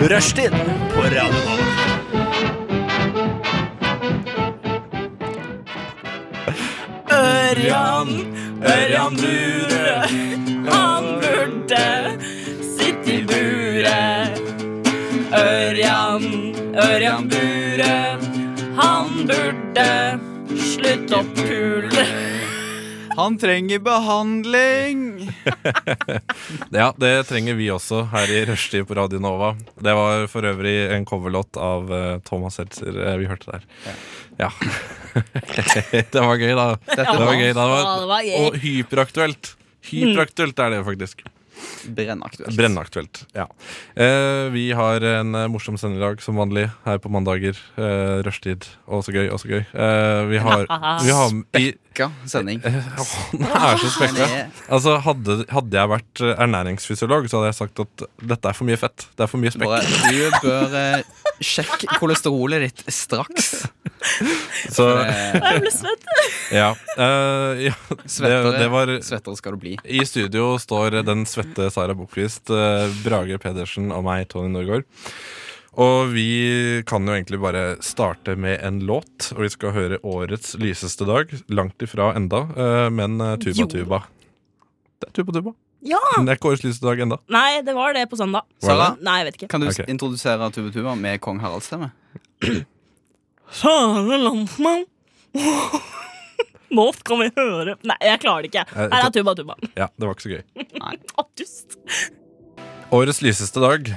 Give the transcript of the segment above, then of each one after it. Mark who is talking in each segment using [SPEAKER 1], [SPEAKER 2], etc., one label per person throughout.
[SPEAKER 1] Rushtid på Radio Nova.
[SPEAKER 2] Ørjan, Ørjan Bure, han burde sitte i buret. Ørjan, Ørjan Bure, han burde slutte å pule.
[SPEAKER 3] Han trenger behandling!
[SPEAKER 4] Ja, det trenger vi også her i rushtid på Radio Nova. Det var for øvrig en coverlåt av eh, Thomas Seltzer eh, vi hørte der. Ja. det var gøy, da. Det var gøy, da. Det var,
[SPEAKER 2] Ja, det var gøy.
[SPEAKER 4] og hyperaktuelt. Hyperaktuelt er det faktisk.
[SPEAKER 3] Brennaktuelt.
[SPEAKER 4] Brennaktuelt. ja eh, Vi har en eh, morsom sending i dag, som vanlig, her på mandager. Eh, rushtid. Å, så gøy, å, så gøy. Eh, vi har, vi har i,
[SPEAKER 3] Brekka sending.
[SPEAKER 4] Eh, Den er så spekka. Altså, hadde, hadde jeg vært eh, ernæringsfysiolog, så hadde jeg sagt at dette er for mye fett. Det er for mye spekk.
[SPEAKER 3] Bare, du bør eh, sjekke kolesterolet ditt straks.
[SPEAKER 4] Så,
[SPEAKER 3] Eh,
[SPEAKER 2] Jeg ble svett.
[SPEAKER 4] ja. Eh, ja det,
[SPEAKER 3] Svettere,
[SPEAKER 4] det var
[SPEAKER 3] svettere skal du bli.
[SPEAKER 4] I studio står den svette Sara Bokvist, eh, Brage Pedersen og meg, Tony Norgård. Og vi kan jo egentlig bare starte med en låt, og vi skal høre årets lyseste dag. Langt ifra enda, eh, men eh,
[SPEAKER 2] Jo. Ah!
[SPEAKER 4] Tuba Tuba. Det er Tuba Tuba.
[SPEAKER 2] Ja!
[SPEAKER 4] Men det er ikke årets lyseste dag enda.
[SPEAKER 2] Nei, det var det på søndag.
[SPEAKER 3] Sara,
[SPEAKER 2] Nei, jeg vet ikke.
[SPEAKER 3] kan du s-
[SPEAKER 4] Ok.
[SPEAKER 3] introdusere Tuve Tuva med kong Haralds stemme?
[SPEAKER 2] Kjære landsmann. Nå skal vi høre Nei, jeg klarer det ikke.
[SPEAKER 4] Eh,
[SPEAKER 2] Her er Tuba Tuba.
[SPEAKER 4] Ja, det var ikke så gøy.
[SPEAKER 2] Å, dust.
[SPEAKER 4] Årets lyseste dag.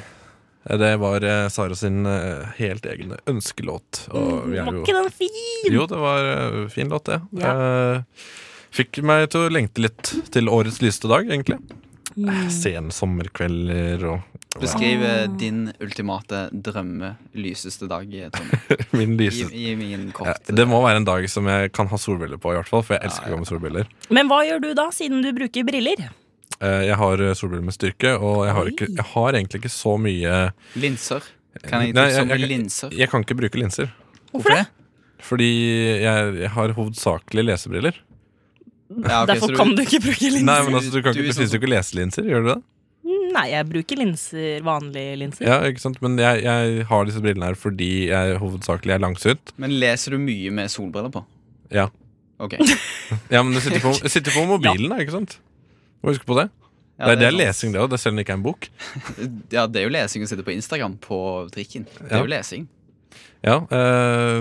[SPEAKER 4] eh, Det var eh, Sara sin eh, helt egne ønskelåt. Og vi er
[SPEAKER 2] Mm, Var
[SPEAKER 4] jo
[SPEAKER 2] ikke den fin?
[SPEAKER 4] Jo, det var eh, fin låt, det. Eh, fikk meg til å lengte litt til årets lyste dag, egentlig. Eh,
[SPEAKER 2] Mm.
[SPEAKER 4] Sene sommerkvelder og
[SPEAKER 3] Beskriv eh, din ultimate drømme lyseste dag, eh, Tommy.
[SPEAKER 4] min
[SPEAKER 3] Gi,
[SPEAKER 4] lyse...
[SPEAKER 3] gi meg en
[SPEAKER 4] Eh,
[SPEAKER 3] kort
[SPEAKER 4] Det må være en dag som jeg kan ha solbriller på, i hvert fall. For jeg elsker
[SPEAKER 3] Ja,
[SPEAKER 4] å gå med solbriller.
[SPEAKER 2] Men hva gjør du da, siden du bruker briller?
[SPEAKER 4] Eh, Jeg har eh, solbriller med styrke, og jeg har, ikke, jeg har egentlig ikke så mye
[SPEAKER 3] Linser. Kan jeg
[SPEAKER 4] Eh, Nei,
[SPEAKER 3] tipse om
[SPEAKER 4] jeg- jeg-
[SPEAKER 3] linser?
[SPEAKER 4] Jeg kan ikke bruke linser.
[SPEAKER 3] Hvorfor det?
[SPEAKER 4] Fordi jeg, jeg har hovedsakelig lesebriller.
[SPEAKER 3] Ja, ok, så
[SPEAKER 2] Derfor kan du ikke bruke linser.
[SPEAKER 4] Nei, men altså, Du, kan
[SPEAKER 3] Du-
[SPEAKER 4] ikke,
[SPEAKER 3] du-
[SPEAKER 4] du syns jo ikke leselinser, gjør du det?
[SPEAKER 2] Nei, jeg bruker linser, vanlige linser.
[SPEAKER 4] Ja, ikke sant? Men jeg, jeg har disse brillene her fordi jeg hovedsakelig er langsynt.
[SPEAKER 3] Men leser du mye med solbriller på?
[SPEAKER 4] Ja.
[SPEAKER 3] Ok.
[SPEAKER 4] Ja, men det sitter på, det sitter på mobilen, da, ikke sant? Må huske på det. det,
[SPEAKER 3] Ja,
[SPEAKER 4] er, det er
[SPEAKER 3] sant.
[SPEAKER 4] lesing, det òg, selv om det ikke er en bok.
[SPEAKER 3] Ja, det er jo lesing å sitte på Instagram på trikken. Det
[SPEAKER 4] Ja.
[SPEAKER 3] er jo lesing.
[SPEAKER 4] Ja, eh,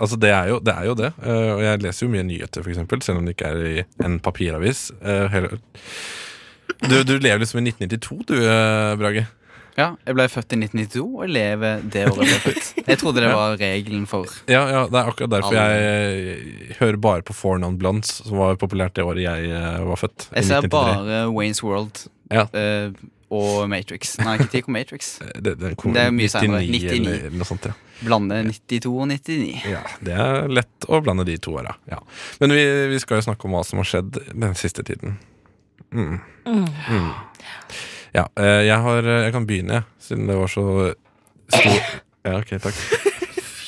[SPEAKER 4] altså det er jo det. Er jo det. Eh, og jeg leser jo mye nyheter, for eksempel, selv om det ikke er i en papiravis. Eh, hele- du, du lever liksom i 1992, du, eh, Brage.
[SPEAKER 3] Ja, jeg ble født i 1992 og lever det året jeg ble født. Jeg trodde det var regelen for
[SPEAKER 4] Ja, ja, Det er akkurat derfor jeg hører bare på Four Non Blondes, som var populært det året jeg eh, var født. i
[SPEAKER 3] Jeg ser
[SPEAKER 4] 1993.
[SPEAKER 3] bare Waynes World
[SPEAKER 4] Ja.
[SPEAKER 3] eh, og Matrix. Nei, kritikk om Matrix.
[SPEAKER 4] Det, den kom
[SPEAKER 3] Det er mye senere.
[SPEAKER 4] 99,
[SPEAKER 3] 99.
[SPEAKER 4] Eller noe sånt, ja.
[SPEAKER 3] Blande 92 og 99.
[SPEAKER 4] Ja, Det er lett å blande de to åra. Ja. Men vi, vi skal jo snakke om hva som har skjedd den siste tiden. Mm. Mm. Ja, eh, jeg, har, eh, jeg kan begynne, jeg, siden det var så stor Ja, ok, takk.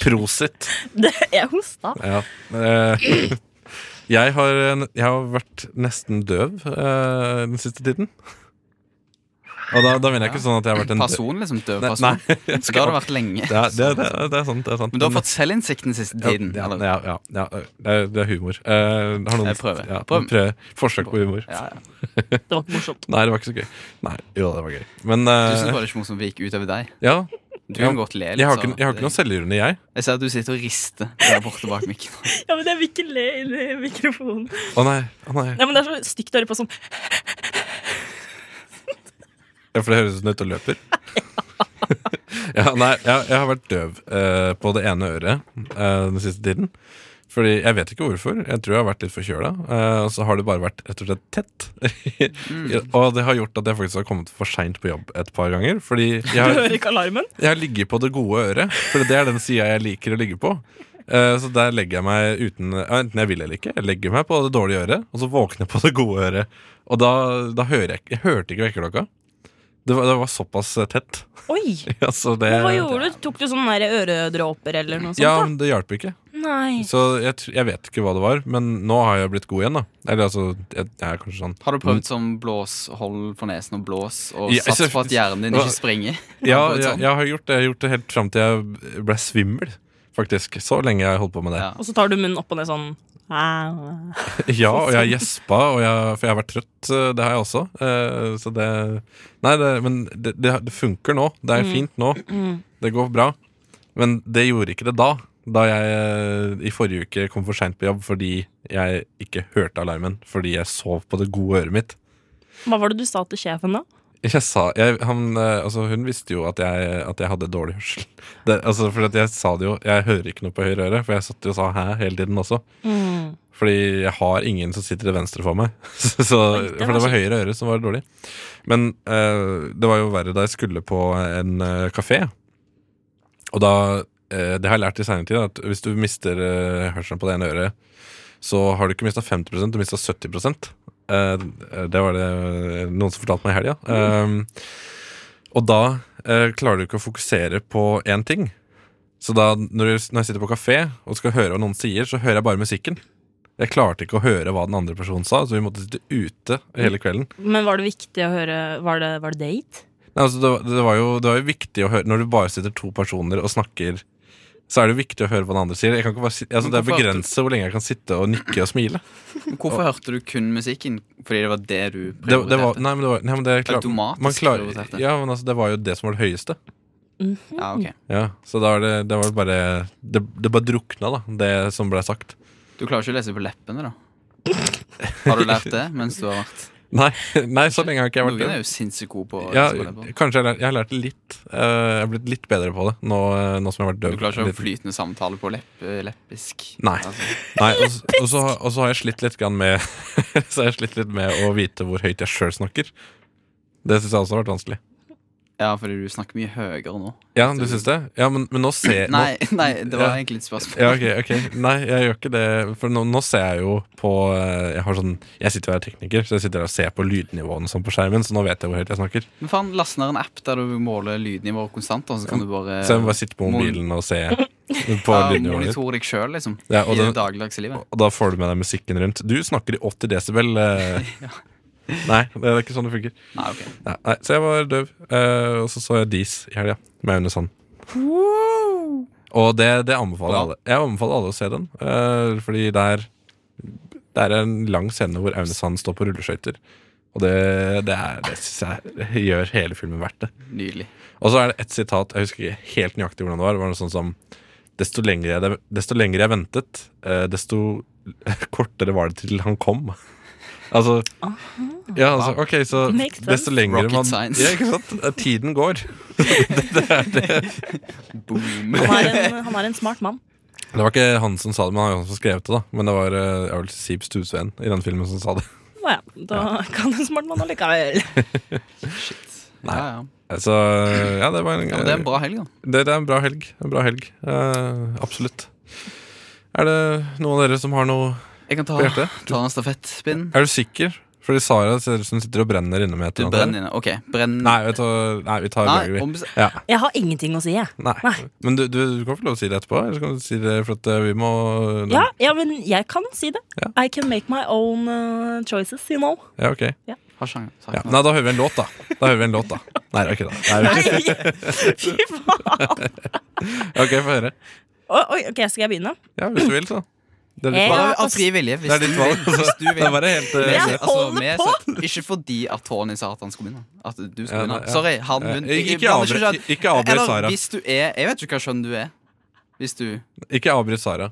[SPEAKER 4] Prosit.
[SPEAKER 2] Det, jeg hosta.
[SPEAKER 4] Ja. eh, Jeg har, en- jeg har vært nesten døv eh, den siste tiden. Og da, da mener jeg ikke sånn at jeg har vært en døv
[SPEAKER 3] Person, liksom. Døv
[SPEAKER 4] Nei,
[SPEAKER 3] person.
[SPEAKER 4] nei, jeg
[SPEAKER 3] Det har
[SPEAKER 4] skal,
[SPEAKER 3] det vært lenge.
[SPEAKER 4] det, er, det, er, det, er, det er sant. Det er sant.
[SPEAKER 3] Men du har fått selvinnsikt den siste tiden.
[SPEAKER 4] Ja,
[SPEAKER 3] eller?
[SPEAKER 4] ja, ja, ja, det, er, det er humor. Eh, har noen,
[SPEAKER 3] Jeg prøver.
[SPEAKER 4] Ja,
[SPEAKER 3] Prøv.
[SPEAKER 4] prøv. Forsøk på humor.
[SPEAKER 3] Ja, ja.
[SPEAKER 2] Det var ikke morsomt.
[SPEAKER 4] Nei, det var ikke så gøy. Nei, jo, det var gøy. Men
[SPEAKER 3] Du
[SPEAKER 4] eh,
[SPEAKER 3] syns bare det er ikke morsomt vi gikk utover deg.
[SPEAKER 4] ja,
[SPEAKER 3] Du
[SPEAKER 4] Ja.
[SPEAKER 3] kan godt le litt. sånn
[SPEAKER 4] jeg har ikke,
[SPEAKER 3] Sara.
[SPEAKER 4] jeg har ikke noe selvironi, jeg.
[SPEAKER 3] Jeg ser at du sitter og rister der borte bak mikken.
[SPEAKER 2] Ja, men jeg vil ikke le inn i mikrofonen.
[SPEAKER 4] Å nei. å nei
[SPEAKER 2] Ja, men Det er så stygt å høre på sånn.
[SPEAKER 4] Ja, For det høres ut som du er ute og løper. ja, nei, jeg, jeg har vært døv eh, på det ene øret eh, den siste tiden. Fordi Jeg vet ikke hvorfor. Jeg tror jeg har vært litt forkjøla. eh, og så har det bare vært rett og slett tett. og det har gjort at jeg faktisk har kommet for seint på jobb et par ganger. Fordi jeg
[SPEAKER 2] Du
[SPEAKER 4] har,
[SPEAKER 2] hører ikke alarmen.
[SPEAKER 4] Jeg ligger på det gode øret, for det er den sida jeg liker å ligge på. Eh, Så der legger jeg meg uten ja, Enten jeg vil eller ikke. Jeg legger meg på det dårlige øret, og så våkner jeg på det gode øret. Og da, da hører jeg ikke Jeg hørte ikke vekkerklokka. Det var, det var såpass eh, tett.
[SPEAKER 2] Oi!
[SPEAKER 4] altså, det,
[SPEAKER 2] Men hva gjorde du? Tok du sånne der øredråper eller noe sånt?
[SPEAKER 4] Ja,
[SPEAKER 2] da?
[SPEAKER 4] men det hjalp ikke.
[SPEAKER 2] Nei.
[SPEAKER 4] Så jeg, tr- jeg vet ikke hva det var, men nå har jeg blitt god igjen, da. Eller altså, jeg, jeg er kanskje sånn
[SPEAKER 3] Har du prøvd som blåshold for nesen og blås, og
[SPEAKER 4] Ja,
[SPEAKER 3] sats
[SPEAKER 4] så-
[SPEAKER 3] på at hjernen din
[SPEAKER 4] Hva-
[SPEAKER 3] ikke springer?
[SPEAKER 4] Ja,
[SPEAKER 3] får et
[SPEAKER 4] jeg,
[SPEAKER 2] sånn.
[SPEAKER 3] sånt.
[SPEAKER 4] jeg har gjort det, jeg har gjort det helt fram til jeg ble svimmel, faktisk. Så lenge jeg holdt på med det.
[SPEAKER 3] Ja.
[SPEAKER 2] Og så tar du munnen opp og ned sånn ah.
[SPEAKER 4] Ja, og jeg gjespa, og jeg, for jeg har vært trøtt. eh, Det har jeg også. Eh, Så det Nei, det, men det, det, det funker nå. Det er fint nå. Det går bra. Men det gjorde ikke det da. Da jeg eh, i forrige uke kom for seint på jobb fordi jeg ikke hørte alarmen. Fordi jeg sov på det gode øret mitt.
[SPEAKER 2] Hva var det du sa til sjefen, da?
[SPEAKER 4] Jeg sa, jeg, han, eh, altså, hun visste jo at jeg, at jeg hadde dårlig hørsel. Det, altså, for at jeg sa det jo, jeg hører ikke noe på høyre øre, for jeg satt jo og sa hæ hele tiden også.
[SPEAKER 2] Mm.
[SPEAKER 4] Fordi jeg har ingen som sitter til venstre for meg. Så, så,
[SPEAKER 2] Oi, det var
[SPEAKER 4] for det var
[SPEAKER 2] kjipt.
[SPEAKER 4] høyre øre som var dårlig. Men eh, det var jo verre da jeg skulle på en eh, kafé. Og da eh, Det har jeg lært i senere tid, at hvis du mister eh, hørselen på det ene øret, så har du ikke mista 50 du mista 70 Eh, Det var det noen som fortalte meg i helga. Eh, og da eh, klarer du ikke å fokusere på én ting. Så da når, du, når jeg sitter på kafé og skal høre hva noen sier, så hører jeg bare musikken. Jeg klarte ikke å høre hva den andre personen sa, så vi måtte sitte ute hele kvelden.
[SPEAKER 2] Men var det viktig å høre Var det, var det date?
[SPEAKER 4] Nei, altså, det, var- det, var jo, det var jo viktig å høre Når du bare sitter to personer og snakker, så er det jo viktig å høre hva den andre sier. Jeg kan ikke bare si, altså, det er
[SPEAKER 3] Men hvorfor at du-
[SPEAKER 4] begrenset hvor lenge jeg kan sitte og nikke og smile.
[SPEAKER 3] Men Hvorfor hørte du kun musikken? Fordi det var det du
[SPEAKER 4] Det, det var,
[SPEAKER 3] prioriterte?
[SPEAKER 4] nei, men det var, nei, men det er klart-
[SPEAKER 3] Automatisk
[SPEAKER 4] man klarer-
[SPEAKER 3] prioriterte.
[SPEAKER 4] Ja, men altså, det var jo det som var det høyeste.
[SPEAKER 3] Ja, ok.
[SPEAKER 4] Ja, så da er det, det var bare det, det bare drukna, da, det som ble sagt.
[SPEAKER 3] Du klarer ikke å lese på leppene, da? Har du lært det mens du har vært
[SPEAKER 4] Nei, nei så lenge har ikke jeg vært
[SPEAKER 3] Noen
[SPEAKER 4] det.
[SPEAKER 3] er jo sinnssykt gode på å
[SPEAKER 4] Ja,
[SPEAKER 3] lese på leppene.
[SPEAKER 4] kanskje jeg, lær, jeg har lært det litt. eh, jeg har blitt litt bedre på det nå, eh, nå som jeg har vært
[SPEAKER 3] Du
[SPEAKER 4] døv.
[SPEAKER 3] klarer ikke å ha
[SPEAKER 4] litt.
[SPEAKER 3] flytende samtale på lepp, eh, leppisk?
[SPEAKER 4] Nei.
[SPEAKER 3] Altså,
[SPEAKER 4] Nei, og, s- og, så, og så har jeg slitt litt grann med Så har jeg slitt litt med å vite hvor høyt jeg sjøl snakker. Det syns jeg også har vært vanskelig.
[SPEAKER 3] ja, fordi du snakker mye høyere nå.
[SPEAKER 4] Ja, du syns det? Ja, men, men nå ser Eh, nå-
[SPEAKER 3] Nei, nei, det var
[SPEAKER 4] Ja.
[SPEAKER 3] egentlig et spørsmål.
[SPEAKER 4] Ja, ok, ok Nei, jeg gjør ikke det. For nå, nå ser jeg jo på eh, Jeg har sånn Jeg sitter jo her tekniker, så jeg sitter her og ser på lydnivåene sånn på skjermen, så nå vet jeg hvor høyt jeg snakker.
[SPEAKER 3] Men faen, last ned en app der du måler lydnivå konstant, og så kan du bare,
[SPEAKER 4] Så jeg må bare sitte på
[SPEAKER 3] mon-
[SPEAKER 4] mobilen og se på
[SPEAKER 3] ja,
[SPEAKER 4] lydnivået ditt.
[SPEAKER 3] monitor deg sjøl, liksom.
[SPEAKER 4] Ja, og
[SPEAKER 3] I det
[SPEAKER 4] den-
[SPEAKER 3] dagligdagse livet.
[SPEAKER 4] Og da får du med deg musikken rundt. Du snakker i 80 desibel. eh. Nei, det er ikke sånn det funker.
[SPEAKER 3] Nei, ok.
[SPEAKER 4] Nei, nei, så jeg var døv. eh, og så så jeg Dis i helga, med Aune Sand. Og det, det anbefaler jeg alle. Jeg anbefaler alle å se den, eh, fordi det er, det er en lang scene hvor Aune Sand står på rulleskøyter. Og det, det, er- det syns jeg gjør hele filmen verdt det.
[SPEAKER 3] Nydelig.
[SPEAKER 4] Og så er det et sitat, jeg husker ikke helt nøyaktig hvordan det var. Det var noe sånn som Desto lenger jeg, desto lenger jeg ventet, eh, desto kortere var det til han kom. altså Ja, altså, ok, så
[SPEAKER 2] Makes sense.
[SPEAKER 4] desto lenger
[SPEAKER 3] Rocket
[SPEAKER 4] man
[SPEAKER 3] science.
[SPEAKER 4] Ja, ikke sant? Eh, Tiden går.
[SPEAKER 3] Boom.
[SPEAKER 2] Han er en, han er en smart mann.
[SPEAKER 4] Det var ikke han som sa det, men han var han som skrev det, da. Men det var eh, jeg vil si Sib Stusveen i den filmen som sa det.
[SPEAKER 2] Å ja, da kan en smart mann allikevel.
[SPEAKER 3] Shit.
[SPEAKER 4] Nei.
[SPEAKER 3] Ja, ja.
[SPEAKER 4] Så eh, ja, det var en,
[SPEAKER 3] ja, men det er en bra helg, da.
[SPEAKER 4] Det, det er en bra helg. En bra helg. Eh, absolutt. Er det noen av dere som har noe
[SPEAKER 3] Jeg kan ta,
[SPEAKER 4] Bjarte,
[SPEAKER 3] ta en stafettpinn.
[SPEAKER 4] Er du sikker? Fordi Sara ser ut som hun sitter og brenner inne med et
[SPEAKER 3] Du
[SPEAKER 4] eller
[SPEAKER 3] brenner
[SPEAKER 4] annet.
[SPEAKER 3] inne. Ok, brenn
[SPEAKER 4] Nei, vet du, hva? nei, vi tar
[SPEAKER 3] Nei,
[SPEAKER 4] lager vi.
[SPEAKER 3] ombes-
[SPEAKER 4] Ja,
[SPEAKER 2] Jeg har ingenting å si, jeg.
[SPEAKER 4] nei.
[SPEAKER 2] Nei.
[SPEAKER 4] Men du, du, du kan få lov å si det etterpå. Eller så kan du si det for at eh, vi må
[SPEAKER 2] Ja, ja, men jeg kan si det.
[SPEAKER 4] Ja.
[SPEAKER 2] I can make my own uh, choices, you know.
[SPEAKER 4] Ja, ok.
[SPEAKER 3] Har sjanger. Takk.
[SPEAKER 4] Ja. Nei, da hører vi en låt, da. Da hører vi en låt, da. Nei, det er ikke det. Nei, det er ikke det.
[SPEAKER 2] Nei! Fy faen!
[SPEAKER 4] Ok, få høre.
[SPEAKER 2] Oi, oi, ok, skal jeg begynne?
[SPEAKER 4] Ja, hvis du vil, så. Det er
[SPEAKER 2] Jeg
[SPEAKER 4] ditt valg.
[SPEAKER 3] Bare av fri vilje. Hvis
[SPEAKER 4] Det er ditt
[SPEAKER 3] du
[SPEAKER 4] valg. altså.
[SPEAKER 3] vil. Hvis du
[SPEAKER 4] Det er
[SPEAKER 3] vil.
[SPEAKER 4] bare helt eh,
[SPEAKER 2] Eh. Ja.
[SPEAKER 3] Altså,
[SPEAKER 2] holder
[SPEAKER 3] vi så- ikke fordi at Tony sa at han skulle begynne. At du skulle
[SPEAKER 4] Ja,
[SPEAKER 3] begynne.
[SPEAKER 4] nei, ja.
[SPEAKER 3] Sorry, han
[SPEAKER 4] Ja,
[SPEAKER 3] hun.
[SPEAKER 4] ikke- ikke
[SPEAKER 3] blander
[SPEAKER 4] avbryt-
[SPEAKER 3] skjønn.
[SPEAKER 4] ikke avbryt
[SPEAKER 3] Eller
[SPEAKER 4] Sara.
[SPEAKER 3] hvis du er Jeg vet ikke hva skjønn du er. Hvis du
[SPEAKER 4] Ikke avbryt Sara.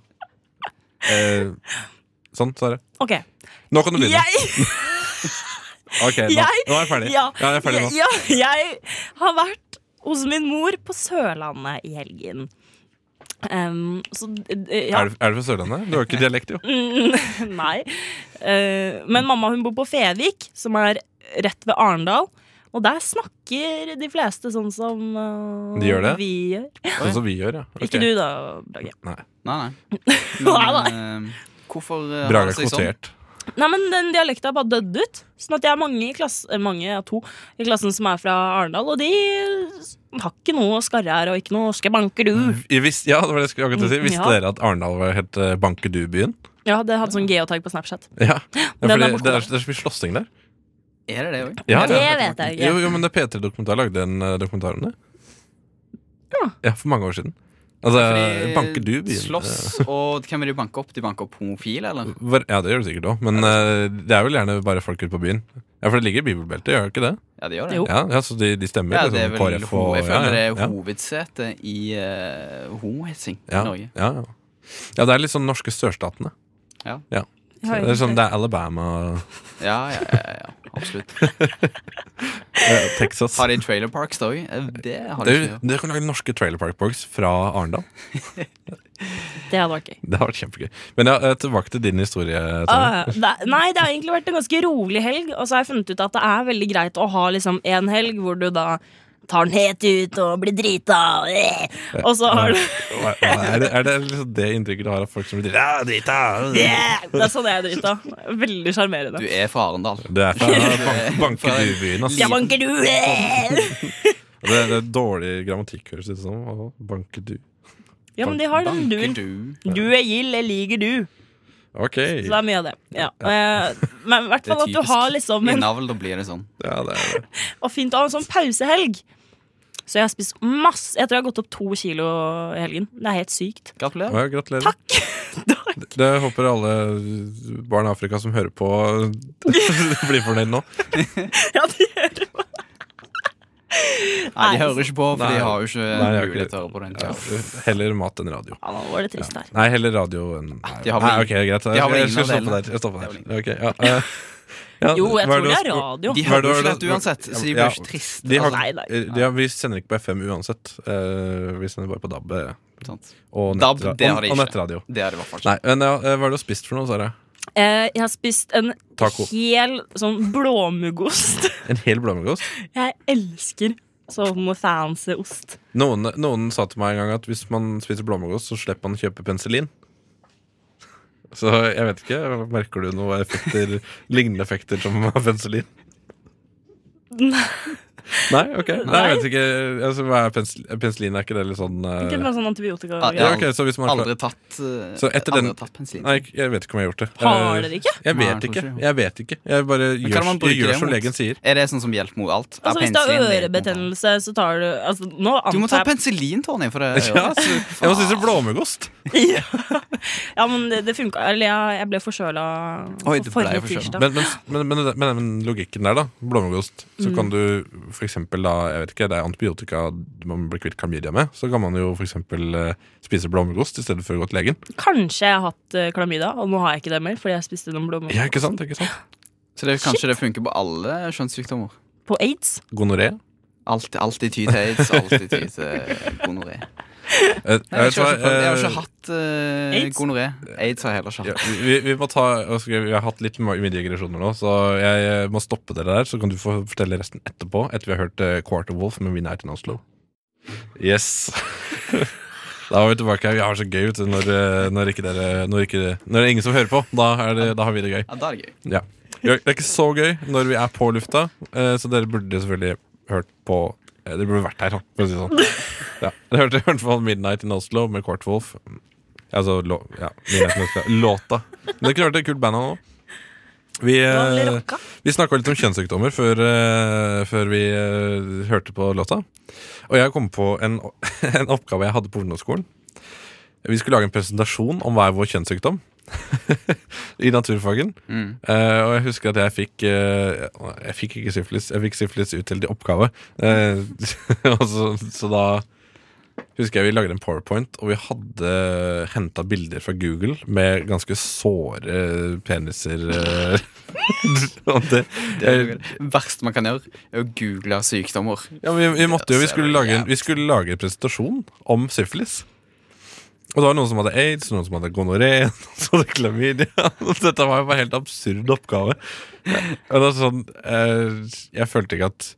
[SPEAKER 4] Eh, sånn, Sara.
[SPEAKER 2] Ok.
[SPEAKER 4] Nå kan du begynne.
[SPEAKER 2] Jeg
[SPEAKER 4] Ok, nå,
[SPEAKER 2] jeg-
[SPEAKER 4] nå er jeg ferdig. Ja,
[SPEAKER 2] Ja,
[SPEAKER 4] jeg er ferdig nå.
[SPEAKER 2] Ja, jeg har vært hos min mor på Sørlandet i helgen. Em, så eh, ja.
[SPEAKER 4] Er du, er du fra Sørlandet? Du har jo ikke dialekt, jo.
[SPEAKER 2] Nei. Eh, men mamma hun bor på Fevik, som er rett ved Arendal. Og der snakker de fleste sånn som eh,
[SPEAKER 4] De gjør det?
[SPEAKER 2] vi gjør.
[SPEAKER 4] Sånn som vi gjør, ja. Ok.
[SPEAKER 2] Ikke du da, Brage.
[SPEAKER 4] Nei.
[SPEAKER 3] Nei, nei.
[SPEAKER 2] Nei,
[SPEAKER 3] eh, hvorfor eh, har
[SPEAKER 4] Braga er
[SPEAKER 3] det seg sånn?
[SPEAKER 4] kvotert.
[SPEAKER 2] Nei, men den dialekta bare døde ut. Sånn at jeg er mange i klassen, mange, ja, to i klassen som er fra Arendal, og de har ikke noe skarre-r og ikke noe 'skal banke du'.
[SPEAKER 4] I vis- ja, det var det jeg skulle akkurat si. Visste
[SPEAKER 2] Mm, Ja.
[SPEAKER 4] dere at Arendal var helt uh, Bankedu-byen?
[SPEAKER 2] Ja, det hadde sånn geotag på Snapchat.
[SPEAKER 4] Ja. ja
[SPEAKER 2] Den
[SPEAKER 4] fordi
[SPEAKER 2] er
[SPEAKER 4] det,
[SPEAKER 2] borte
[SPEAKER 4] er, det
[SPEAKER 2] der.
[SPEAKER 4] er så mye slåssing der.
[SPEAKER 3] sånn? Er det det òg?
[SPEAKER 4] Ja,
[SPEAKER 2] Det vet jeg ikke.
[SPEAKER 4] Jo, jo, men det P3-dokumentar lagde en eh, dokumentar om det.
[SPEAKER 2] Ja.
[SPEAKER 4] Ja, for mange år siden. Altså,
[SPEAKER 3] Fordi eh,
[SPEAKER 4] banker du byen?
[SPEAKER 3] Slåss, og hvem er det de banker opp? De banker opp homofile, eller?
[SPEAKER 4] Var- eh, Ja, det gjør du sikkert òg, men eh, det er vel gjerne bare folk ute på byen. Ja, for det ligger i bibelbeltet, gjør det ikke det?
[SPEAKER 3] Ja, de gjør det.
[SPEAKER 2] Jo.
[SPEAKER 4] Ja, ja så de, de stemmer?
[SPEAKER 3] Ja,
[SPEAKER 4] liksom,
[SPEAKER 3] det er vel
[SPEAKER 4] KrF og-
[SPEAKER 3] ho- Jeg føler det
[SPEAKER 4] ja,
[SPEAKER 3] er
[SPEAKER 4] ja,
[SPEAKER 3] hovedsetet i uh, homohetsing
[SPEAKER 4] ja,
[SPEAKER 3] i Norge.
[SPEAKER 4] Ja, ja. ja, det er litt sånn norske sørstatene.
[SPEAKER 2] Jeg
[SPEAKER 4] Det
[SPEAKER 2] har
[SPEAKER 4] er, sånn,
[SPEAKER 2] egentlig-
[SPEAKER 4] det er Alabama,
[SPEAKER 3] Ja, ja, ja, ja, ja absolutt.
[SPEAKER 4] eh, Texas
[SPEAKER 3] Har de trailer parks da òg? Det har de ikke.
[SPEAKER 4] Dere dere kan lage norske Trailer Park Boys fra Arendal.
[SPEAKER 2] det hadde vært gøy.
[SPEAKER 4] Det har vært kjempegøy. Men ja, eh, tilbake til din historie. Tanja.
[SPEAKER 2] Ah, det, er- nei, det har egentlig vært en ganske rolig helg. Og så har jeg funnet ut at det er veldig greit å ha liksom en helg hvor du da tar den helt ut og blir drita. og, eh, Og så har du
[SPEAKER 4] Hva- hva Er det, er det liksom det inntrykket du har av folk som blir Ja, drita!
[SPEAKER 2] yeah! Det er sånn jeg er drita. Veldig
[SPEAKER 3] Du
[SPEAKER 2] sjarmerende.
[SPEAKER 3] er fra Arendal.
[SPEAKER 4] Det er fra bank, banker du i byen, ass.
[SPEAKER 2] Jeg banker du! eh!
[SPEAKER 4] Det, det er dårlig grammatikk, høres det ut som. Å, Banker du.
[SPEAKER 2] Ja, men de har den
[SPEAKER 3] Banker
[SPEAKER 2] duen.
[SPEAKER 3] du?
[SPEAKER 2] Du er gild, jeg liker du.
[SPEAKER 4] Ok.
[SPEAKER 2] Så det er mye av det. Ja. Eh, Men i hvert
[SPEAKER 3] Det er
[SPEAKER 2] fall at du
[SPEAKER 3] typisk.
[SPEAKER 2] har liksom
[SPEAKER 3] I
[SPEAKER 2] en
[SPEAKER 3] navl, da blir det sånn.
[SPEAKER 4] Ja, det er det.
[SPEAKER 2] Og fint å ha en sånn pausehelg. Så jeg har spist masse. Jeg tror jeg har gått opp to kilo i helgen. Det er helt sykt.
[SPEAKER 3] Gratulerer.
[SPEAKER 4] Ja, gratulerer.
[SPEAKER 2] Takk!
[SPEAKER 4] Det håper alle barn i Afrika som hører på, blir fornøyd nå.
[SPEAKER 2] Ja, det gjør det.
[SPEAKER 3] Nei, de hører ikke på, for
[SPEAKER 4] Nei.
[SPEAKER 3] de har jo ikke
[SPEAKER 4] Nei, jeg har ikke
[SPEAKER 3] mulighet til å høre på den.
[SPEAKER 4] Ja,
[SPEAKER 3] tida.
[SPEAKER 4] heller mat enn radio.
[SPEAKER 2] Ja, nå var det trist her.
[SPEAKER 4] Nei, heller radio enn Nei,
[SPEAKER 3] Ah, de har vel
[SPEAKER 4] nei, ok,
[SPEAKER 3] ingen-
[SPEAKER 4] greit.
[SPEAKER 3] de har vel
[SPEAKER 4] Jeg
[SPEAKER 3] ingen
[SPEAKER 4] skal
[SPEAKER 3] av
[SPEAKER 4] stoppe
[SPEAKER 3] delene.
[SPEAKER 4] der. Jeg stopper der.
[SPEAKER 3] Det
[SPEAKER 4] Ok, ja, eh, ja,
[SPEAKER 2] Jo, jeg
[SPEAKER 4] hva er
[SPEAKER 2] tror det
[SPEAKER 4] du
[SPEAKER 2] er
[SPEAKER 4] har spurt-
[SPEAKER 2] radio.
[SPEAKER 3] De
[SPEAKER 4] Hva er
[SPEAKER 3] hører
[SPEAKER 4] det-
[SPEAKER 3] jo
[SPEAKER 4] hva er
[SPEAKER 3] ikke
[SPEAKER 4] det-
[SPEAKER 3] dette uansett, så de
[SPEAKER 4] Ja,
[SPEAKER 3] blir ikke triste.
[SPEAKER 4] De, har,
[SPEAKER 2] Nei, nei.
[SPEAKER 4] eh, de, har, vi sender ikke på FM uansett. eh, vi sender bare på DAB eh,
[SPEAKER 3] altså, sant.
[SPEAKER 4] og, nett,
[SPEAKER 3] DAB, det har de
[SPEAKER 4] og, og
[SPEAKER 3] ikke.
[SPEAKER 4] nettradio.
[SPEAKER 3] Det er det i hvert fall ikke.
[SPEAKER 4] Nei, men ja, eh, Hva er det du har spist for noe, Sara?
[SPEAKER 2] Eh, jeg har spist en
[SPEAKER 4] Taco.
[SPEAKER 2] hel sånn blåmuggost.
[SPEAKER 4] En hel blåmuggost?
[SPEAKER 2] Jeg elsker sånn fancy ost.
[SPEAKER 4] Noen, noen sa til meg en gang at hvis man spiser blåmuggost, så slipper man å kjøpe penicillin. Så jeg vet ikke. Merker du noen effekter, lignende effekter som av penicillin? Nei, ok. Nei, jeg vet ikke. Altså, hva er penicillin? penicillin er ikke det litt sånn eh,
[SPEAKER 2] Ikke noe sånn antibiotika.
[SPEAKER 3] Ja,
[SPEAKER 4] ja,
[SPEAKER 2] Ja,
[SPEAKER 4] ok, så hvis man
[SPEAKER 3] Ah, Aldri tatt eh,
[SPEAKER 4] Så etter den-
[SPEAKER 3] Aldri tatt bensin.
[SPEAKER 4] Nei, jeg vet ikke om jeg har gjort det.
[SPEAKER 2] Har dere ikke?
[SPEAKER 4] Jeg
[SPEAKER 3] Nei,
[SPEAKER 4] vet
[SPEAKER 3] jeg tror
[SPEAKER 4] ikke.
[SPEAKER 3] ikke.
[SPEAKER 4] Jeg vet ikke. Jeg bare
[SPEAKER 3] Men kan
[SPEAKER 4] gjør,
[SPEAKER 3] man bruke
[SPEAKER 4] jeg gjør
[SPEAKER 3] det
[SPEAKER 4] som
[SPEAKER 3] mot?
[SPEAKER 4] legen sier.
[SPEAKER 3] Er det sånn som hjelp mot alt? Er
[SPEAKER 2] Altså, hvis du har
[SPEAKER 3] penicillin hjelp mot alt?
[SPEAKER 2] ørebetennelse, så tar du altså, Nå
[SPEAKER 3] Du må ta
[SPEAKER 2] antar jeg
[SPEAKER 3] penicillin, Tony, for det Ah,
[SPEAKER 4] Ja, så, jeg må
[SPEAKER 2] Ah.
[SPEAKER 4] spise blåmuggost.
[SPEAKER 2] Ja, men det, det funka. Eller jeg, jeg ble forkjøla
[SPEAKER 3] Oi,
[SPEAKER 2] på
[SPEAKER 3] du ble
[SPEAKER 2] forrige
[SPEAKER 3] forkjøla.
[SPEAKER 2] tirsdag.
[SPEAKER 4] Men, men, men, men, men, men logikken der, da. Blåmuggost. Så
[SPEAKER 3] Mm.
[SPEAKER 4] kan du for eksempel da Jeg vet ikke, det er antibiotika man blir kvitt klamydia med. Så kan man jo for eksempel eh, spise blåmuggost i stedet for å gå til legen.
[SPEAKER 2] Kanskje jeg har hatt eh, klamydia, og nå har jeg ikke det mer fordi jeg spiste noen blåmuggost.
[SPEAKER 4] Ja, ikke sant? ikke sant?
[SPEAKER 3] Så det, kanskje det funker på alle kjønnssykdommer?
[SPEAKER 2] På aids?
[SPEAKER 4] Gonoré.
[SPEAKER 3] Alt, alltid ty til aids, alltid ty til gonoré.
[SPEAKER 4] Eh, jeg
[SPEAKER 3] Nei, Jeg,
[SPEAKER 4] vet hva,
[SPEAKER 3] har ikke prøvd- jeg har
[SPEAKER 4] eh,
[SPEAKER 3] ikke hatt eh,
[SPEAKER 2] Aids?
[SPEAKER 3] gonoré. Aids har jeg heller ikke
[SPEAKER 4] ja,
[SPEAKER 3] hatt.
[SPEAKER 4] vi, vi må ta altså, Vi har hatt litt ma- mye digresjoner nå, så jeg eh, må stoppe dere der. Så kan du få fortelle resten etterpå, etter vi har hørt eh, Quarter Wolf med Midnight in Oslo. Yes. Da er vi tilbake her. Vi har det så gøy vet du, når, eh, når, ikke dere, når, ikke, når det er ingen som hører på. Da, er det, da har vi det gøy.
[SPEAKER 3] Ja, da er det gøy.
[SPEAKER 4] Ja. Det er ikke så gøy når vi er på lufta, eh, så dere burde selvfølgelig hørt på eh, Dere burde vært her, da, for å si det sånn. Ja. Dere hørte i hvert fall Midnight in Oslo med Quartwolf. Altså lå, ja, Midnight in Oslo. låta. Men dere hørte et kult band av nå. Vi,
[SPEAKER 2] Nå har vi
[SPEAKER 4] eh,
[SPEAKER 2] rocka.
[SPEAKER 4] vi snakka litt om kjønnssykdommer før, eh, før vi eh, hørte på låta. Og jeg kom på en, en oppgave jeg hadde på ungdomsskolen. Vi skulle lage en presentasjon om hva er vår kjønnssykdom i naturfagen.
[SPEAKER 3] Mm.
[SPEAKER 4] Eh, og jeg husker at jeg fikk eh, Jeg fikk ikke syfilis. Jeg fikk syfilis utdelt i oppgave. Eh, og så, så da husker jeg vi lagde en powerpoint, og vi hadde henta bilder fra Google med ganske såre peniser. eh, og det,
[SPEAKER 3] Det er det verste man kan gjøre, er å google sykdommer.
[SPEAKER 4] ja, men vi, vi måtte jo, vi
[SPEAKER 3] ser
[SPEAKER 4] skulle,
[SPEAKER 3] veldig
[SPEAKER 4] lage en,
[SPEAKER 3] jævlig
[SPEAKER 4] vi skulle lage en presentasjon om syfilis. Og det var noen som hadde aids, noen som hadde gonoré, noen som hadde klamydia. Dette var jo bare en helt absurd oppgave. Og det var sånn, eh, jeg følte ikke at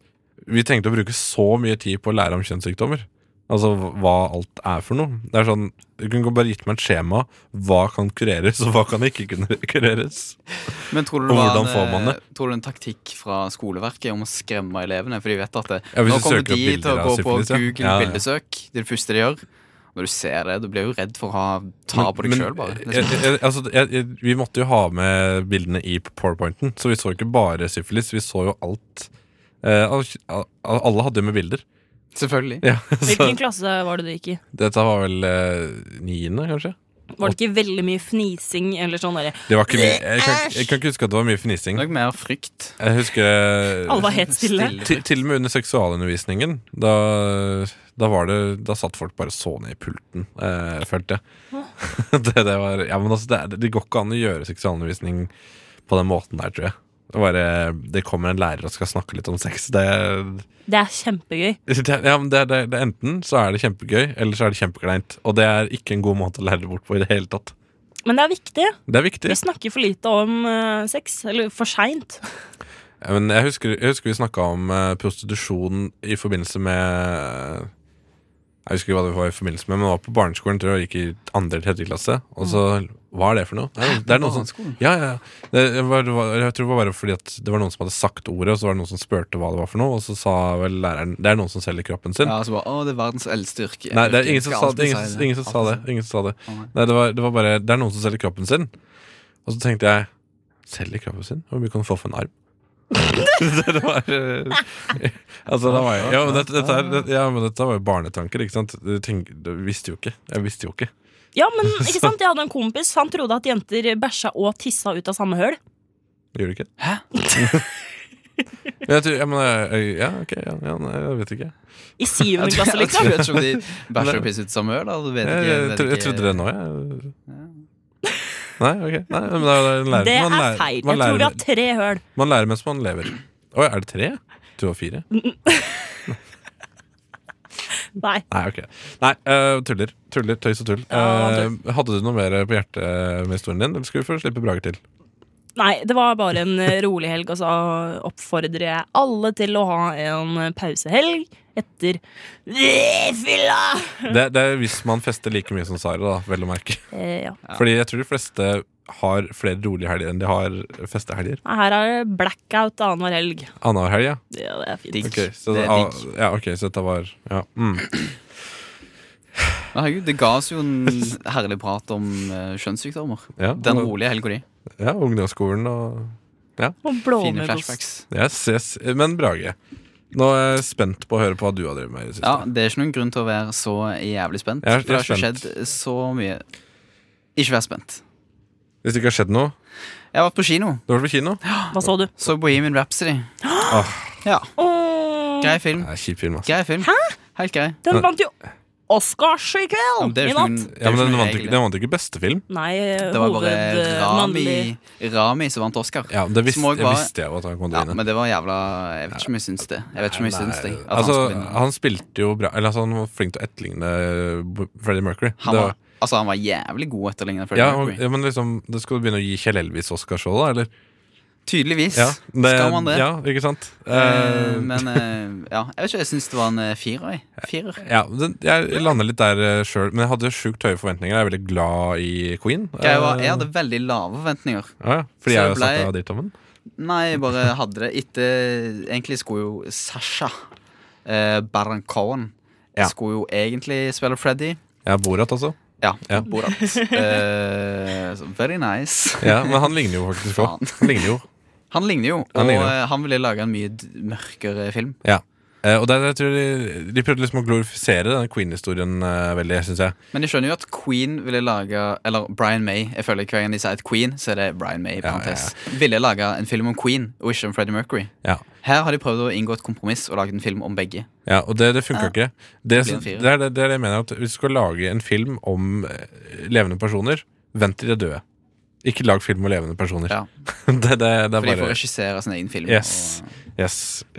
[SPEAKER 4] vi tenkte å bruke så mye tid på å lære om kjønnssykdommer. Altså hva alt er for noe. Det er sånn, Du kunne bare gitt meg et skjema. Hva kan kureres, og hva kan ikke kunne kureres?
[SPEAKER 3] Men tror
[SPEAKER 4] Og
[SPEAKER 3] du det var
[SPEAKER 4] hvordan
[SPEAKER 3] en,
[SPEAKER 4] får man det?
[SPEAKER 3] eh, Tror du det er en taktikk fra skoleverket om å skremme elevene? For de vet at det,
[SPEAKER 4] Ja, hvis du
[SPEAKER 3] nå kommer
[SPEAKER 4] søker opp
[SPEAKER 3] de til å
[SPEAKER 4] bilder
[SPEAKER 3] gå
[SPEAKER 4] av
[SPEAKER 3] på
[SPEAKER 4] syfilis, ja. Ja,
[SPEAKER 3] Google
[SPEAKER 4] ja.
[SPEAKER 3] bildesøk. Det er det første de gjør. Når du ser det, du blir jo redd for å ha, ta på deg
[SPEAKER 4] Men-
[SPEAKER 3] sjøl, bare.
[SPEAKER 4] jeg-
[SPEAKER 3] Liksom.
[SPEAKER 4] jeg- altså, jeg, jeg, vi måtte jo ha med bildene i powerpointen, så vi så ikke bare syfilis. Vi så jo alt. Eh, al- al- alle hadde jo med bilder.
[SPEAKER 3] Selvfølgelig.
[SPEAKER 4] Ja, så
[SPEAKER 2] Hvilken klasse var det du gikk i?
[SPEAKER 4] dette var vel eh, niende, kanskje?
[SPEAKER 2] Var det ikke veldig mye fnising eller sånn derre
[SPEAKER 4] Det var ikke mye jeg kan, jeg kan ikke huske at det var mye fnising.
[SPEAKER 3] Nok mer frykt.
[SPEAKER 4] Jeg
[SPEAKER 2] Alle
[SPEAKER 4] husker
[SPEAKER 2] var helt stille.
[SPEAKER 3] Stille.
[SPEAKER 4] til, til og med under seksualundervisningen. Da, da, var det, da satt folk bare og så ned i pulten, eh, følte jeg. det, det, var, ja, men altså, det, er- det går ikke an å gjøre seksualundervisning på den måten der, tror jeg. Det, bare, det kommer en lærer og skal snakke litt om sex. Det,
[SPEAKER 2] Det er kjempegøy.
[SPEAKER 4] det, ja, men det, det, det Enten så er det kjempegøy, eller så er det kjempekleint. Og det er ikke en god måte å lære det bort på i det hele tatt.
[SPEAKER 2] Men det er viktig.
[SPEAKER 4] Det er
[SPEAKER 2] Vi
[SPEAKER 4] viktig.
[SPEAKER 2] snakker for lite om eh, sex. Eller for seint.
[SPEAKER 4] Ja, men jeg husker, jeg husker vi snakka om eh, prostitusjon i forbindelse med eh, Jeg husker ikke hva det var i forbindelse med, men det var på barneskolen tror jeg, og gikk i andre eller tredje klasse. Og så, Hva er det for noe? Det er, noe- det er noe som
[SPEAKER 3] Barneskolen?
[SPEAKER 4] ja, ja, ja. Det var, det var, jeg tror det var bare fordi at det var noen som hadde sagt ordet, og så var det noen som spurte hva det var for noe, og så sa vel læreren Det er noen som selger kroppen sin.
[SPEAKER 3] Ja, så bare, Å, det er verdens eldste yrke.
[SPEAKER 4] Nei, det er ingen som
[SPEAKER 3] Skal
[SPEAKER 4] sa
[SPEAKER 3] alltid
[SPEAKER 4] det. Ingen,
[SPEAKER 3] si
[SPEAKER 4] som- ingen som sa det.
[SPEAKER 3] Alltid si
[SPEAKER 4] Ingen som sa det.
[SPEAKER 3] Å, nei.
[SPEAKER 4] Nei, det var, det var bare Det er noen som selger kroppen sin. Og så tenkte jeg Selger kroppen sin? Hvor mye kan du få for en arm? det var eh, Altså, da var jeg Ja, men dette, dette, er, det, ja, men dette var jo barnetanker, ikke sant? Du, tenk, du visste jo ikke. Jeg visste jo ikke.
[SPEAKER 2] Ja, men ikke sant? Jeg hadde en kompis. Han trodde at jenter bæsja og tissa ut av samme høl.
[SPEAKER 4] Gjorde du ikke?
[SPEAKER 3] Hæ?
[SPEAKER 4] Men jeg tror, ja, men, eh, ja, ok, ja, ja, nei, jeg vet ikke.
[SPEAKER 2] I syvende klasse,
[SPEAKER 3] Jeg
[SPEAKER 2] liksom.
[SPEAKER 3] tror jeg vet ikke om de bæsjer og pisser ut samme øl. da. Du vet
[SPEAKER 4] Jeg,
[SPEAKER 3] ikke,
[SPEAKER 4] jeg,
[SPEAKER 3] vet
[SPEAKER 4] tro- jeg
[SPEAKER 3] ikke-
[SPEAKER 4] trodde det nå, jeg. Nei, ok. Nei, men det er jo en lærer.
[SPEAKER 2] Det
[SPEAKER 4] man
[SPEAKER 2] er
[SPEAKER 4] lærer-
[SPEAKER 2] feil.
[SPEAKER 4] man
[SPEAKER 2] Jeg tror vi
[SPEAKER 4] lærer-
[SPEAKER 2] har tre høl.
[SPEAKER 4] Man lærer mens man lever. Å, er det tre? Jeg tror det var fire.
[SPEAKER 2] Nei.
[SPEAKER 4] Nei, ok. Nei, eh, tuller. Tuller, Tøys og tull.
[SPEAKER 2] Ja,
[SPEAKER 4] Eh, hadde du noe mer på hjertet med historien din, eller skal vi få slippe Brage til?
[SPEAKER 2] Nei, det var bare en eh, rolig helg, og så oppfordrer jeg alle til å ha en eh, pausehelg etter fylla!
[SPEAKER 4] Det, det er hvis man fester like mye som Sara, da, vel å merke.
[SPEAKER 2] Eh, ja.
[SPEAKER 4] Fordi jeg tror de fleste har flere rolige helger enn de har festehelger.
[SPEAKER 2] Nei, Her er det blackout annenhver helg.
[SPEAKER 4] Annenhver helg, ja.
[SPEAKER 2] Ja, det er fint.
[SPEAKER 3] Digg.
[SPEAKER 4] Ok, så,
[SPEAKER 3] Det er
[SPEAKER 4] ah,
[SPEAKER 3] digg.
[SPEAKER 4] ja. Ok, så dette var ja. mm.
[SPEAKER 3] Men herregud, det ga oss jo en herlig prat om eh, kjønnssykdommer.
[SPEAKER 4] Ja,
[SPEAKER 3] Den
[SPEAKER 4] og-
[SPEAKER 3] rolige helga di.
[SPEAKER 4] ja, ungdomsskolen og
[SPEAKER 2] Og
[SPEAKER 3] Fine
[SPEAKER 2] blåmuggost.
[SPEAKER 3] flashbacks.
[SPEAKER 4] Yes, yes. Men Brage, nå er jeg spent på å høre på hva du har drevet med i det siste.
[SPEAKER 3] Ja, Det er ikke noen grunn til å være så jævlig spent.
[SPEAKER 4] Jeg er- jeg er
[SPEAKER 3] for det har ikke
[SPEAKER 4] spent.
[SPEAKER 3] skjedd så mye. Ikke vær spent.
[SPEAKER 4] Hvis det ikke har skjedd noe,
[SPEAKER 3] Jeg har vært på kino.
[SPEAKER 4] du har vært på kino?
[SPEAKER 2] Hva så du?
[SPEAKER 3] Så Bohemian Rhapsody.
[SPEAKER 4] Ah.
[SPEAKER 3] Ja,
[SPEAKER 2] Åh,
[SPEAKER 3] Grei film.
[SPEAKER 4] Det er kjip film, ass.
[SPEAKER 3] Grei film. Helt grei.
[SPEAKER 2] den vant jo Oscars i
[SPEAKER 3] Ja,
[SPEAKER 2] kveld!
[SPEAKER 3] men det er
[SPEAKER 2] I
[SPEAKER 3] jo ikke
[SPEAKER 2] natt.
[SPEAKER 3] noen- det er
[SPEAKER 4] Ja,
[SPEAKER 3] jo
[SPEAKER 4] men
[SPEAKER 3] ikke
[SPEAKER 4] den
[SPEAKER 3] noen
[SPEAKER 4] vant
[SPEAKER 3] regel,
[SPEAKER 4] ikke, den vant ikke beste film.
[SPEAKER 2] Nei,
[SPEAKER 3] Det var bare
[SPEAKER 2] hovedmannlig
[SPEAKER 3] Rami Rami som vant Oscar.
[SPEAKER 4] Ja, det visste,
[SPEAKER 3] Som også
[SPEAKER 4] jeg
[SPEAKER 3] var-
[SPEAKER 4] visste jeg jo at han kom til å
[SPEAKER 3] Ja,
[SPEAKER 4] vinne.
[SPEAKER 3] men det var jævla Jeg vet ikke om jeg syns det. Jeg vet ikke om jeg syns det. At
[SPEAKER 4] altså,
[SPEAKER 3] han, skulle
[SPEAKER 4] han,
[SPEAKER 3] vinne.
[SPEAKER 4] spilte jo bra Eller altså, han var flink til å etterligne Bo- Freddie Mercury.
[SPEAKER 3] han,
[SPEAKER 4] Det
[SPEAKER 3] var, altså, han var jævlig god etter
[SPEAKER 4] ja,
[SPEAKER 3] lignende Freddie
[SPEAKER 4] og,
[SPEAKER 3] Mercury.
[SPEAKER 4] ja, men liksom Det skal du begynne å gi Kjell Elvis Oscar så, da? Eller?
[SPEAKER 3] Tydeligvis
[SPEAKER 4] Ja, det,
[SPEAKER 3] skal man det.
[SPEAKER 4] Ja, ikke sant?
[SPEAKER 3] Eh,
[SPEAKER 4] Eh,
[SPEAKER 3] men eh, ja, jeg vet ikke, jeg syns det var en eh, firer. jeg. Firer.
[SPEAKER 4] ja, den- jeg lander litt der eh, sjøl, men jeg hadde sjukt høye forventninger. Jeg er veldig glad i Queen.
[SPEAKER 3] Jeg, var, jeg
[SPEAKER 4] Eh,
[SPEAKER 3] hadde veldig lave forventninger.
[SPEAKER 4] ja, ja, fordi
[SPEAKER 3] Så
[SPEAKER 4] jeg har
[SPEAKER 3] jeg
[SPEAKER 4] satt
[SPEAKER 3] ble-
[SPEAKER 4] av dit om den.
[SPEAKER 3] Nei, jeg bare hadde det etter Egentlig skulle jo Sasha eh, Baron Cohen
[SPEAKER 4] Ja.
[SPEAKER 3] skulle jo egentlig spille Freddy.
[SPEAKER 4] Jeg er Borat, altså.
[SPEAKER 3] Ja,
[SPEAKER 4] Ja.
[SPEAKER 3] Borat. Eh, så very nice.
[SPEAKER 4] Ja, men han ligner jo faktisk på.
[SPEAKER 3] Faen.
[SPEAKER 4] Han ligner jo.
[SPEAKER 3] Han ligner jo,
[SPEAKER 4] Han ligner jo.
[SPEAKER 3] og eh, han ville lage en mye d- mørkere film.
[SPEAKER 4] Ja. Eh, og der, jeg tror de, de prøvde liksom å glorifisere denne Queen-historien eh, veldig, syns jeg.
[SPEAKER 3] Men jeg skjønner jo at Queen ville lage Eller Brian May. Jeg føler Hver gang de sier et Queen, så er det Brian May. i
[SPEAKER 4] Ja,
[SPEAKER 3] parentes. Ville lage en film om Queen og ikke om Freddie Mercury.
[SPEAKER 4] Ja.
[SPEAKER 3] Her har de prøvd å inngå et kompromiss og lage en film om begge.
[SPEAKER 4] Ja, og det, det funka ikke. Det,
[SPEAKER 3] blir en
[SPEAKER 4] det,
[SPEAKER 3] firer.
[SPEAKER 4] er det, det er det jeg mener at Hvis du skal lage en film om eh, levende personer, vent til de er døde. Ikke lag film om levende personer.
[SPEAKER 3] Ja.
[SPEAKER 4] det, det, det er
[SPEAKER 3] For de
[SPEAKER 4] bare
[SPEAKER 3] får regissere sin egen film.
[SPEAKER 4] Yes.
[SPEAKER 3] Og,
[SPEAKER 4] yes,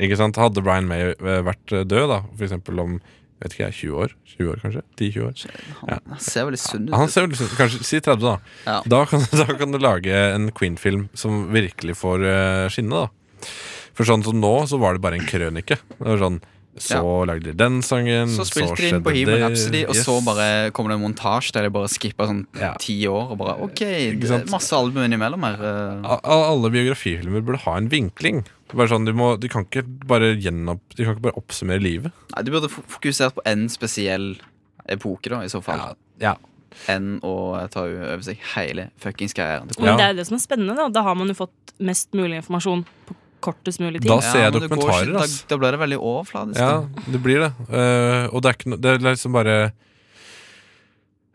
[SPEAKER 4] ikke sant? Hadde Brian May eh, vært eh, død, da, for eksempel om vet ikke jeg, 20 år? 20 år kanskje? 10-20 år? Ja.
[SPEAKER 3] han, han ser veldig sunn ut.
[SPEAKER 4] Han ser vel ut- Kanskje si 30, da.
[SPEAKER 3] Ja.
[SPEAKER 4] Da, kan, da kan du lage en Queen-film som virkelig får eh, skinne, da. For sånn som nå, så var det bare en krønike. Det var sånn, så lagde de den sangen,
[SPEAKER 3] Så spilte de inn på Heaven Rhapsody, og så bare kommer det en montasje der de bare skipper sånn
[SPEAKER 4] Ja.
[SPEAKER 3] ti år. Og bare OK,
[SPEAKER 4] Ikke
[SPEAKER 3] det
[SPEAKER 4] sant?
[SPEAKER 3] er masse album innimellom her. eh.
[SPEAKER 4] A- a- Alle biografifilmer burde ha en vinkling. Det er Bare sånn, du, må, du kan ikke bare gjennom, Du kan ikke bare oppsummere livet.
[SPEAKER 3] Nei, du burde fo- fokusert på én spesiell epoke, da, i så fall.
[SPEAKER 4] Ja.
[SPEAKER 3] enn å ta over seg hele fuckings karrieren. til
[SPEAKER 4] Ja.
[SPEAKER 2] Men det er jo det som er spennende. Da. da har man jo fått mest mulig informasjon på kortest mulig tid.
[SPEAKER 4] Da ser jeg
[SPEAKER 3] men du går
[SPEAKER 4] dokumentarer,
[SPEAKER 3] ikke- da,
[SPEAKER 4] ass.
[SPEAKER 3] da blir det veldig overfladisk.
[SPEAKER 4] Ja,
[SPEAKER 3] da.
[SPEAKER 4] det blir det. Eh, og det er ikke noe Det er liksom bare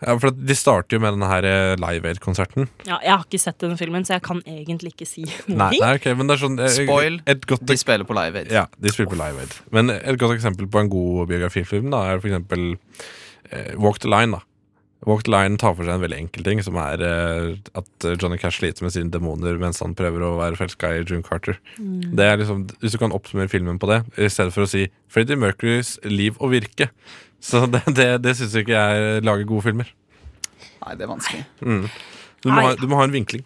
[SPEAKER 4] ja, for at De starter jo med denne her eh, Live Aid-konserten.
[SPEAKER 2] Ja, jeg har ikke sett den filmen, så jeg kan egentlig ikke si noe.
[SPEAKER 4] Nei, nei, ok, men det er sånn eh,
[SPEAKER 3] Spoil.
[SPEAKER 4] Et godt
[SPEAKER 3] De spiller på live aid.
[SPEAKER 4] Ja, de spiller på Live Aid. Men et godt eksempel på en god biografifilm da, er for eksempel eh, Walk the Line. da. Walk the Line tar for seg en veldig enkel ting, som er eh, at Johnny Cash sliter med sine demoner mens han prøver å være forelska i June Carter.
[SPEAKER 3] Mm.
[SPEAKER 4] Det er liksom, Hvis du kan oppsummere filmen på det, i stedet for å si Freddie Mercurys liv og virke. Så det, det, det syns ikke jeg lager gode filmer.
[SPEAKER 3] Nei, det er vanskelig.
[SPEAKER 4] Du må, ha,
[SPEAKER 2] Nei.
[SPEAKER 4] du må ha en vinkling.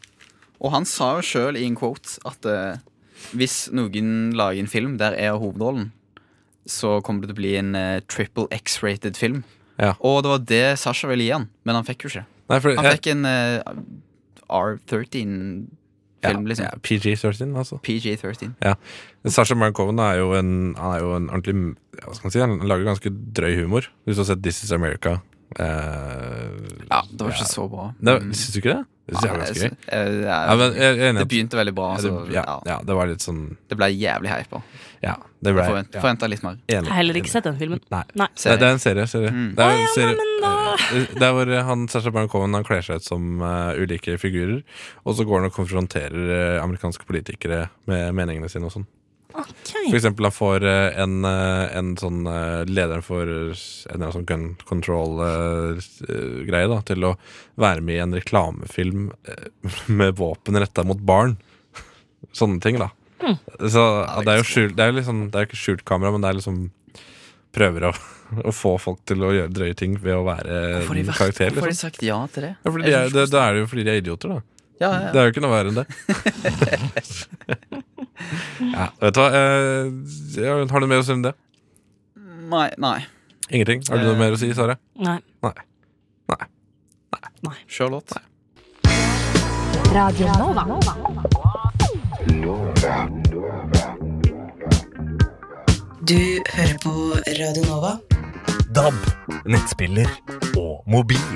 [SPEAKER 3] Og han sa jo sjøl i en quote at eh, hvis noen lager en film der jeg har hovedrollen, så kommer det til å bli en eh, triple X-rated film.
[SPEAKER 4] Ja.
[SPEAKER 3] Og det var det Sasha ville gi han, men han fikk jo ikke.
[SPEAKER 4] Nei, for
[SPEAKER 3] Han
[SPEAKER 4] jeg-
[SPEAKER 3] fikk en eh, R13-film, liksom.
[SPEAKER 4] ja, PG-13, altså.
[SPEAKER 3] PG-13.
[SPEAKER 4] Ja. Sasha Baron Cohen er jo en, han er jo en ordentlig ja, Hva skal man si? Han lager ganske drøy humor. Hvis du har sett This Is America eh,
[SPEAKER 3] Ja, det var ikke så bra.
[SPEAKER 4] det, Syns du ikke det? Det syns jeg var ganske gøy. Ja, men
[SPEAKER 3] gøy.
[SPEAKER 4] jeg er enig i
[SPEAKER 3] Det
[SPEAKER 4] at-
[SPEAKER 3] begynte veldig bra,
[SPEAKER 4] ja,
[SPEAKER 3] så
[SPEAKER 4] det-
[SPEAKER 3] ja,
[SPEAKER 4] ja, ja, det var litt sånn
[SPEAKER 3] det ble jævlig hypa.
[SPEAKER 4] Ja, det ble
[SPEAKER 3] Forvent,
[SPEAKER 4] ja,
[SPEAKER 3] Forventa litt mer.
[SPEAKER 4] enig.
[SPEAKER 2] Jeg har heller ikke sett den filmen.
[SPEAKER 4] Nei.
[SPEAKER 2] Nei.
[SPEAKER 4] Nei, det er en serie. Mm. serie. Det er, en serie
[SPEAKER 2] men da-
[SPEAKER 4] eh, det er hvor han, Sasha Baron Cohen han kler seg ut som eh, ulike figurer, og så går han og konfronterer eh, amerikanske politikere med meningene sine og sånn. For
[SPEAKER 2] Ok.
[SPEAKER 4] eksempel han får eh, en, eh, en sånn eh, lederen for eh, en eller annen sånn gun eh, control-greie da, til å være med i en reklamefilm eh, med våpen retta mot barn. Sånne ting, da.
[SPEAKER 3] Mm.
[SPEAKER 4] Så ja, det er jo skjult, det er jo liksom, det er jo ikke skjult kamera, men det er liksom prøver å, å få folk til å gjøre drøye ting ved å være
[SPEAKER 3] Hvorfor har de
[SPEAKER 4] en
[SPEAKER 3] vært-
[SPEAKER 4] karakter.
[SPEAKER 3] hvorfor har de
[SPEAKER 4] Liksom.
[SPEAKER 3] sagt ja til det?
[SPEAKER 4] Ja,
[SPEAKER 3] sånn-
[SPEAKER 4] fordi de er, det, da er det jo fordi de er idioter, da.
[SPEAKER 3] Ja, ja,
[SPEAKER 4] Det er jo ikke noe verre enn det. ja, vet du hva? eh, ja, har du mer å si om det?
[SPEAKER 3] Nei, nei.
[SPEAKER 4] Ingenting. Har du noe
[SPEAKER 3] Eh,
[SPEAKER 4] mer å si, Sara?
[SPEAKER 2] Nei.
[SPEAKER 4] Nei. Nei.
[SPEAKER 3] Charlotte.
[SPEAKER 5] Radio Nova.
[SPEAKER 6] Du hører på Radio Nova.
[SPEAKER 1] DAB, nettspiller og mobil.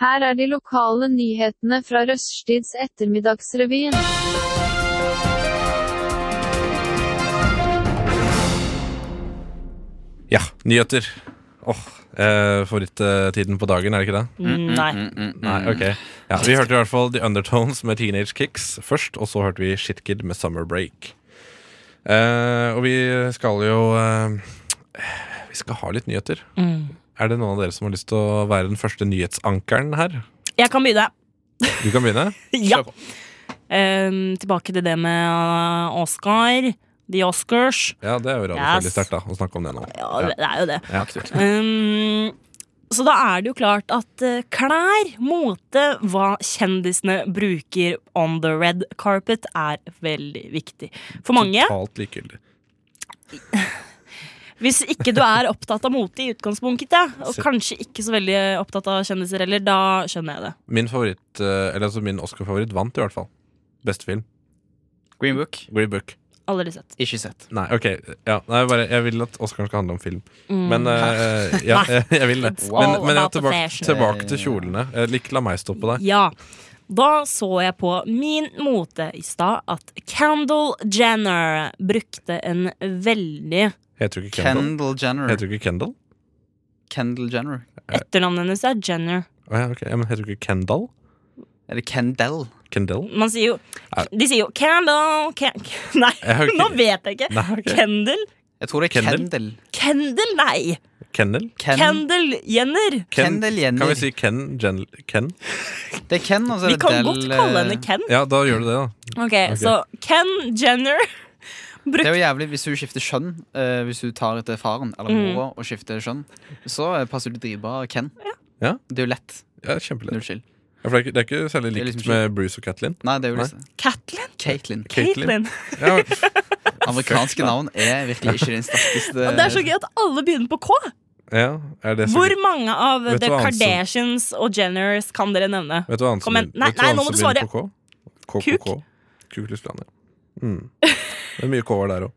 [SPEAKER 7] Her er de lokale nyhetene fra Røststids ettermiddagsrevyen.
[SPEAKER 4] Ja, nyheter. Åh, eh, Favorittiden på dagen, er det ikke det?
[SPEAKER 2] Mm, Nei.
[SPEAKER 4] Nei, ok. Ja, vi hørte i hvert fall The Undertones med Teenage Kicks først, og så hørte vi Shitkid med Summer Break. Eh, og vi skal jo eh, Vi skal ha litt nyheter. Er det noen av dere som har lyst til å være den første nyhetsankeren her?
[SPEAKER 2] Jeg kan begynne.
[SPEAKER 4] Du kan begynne.
[SPEAKER 2] Ja. Ehm, tilbake til det med uh, Oscar. The Oscars.
[SPEAKER 4] Ja, det er jo
[SPEAKER 2] Yes.
[SPEAKER 4] radiofaglig sterkt da, å snakke om det nå.
[SPEAKER 2] Ja, det er jo det.
[SPEAKER 4] Ja.
[SPEAKER 2] Ehm, så da er det jo klart at eh, klær, mote, hva kjendisene bruker on the red carpet, er veldig viktig for mange.
[SPEAKER 4] Totalt likegyldig.
[SPEAKER 2] Hvis ikke du er opptatt av mote i utgangspunktet, ja, og kanskje ikke så veldig opptatt av kjendiser heller, da skjønner jeg det.
[SPEAKER 4] Min favoritt, eh, eller altså min Oscar-favoritt vant i hvert fall. Beste film.
[SPEAKER 3] Green Book.
[SPEAKER 4] Green Book.
[SPEAKER 2] Aldri sett.
[SPEAKER 3] Ikke sett.
[SPEAKER 4] Nei, ok. Ja, nei, bare, jeg vil at Oscaren skal handle om film.
[SPEAKER 2] Mm.
[SPEAKER 4] Men eh, ja, jeg, jeg vil det.
[SPEAKER 2] It's
[SPEAKER 4] Men,
[SPEAKER 2] all
[SPEAKER 4] men ja,
[SPEAKER 2] about the
[SPEAKER 4] tilbake,
[SPEAKER 2] fashion.
[SPEAKER 4] tilbake til kjolene. Eh, Lik, la meg stoppe deg.
[SPEAKER 2] Ja. Da så jeg på min mote i stad at Kendal Jenner brukte en veldig
[SPEAKER 4] Heter du ikke Kendal?
[SPEAKER 3] Kendal Jenner.
[SPEAKER 4] Heter du ikke Kendal?
[SPEAKER 3] Kendall Jenner.
[SPEAKER 2] Etternavnet hennes er Jenner.
[SPEAKER 4] Å ja, ok. ja, men heter du ikke Kendal?
[SPEAKER 3] Er det Kendall?
[SPEAKER 4] Kendall?
[SPEAKER 2] Man sier jo De sier jo Kendal Ken Nei,
[SPEAKER 4] Jeg har ikke-
[SPEAKER 2] nå vet jeg ikke.
[SPEAKER 4] Nei, ok.
[SPEAKER 2] Kendal?
[SPEAKER 3] Jeg tror det er
[SPEAKER 4] Kendall?
[SPEAKER 3] Kendall.
[SPEAKER 2] Kendal, nei.
[SPEAKER 4] Kendall?
[SPEAKER 3] Ken,
[SPEAKER 2] Kendal Jenner.
[SPEAKER 4] Ken-
[SPEAKER 3] Kendall Jenner.
[SPEAKER 4] Kan vi si Ken? Jen, Ken?
[SPEAKER 3] Det er Ken, og så er
[SPEAKER 2] Vi
[SPEAKER 3] det
[SPEAKER 2] kan
[SPEAKER 3] Del
[SPEAKER 2] godt kalle
[SPEAKER 3] eh,
[SPEAKER 2] henne Ken.
[SPEAKER 4] Ja, da gjør du det, da.
[SPEAKER 2] Ok, Så Ken Jenner
[SPEAKER 3] Det er jo jævlig hvis du skifter kjønn. eh, hvis du tar etter faren eller
[SPEAKER 2] Mhm.
[SPEAKER 3] mora og skifter kjønn, så eh, passer du dritbra Ken.
[SPEAKER 4] Ja.
[SPEAKER 3] Det er jo lett.
[SPEAKER 4] Ja, Kjempelett.
[SPEAKER 3] Null skyld.
[SPEAKER 4] Ja, for det er ikke, det er ikke særlig
[SPEAKER 3] Det er
[SPEAKER 4] likt
[SPEAKER 3] liksom
[SPEAKER 4] med Bruce og Katlin.
[SPEAKER 3] Nei, det er jo
[SPEAKER 4] Nei.
[SPEAKER 3] lett.
[SPEAKER 2] Catlin?
[SPEAKER 3] Caitlyn.
[SPEAKER 2] Caitlyn.
[SPEAKER 4] Ja,
[SPEAKER 3] Amerikanske navn er virkelig ikke den sterkeste.
[SPEAKER 2] Og det er så gøy at alle begynner på K.
[SPEAKER 4] ja, er det så
[SPEAKER 2] Hvor
[SPEAKER 4] gøy?
[SPEAKER 2] mange av
[SPEAKER 4] Vet du
[SPEAKER 2] The
[SPEAKER 4] hva annet som-
[SPEAKER 2] Kardashians og Jenners kan dere nevne?
[SPEAKER 4] Vet du hva annet som
[SPEAKER 2] Kom igjen.
[SPEAKER 4] begynner-
[SPEAKER 2] Nei,
[SPEAKER 4] vet
[SPEAKER 2] nei,
[SPEAKER 4] hva annet
[SPEAKER 2] nå må
[SPEAKER 4] som
[SPEAKER 2] du
[SPEAKER 4] begynner på K? KKK. Kuklustland, ja. Mm. Det er mye K-er der òg.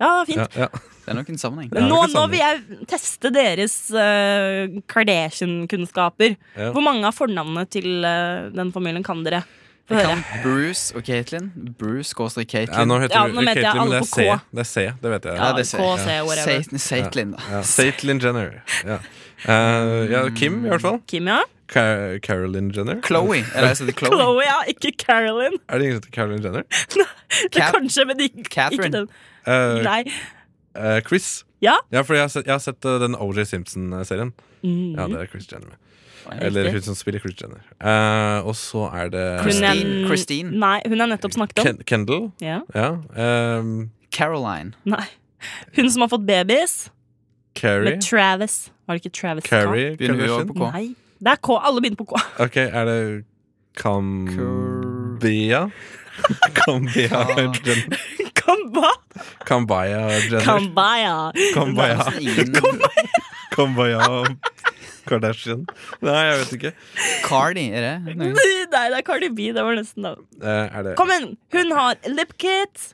[SPEAKER 2] Ja, fint.
[SPEAKER 4] Ja, ja.
[SPEAKER 3] Det er nok en sammenheng.
[SPEAKER 4] Ja, det
[SPEAKER 2] nå, nå
[SPEAKER 4] kan stemme.
[SPEAKER 2] vil jeg teste deres eh, Kardashian-kunnskaper.
[SPEAKER 4] Ja.
[SPEAKER 2] Hvor mange av fornavnene til eh, den familien kan dere? Få høre.
[SPEAKER 3] Bruce og Caitlyn. Bruce går til Caitlyn.
[SPEAKER 4] Ja, nå heter
[SPEAKER 2] Ja,
[SPEAKER 4] du
[SPEAKER 2] nå vet jeg
[SPEAKER 4] Caitlyn, men
[SPEAKER 2] alle
[SPEAKER 4] det er
[SPEAKER 2] på
[SPEAKER 4] C.
[SPEAKER 2] K.
[SPEAKER 4] Det er C, det vet jeg.
[SPEAKER 2] Ja,
[SPEAKER 3] det er C.
[SPEAKER 2] KC, whatever.
[SPEAKER 3] Satan- Satan, da.
[SPEAKER 4] Ja, Caitlyn Jenner. Ja. Eh, ja, Kim, i hvert fall.
[SPEAKER 2] Kim, ja.
[SPEAKER 4] Ka Carolyn Jenner.
[SPEAKER 3] Chloe. Eller jeg heter Chloe.
[SPEAKER 2] Chloé, ja. Ikke Carolyn.
[SPEAKER 4] Er det ingen som heter Carolyn Jenner?
[SPEAKER 2] Det er
[SPEAKER 3] Cat-
[SPEAKER 2] kanskje, men ikke, ikke
[SPEAKER 3] Catherine.
[SPEAKER 2] den.
[SPEAKER 4] Eh,
[SPEAKER 2] Nei.
[SPEAKER 4] eh, Chris.
[SPEAKER 2] Ja.
[SPEAKER 4] Ja, for jeg har sett, jeg har sett eh, den OJ Simpson-serien.
[SPEAKER 2] Mm.
[SPEAKER 4] Ja, det er Chris Jenner med.
[SPEAKER 3] Riktig.
[SPEAKER 4] Eller hun som spiller Chris Jenner. Eh, og så er det
[SPEAKER 2] Hun er-
[SPEAKER 3] Christine. Christine.
[SPEAKER 2] Nei, hun er nettopp snakket om.
[SPEAKER 4] Ken Kendall.
[SPEAKER 2] Ja.
[SPEAKER 4] Ja. ehm,
[SPEAKER 3] Caroline.
[SPEAKER 2] Nei. Hun som har fått babies
[SPEAKER 4] Carrie.
[SPEAKER 2] med Travis. Var det ikke Travis?
[SPEAKER 4] Carrie
[SPEAKER 3] Begynner hun
[SPEAKER 4] Kardashian.
[SPEAKER 3] også på
[SPEAKER 2] Scott?
[SPEAKER 3] K?
[SPEAKER 2] Nei. Det er K. Alle begynner på K.
[SPEAKER 4] Ok, er det Cambia? Cambia Jenner.
[SPEAKER 2] Kamba.
[SPEAKER 4] Cambia Jenner.
[SPEAKER 2] Kambaya.
[SPEAKER 4] Cambia.
[SPEAKER 3] Nesten ingen.
[SPEAKER 4] Cambia Kardashian. Nei, jeg vet ikke.
[SPEAKER 3] Cardi, er det? Nei.
[SPEAKER 2] Nei, det er Cardi B. Det var nesten da.
[SPEAKER 4] Eh, er det
[SPEAKER 2] Kom igjen! Hun har lipkit.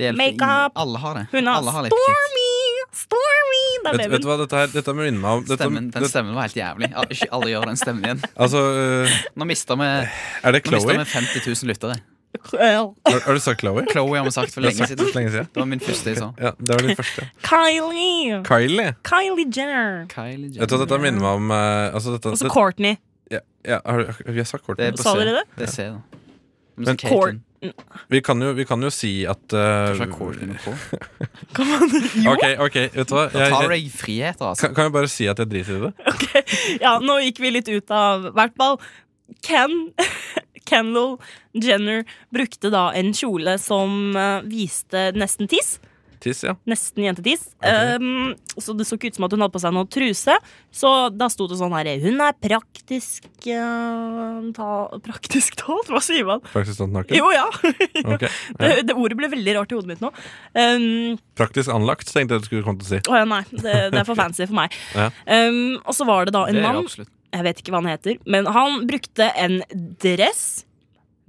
[SPEAKER 3] Det hjelper
[SPEAKER 2] Makeup.
[SPEAKER 3] ingen. Alle har det.
[SPEAKER 2] Hun har
[SPEAKER 3] Alle har litt kick.
[SPEAKER 2] Stormy! Stormy! Det er
[SPEAKER 4] Vet, vet du
[SPEAKER 2] babyen.
[SPEAKER 4] hva, dette, her, dette minner meg om dette,
[SPEAKER 3] Stemmen, den
[SPEAKER 4] dette,
[SPEAKER 3] stemmen var helt jævlig. Al- ikke Alle gjør den stemmen igjen.
[SPEAKER 4] Altså, eh,
[SPEAKER 3] Nå mista vi,
[SPEAKER 4] er det
[SPEAKER 3] nå mister
[SPEAKER 4] Chloe?
[SPEAKER 3] vi 50 000 lyttere.
[SPEAKER 2] Eh,
[SPEAKER 4] Har, har du sagt Chloe?
[SPEAKER 3] Chloe har vi sagt for
[SPEAKER 4] Jeg
[SPEAKER 3] lenge
[SPEAKER 4] har sagt det
[SPEAKER 3] siden.
[SPEAKER 4] for lenge siden.
[SPEAKER 3] Det var min første jeg sa.
[SPEAKER 4] Ja, det var den første.
[SPEAKER 2] Kylie!
[SPEAKER 4] Kylie.
[SPEAKER 2] Kylie Jenner.
[SPEAKER 3] Kylie
[SPEAKER 4] Vet du hva,
[SPEAKER 3] Jenner.
[SPEAKER 4] dette minner meg om eh, altså, dette,
[SPEAKER 2] Og så Courtney.
[SPEAKER 4] ja, ja, har, du- vi har sagt
[SPEAKER 3] Det er
[SPEAKER 4] kortet.
[SPEAKER 3] på
[SPEAKER 2] Sa
[SPEAKER 3] C.
[SPEAKER 2] dere det?
[SPEAKER 3] Det er C, da. Men
[SPEAKER 4] Men
[SPEAKER 3] så Caitlyn.
[SPEAKER 4] Vi kan jo, vi kan jo si at eh,
[SPEAKER 3] Kanskje Courtney med K.
[SPEAKER 4] Ok, ok, vet du hva?
[SPEAKER 3] Da
[SPEAKER 4] Jeg,
[SPEAKER 3] tar
[SPEAKER 4] jeg,
[SPEAKER 3] jeg friheter, altså.
[SPEAKER 4] kan, kan jeg bare si at jeg driter i det?
[SPEAKER 2] Ja, nå gikk vi litt ut av hvert fall. Ken Kendall Jenner brukte da en kjole som eh, viste nesten tiss.
[SPEAKER 4] Tiss, ja.
[SPEAKER 2] Nesten jentetiss.
[SPEAKER 4] Ok.
[SPEAKER 2] Um, så det så ikke ut som at hun hadde på seg noe truse. Så da sto det sånn her Hun er praktisk eh, ta, Praktisk talt? Hva sier man?
[SPEAKER 4] Praktisk talt sånn naken.
[SPEAKER 2] Jo, ja.
[SPEAKER 4] Ok,
[SPEAKER 2] Det,
[SPEAKER 4] ja.
[SPEAKER 2] det ordet ble veldig rart i hodet mitt nå. Um,
[SPEAKER 4] Praktisk anlagt, tenkte jeg du skulle komme til å si.
[SPEAKER 2] å ja, nei. Det, det er for fancy for meg.
[SPEAKER 4] Ja.
[SPEAKER 2] Um, og så var det da
[SPEAKER 3] Det
[SPEAKER 2] en
[SPEAKER 3] er
[SPEAKER 2] mann
[SPEAKER 3] jo absolutt.
[SPEAKER 2] jeg vet ikke hva han heter, men han brukte en dress.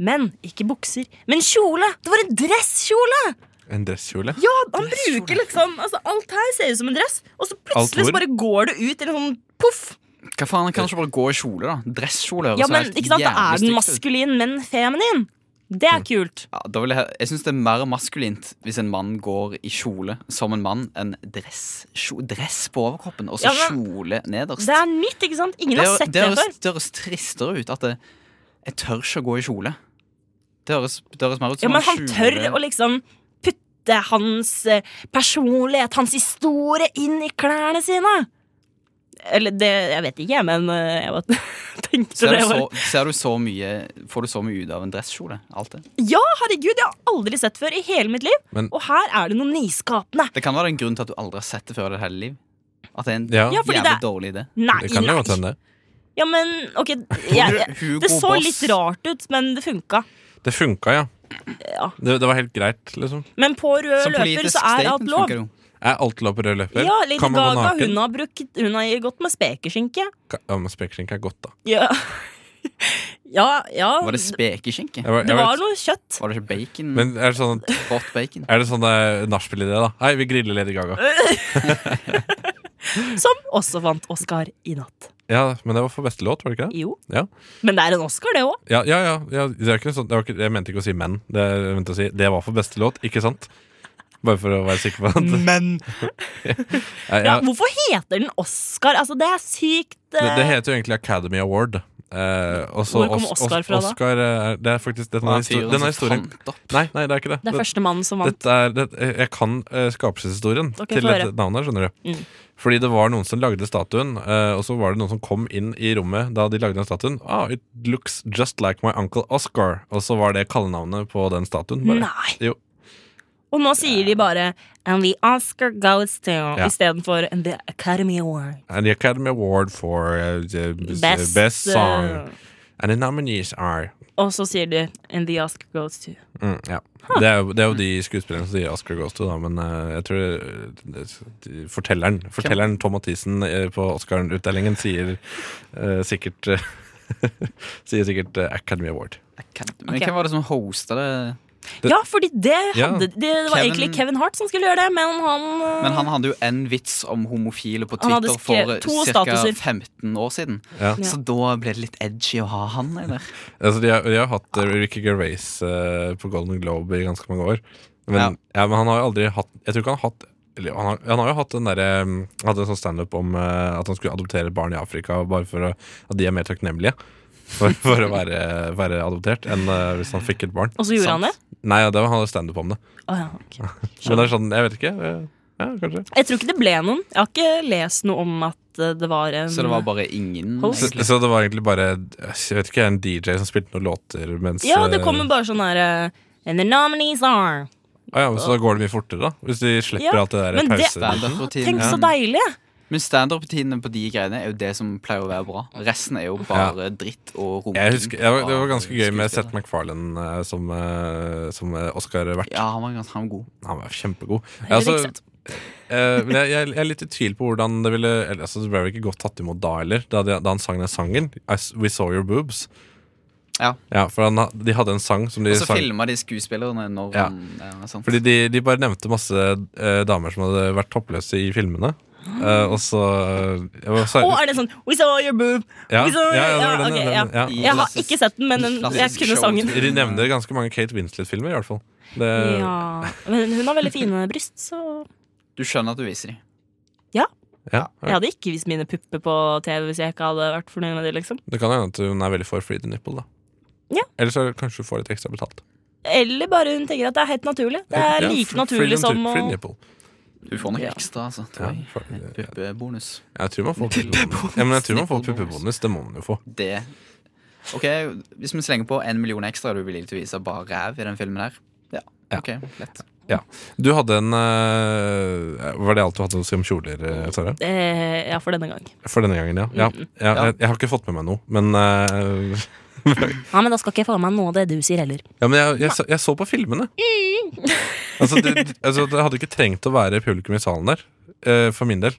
[SPEAKER 2] Men ikke bukser. Men kjole! Det var en dresskjole!
[SPEAKER 4] En dresskjole?
[SPEAKER 2] Ja, han bruker liksom altså, Alt her ser ut som en dress, og så plutselig
[SPEAKER 4] hvor?
[SPEAKER 2] så bare går det ut i en sånn poff.
[SPEAKER 3] Hva faen, han kan ikke bare gå i kjole, da? Dresskjole høres
[SPEAKER 2] Ja, men
[SPEAKER 3] helt
[SPEAKER 2] ikke sant, Da
[SPEAKER 3] jævlig
[SPEAKER 2] er den
[SPEAKER 3] stygt ut.
[SPEAKER 2] maskulin, men feminin. Det er kult.
[SPEAKER 3] Ja, da vil jeg, he- jeg syns det er mer maskulint hvis en mann går i kjole som en mann, enn dress, kjo- dress på overkroppen og så
[SPEAKER 2] Ja, men-
[SPEAKER 3] kjole nederst.
[SPEAKER 2] Det er nytt, ikke sant? Ingen
[SPEAKER 3] Det
[SPEAKER 2] har
[SPEAKER 3] hø-
[SPEAKER 2] sett
[SPEAKER 3] det
[SPEAKER 2] det før.
[SPEAKER 3] høres, det høres tristere ut at det, jeg tør ikke å gå i kjole. Det høres, det høres mer ut som
[SPEAKER 2] Ja, men han
[SPEAKER 3] en
[SPEAKER 2] tør
[SPEAKER 3] kjole-
[SPEAKER 2] å liksom putte hans eh, personlighet, hans historie, inn i klærne sine. Eller det Jeg vet ikke, jeg, men eh, jeg bare tenkte
[SPEAKER 3] ser
[SPEAKER 2] det.
[SPEAKER 3] du,
[SPEAKER 2] var-
[SPEAKER 3] så, ser du så mye Får du så mye ut av en dresskjole? Alt det.
[SPEAKER 2] Ja, herregud, jeg har aldri sett før i hele mitt liv.
[SPEAKER 4] Men-
[SPEAKER 2] og her er det noe nyskapende.
[SPEAKER 3] Det kan være en grunn til at du aldri har sett det før i ditt hele liv. At det er en
[SPEAKER 4] Ja,
[SPEAKER 2] Ja, fordi
[SPEAKER 3] jævlig
[SPEAKER 2] det er-
[SPEAKER 3] dårlig idé.
[SPEAKER 2] Nei,
[SPEAKER 4] det kan jo godt
[SPEAKER 2] nei.
[SPEAKER 4] hende.
[SPEAKER 2] Ja, men ok jeg, jeg,
[SPEAKER 3] Hugo
[SPEAKER 2] Det så
[SPEAKER 3] Boss.
[SPEAKER 2] litt rart ut, men det funka.
[SPEAKER 4] Det funka, ja.
[SPEAKER 2] Ja.
[SPEAKER 4] Det, det var helt greit, liksom.
[SPEAKER 2] Men på rød
[SPEAKER 3] Som
[SPEAKER 2] løper
[SPEAKER 3] politisk
[SPEAKER 2] så er alt
[SPEAKER 3] statement
[SPEAKER 2] lov.
[SPEAKER 3] funker det jo.
[SPEAKER 4] Er alt lov på rød løper?
[SPEAKER 2] Ja, Lady
[SPEAKER 4] kan man gå
[SPEAKER 2] Gaga
[SPEAKER 4] naken?
[SPEAKER 2] hun har, brukt, hun har gått med spekeskinke.
[SPEAKER 4] Ka- Ja, men Spekeskinke er godt, da.
[SPEAKER 2] Ja, ja. ja.
[SPEAKER 3] Var det spekeskinke?
[SPEAKER 4] Jeg var-
[SPEAKER 2] Det
[SPEAKER 4] jeg
[SPEAKER 2] var
[SPEAKER 4] vet-
[SPEAKER 2] noe kjøtt.
[SPEAKER 3] Var det ikke bacon?
[SPEAKER 4] Men er det sånn,
[SPEAKER 3] Godt bacon?
[SPEAKER 4] er det sånn eh, nachspiel-idé, da? Hei, vi griller Lady Gaga.
[SPEAKER 2] Øh. Som også vant Oscar i natt.
[SPEAKER 4] Ja, men det var for beste låt, var det ikke det?
[SPEAKER 2] Jo.
[SPEAKER 4] Ja.
[SPEAKER 2] Men det er en Oscar, det òg.
[SPEAKER 4] Ja, ja, ja, ja det er ikke noe sånt, det var ikke, Jeg mente ikke å si men. Det, jeg mente å si, det var for beste låt, ikke sant? Bare for å være sikker på at
[SPEAKER 2] Men
[SPEAKER 4] Nei,
[SPEAKER 2] Mm. ja,
[SPEAKER 4] ja,
[SPEAKER 2] Hvorfor heter den Oscar? Altså, det er sykt
[SPEAKER 4] det, det
[SPEAKER 2] eh,
[SPEAKER 4] heter jo egentlig Academy Award. Eh, og så
[SPEAKER 2] Hvor kom
[SPEAKER 4] Os- Os-
[SPEAKER 2] Oscar fra da?
[SPEAKER 4] Oscar, eh, er- det er faktisk denne,
[SPEAKER 3] Han
[SPEAKER 4] histori
[SPEAKER 3] fyren
[SPEAKER 4] denne
[SPEAKER 3] som
[SPEAKER 4] historien
[SPEAKER 3] fant opp.
[SPEAKER 4] Nei, nei, det er ikke det.
[SPEAKER 2] Det er
[SPEAKER 4] Det-
[SPEAKER 2] første mannen som vant.
[SPEAKER 4] Dette er, det, jeg kan eh, skapelseshistorien
[SPEAKER 2] Ok,
[SPEAKER 4] til
[SPEAKER 2] få høre.
[SPEAKER 4] dette navnet. her, skjønner du
[SPEAKER 2] Mm.
[SPEAKER 4] Fordi det var noen som lagde statuen, eh, og så var det noen som kom inn i rommet da de lagde den statuen. Ah, it looks just like my uncle Oscar. Og så var det kallenavnet på den statuen. Bare.
[SPEAKER 2] Nei.
[SPEAKER 4] Jo.
[SPEAKER 2] Og nå sier de bare And the Oscar goes to I stedet for And the Academy Award
[SPEAKER 4] And the Academy Award for eh, the best, song.
[SPEAKER 2] eh,
[SPEAKER 4] And the nominees are
[SPEAKER 2] Og så sier de And the Oscar goes to
[SPEAKER 4] mm, ja. det, er, jo- det er jo de skuespillerne som sier Oscar goes to, da, men eh, jeg tror eh, de- fortelleren, fortelleren Tom Mathisen eh, på Oscar-utdelingen sier eh, sikkert eh, Sier sikkert eh, Academy Award.
[SPEAKER 3] Men
[SPEAKER 2] Ok.
[SPEAKER 3] hvem var det som hosta det?
[SPEAKER 4] Det-
[SPEAKER 2] Ja, fordi det
[SPEAKER 4] Ja.
[SPEAKER 2] hadde Det, det var
[SPEAKER 3] Kevin-
[SPEAKER 2] egentlig Kevin Hart som skulle gjøre det, men han, eh,
[SPEAKER 3] Men han hadde jo en vits om homofile på
[SPEAKER 2] Han hadde
[SPEAKER 3] Twitter
[SPEAKER 2] skrevet to
[SPEAKER 3] for ca.
[SPEAKER 2] statuser.
[SPEAKER 3] 15 år siden.
[SPEAKER 4] Ja.
[SPEAKER 3] Så da ble det litt edgy å ha han i der.
[SPEAKER 4] Altså, de, har, de har hatt eh, Ricky Gervais eh, på Golden Globe i ganske mange år. Men, ja.
[SPEAKER 3] Ja.
[SPEAKER 4] men han har jo aldri hatt Jeg tror ikke han har hatt eller, han, har, han har jo hatt den derre um, Han hadde en sånn standup om eh, at han skulle adoptere barn i Afrika bare for å, at de er mer takknemlige for, for å være, være adoptert enn eh, hvis han fikk et barn.
[SPEAKER 2] Og så gjorde han det?
[SPEAKER 4] Nei, ja, det var han hadde standup om det.
[SPEAKER 2] Å ja, ok.
[SPEAKER 4] Men det er sånn, jeg vet ikke. eh, Ja, kanskje.
[SPEAKER 2] Jeg tror ikke det ble noen. Jeg har ikke lest noe om at eh, det var en
[SPEAKER 3] Så det var bare ingen.
[SPEAKER 2] Host.
[SPEAKER 4] Så,
[SPEAKER 3] egentlig.
[SPEAKER 4] så det var egentlig bare Jeg vet ikke, en DJ som spilte noen låter mens
[SPEAKER 2] Ja, det
[SPEAKER 4] eh,
[SPEAKER 2] kommer bare sånn her eh, And the nominees are
[SPEAKER 4] ah, ja, men Så da går det mye fortere, da? Hvis de slipper
[SPEAKER 2] Ja,
[SPEAKER 4] alt det der
[SPEAKER 2] men det-
[SPEAKER 4] pauser.
[SPEAKER 3] Standup-rutinen.
[SPEAKER 2] Tenk så
[SPEAKER 3] Ja.
[SPEAKER 2] deilig!
[SPEAKER 3] Men standup-rutinene på de greiene er jo det som pleier å være bra. Resten er jo bare dritt og runking.
[SPEAKER 4] Jeg husker, jeg, var- det var ganske gøy med Seth
[SPEAKER 3] skuespillere.
[SPEAKER 4] MacFarlane eh, som, eh, som eh, Oscar-vert.
[SPEAKER 3] Ja, han var ganske han var god.
[SPEAKER 4] Han var kjempegod.
[SPEAKER 2] Eller
[SPEAKER 4] Altså,
[SPEAKER 2] ikke sant.
[SPEAKER 4] eh, men jeg, jeg, jeg er litt i tvil på hvordan det ville eller, altså, Det ble vel ikke godt tatt imot da heller, da, de, da han sang den sangen. I s- We Saw Your Boobs.
[SPEAKER 3] Ja. Altså,
[SPEAKER 4] For han, ha- de hadde en sang som de
[SPEAKER 3] Og så
[SPEAKER 4] sang
[SPEAKER 3] filma de skuespillerne når
[SPEAKER 4] Ja.
[SPEAKER 3] han sånn. ja, sant.
[SPEAKER 4] Fordi de, de bare nevnte masse eh, damer som hadde vært toppløse i filmene. Eh, og så eh, jeg var så-
[SPEAKER 2] Å, er det sånn We saw your boob!
[SPEAKER 4] ja,
[SPEAKER 2] we
[SPEAKER 4] ja,
[SPEAKER 2] saw your,
[SPEAKER 4] ja, det var den,
[SPEAKER 2] ok,
[SPEAKER 4] den,
[SPEAKER 2] ja.
[SPEAKER 4] ja.
[SPEAKER 3] I
[SPEAKER 2] Jeg har
[SPEAKER 3] klassisk-
[SPEAKER 2] ikke sett den, men den, jeg
[SPEAKER 3] klassisk
[SPEAKER 2] kunne
[SPEAKER 3] show.
[SPEAKER 2] sangen.
[SPEAKER 4] De nevner ganske mange Kate Winslet-filmer, i hvert fall. Det,
[SPEAKER 2] Ja, Men hun har veldig fine bryst, så
[SPEAKER 3] Du skjønner at du viser de.
[SPEAKER 4] ja,
[SPEAKER 2] Jeg hadde ikke vist mine pupper på TV hvis jeg ikke hadde vært fornøyd med det, liksom.
[SPEAKER 4] Det kan hende at hun er veldig for free to nipple, da.
[SPEAKER 2] Ja.
[SPEAKER 4] Eller så kanskje hun får litt ekstra betalt.
[SPEAKER 2] Eller bare hun tenker at det er helt naturlig. Det er
[SPEAKER 4] Ja,
[SPEAKER 2] like
[SPEAKER 4] fr-
[SPEAKER 2] naturlig
[SPEAKER 4] freedom to-
[SPEAKER 2] som å
[SPEAKER 4] free nipple.
[SPEAKER 3] Du får nok
[SPEAKER 2] Ja.
[SPEAKER 3] ekstra, altså.
[SPEAKER 4] Ja,
[SPEAKER 3] Tror jeg.
[SPEAKER 4] for-
[SPEAKER 3] Puppebonus.
[SPEAKER 4] Jeg tror man får
[SPEAKER 3] Puppebonus.
[SPEAKER 4] puppebonus. Ja, men jeg tror man får
[SPEAKER 3] Nippelbonus.
[SPEAKER 4] puppebonus. Det må man jo få.
[SPEAKER 3] Det Ok, hvis vi slenger på en million ekstra, er du villig til å vise bare ræv i den filmen her? Ja.
[SPEAKER 4] Ja.
[SPEAKER 3] Ok, lett.
[SPEAKER 4] Du hadde en eh, Var det alt du hadde å si om kjoler, eh, Sara?
[SPEAKER 2] eh, Ja, for denne gang.
[SPEAKER 4] For denne gangen, ja. ja.
[SPEAKER 2] Mm.
[SPEAKER 4] ja jeg, jeg har ikke fått med meg noe, men eh,
[SPEAKER 2] Ja, men da skal ikke jeg få med meg noe av det du sier heller.
[SPEAKER 4] Ja, men jeg, jeg, så- jeg så på filmene.
[SPEAKER 2] Mm.
[SPEAKER 4] altså, det, altså, det hadde ikke trengt å være publikum i salen der, eh, for min del.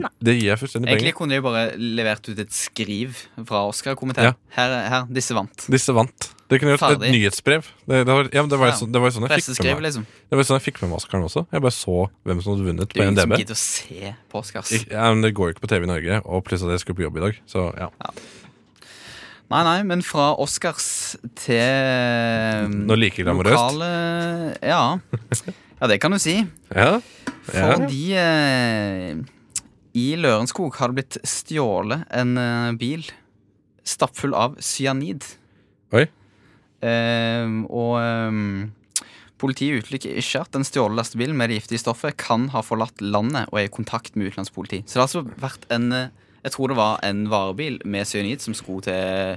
[SPEAKER 2] Nei.
[SPEAKER 4] Det gir jeg fullstendig penger.
[SPEAKER 3] Egentlig kunne de bare levert ut et skriv fra Oscar-komiteen.
[SPEAKER 4] Ja.
[SPEAKER 3] Her, her, disse vant.
[SPEAKER 4] Disse vant. Det kunne gjort et
[SPEAKER 3] Ferdig.
[SPEAKER 4] nyhetsbrev. Det, det, var, ja, men det, var, jo
[SPEAKER 3] Ja.
[SPEAKER 4] sånn- det var jo sånn jeg fikk med
[SPEAKER 3] Presseskriv,
[SPEAKER 4] meg
[SPEAKER 3] liksom.
[SPEAKER 4] Det var sånn jeg fikk med meg Oscaren også. Jeg bare så hvem som hadde vunnet
[SPEAKER 3] Det
[SPEAKER 4] på
[SPEAKER 3] er jo ingen
[SPEAKER 4] NDB.
[SPEAKER 3] som gidder å se på Oscars.
[SPEAKER 4] Ik- Ja, men det går jo ikke på TV i Norge, og pluss at jeg skulle på jobb i dag. Så ja.
[SPEAKER 3] Nei, nei, men fra Oscars til ehm,
[SPEAKER 4] Noe like glamorøst.
[SPEAKER 3] lokale- Ja. ja, det kan du si.
[SPEAKER 4] Ja. Ja.
[SPEAKER 3] Fordi eh, i Lørenskog har det blitt stjålet en eh, bil stappfull av cyanid.
[SPEAKER 4] Oi.
[SPEAKER 3] Eh, og eh, politiet utelukker ikke at den stjålne lastebilen med det giftige stoffet kan ha forlatt landet og er i kontakt med utenlandspoliti. Så det har altså vært en eh, jeg tror det var en varebil med cyanid som skulle til
[SPEAKER 4] Ja,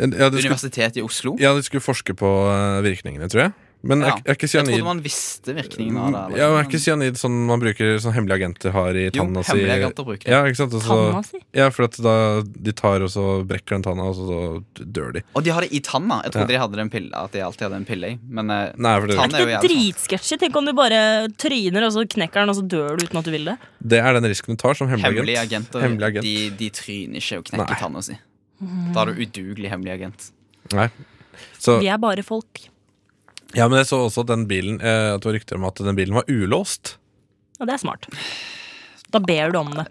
[SPEAKER 4] du skulle,
[SPEAKER 3] Universitetet i Oslo.
[SPEAKER 4] ja, du skulle forske på eh, virkningene, tror jeg. Men
[SPEAKER 3] Ja.
[SPEAKER 4] er, er ikke
[SPEAKER 3] Jeg
[SPEAKER 4] cyanid
[SPEAKER 3] trodde man visste virkningen av det. eller?
[SPEAKER 4] ja, men Er ikke cyanid sånn man bruker sånn hemmelige agenter har i
[SPEAKER 3] jo,
[SPEAKER 4] tanna si?
[SPEAKER 3] hemmelige agenter bruker det.
[SPEAKER 4] Ja, ikke sant? Og så-
[SPEAKER 2] Tanna si?
[SPEAKER 4] ja, for at da de tar og så brekker den tanna, og så, så dør de.
[SPEAKER 3] Og de har det i tanna. Jeg trodde
[SPEAKER 4] Ja.
[SPEAKER 3] de hadde den pille, at de alltid hadde en pille i. Men eh,
[SPEAKER 4] Nei, for det,
[SPEAKER 3] Tann-
[SPEAKER 2] Det
[SPEAKER 3] Det er jo
[SPEAKER 2] er
[SPEAKER 3] jævlig sånn
[SPEAKER 2] dritsketsjy. Tenk om du bare tryner, og så knekker den, og så dør du uten at du vil det.
[SPEAKER 4] det er den risken du tar som hemmelig,
[SPEAKER 3] hemmelige
[SPEAKER 4] agent.
[SPEAKER 3] agenter
[SPEAKER 4] Hemmelig agent.
[SPEAKER 3] De, de tryner ikke og
[SPEAKER 4] Nei.
[SPEAKER 3] knekker tanna si. Da er du udugelig hemmelig agent.
[SPEAKER 4] Nei. Så,
[SPEAKER 2] Vi er bare folk.
[SPEAKER 4] ja, men jeg så også at den bilen eh, At det var rykter om at den bilen var ulåst.
[SPEAKER 2] Og det er smart. Da ber du om det.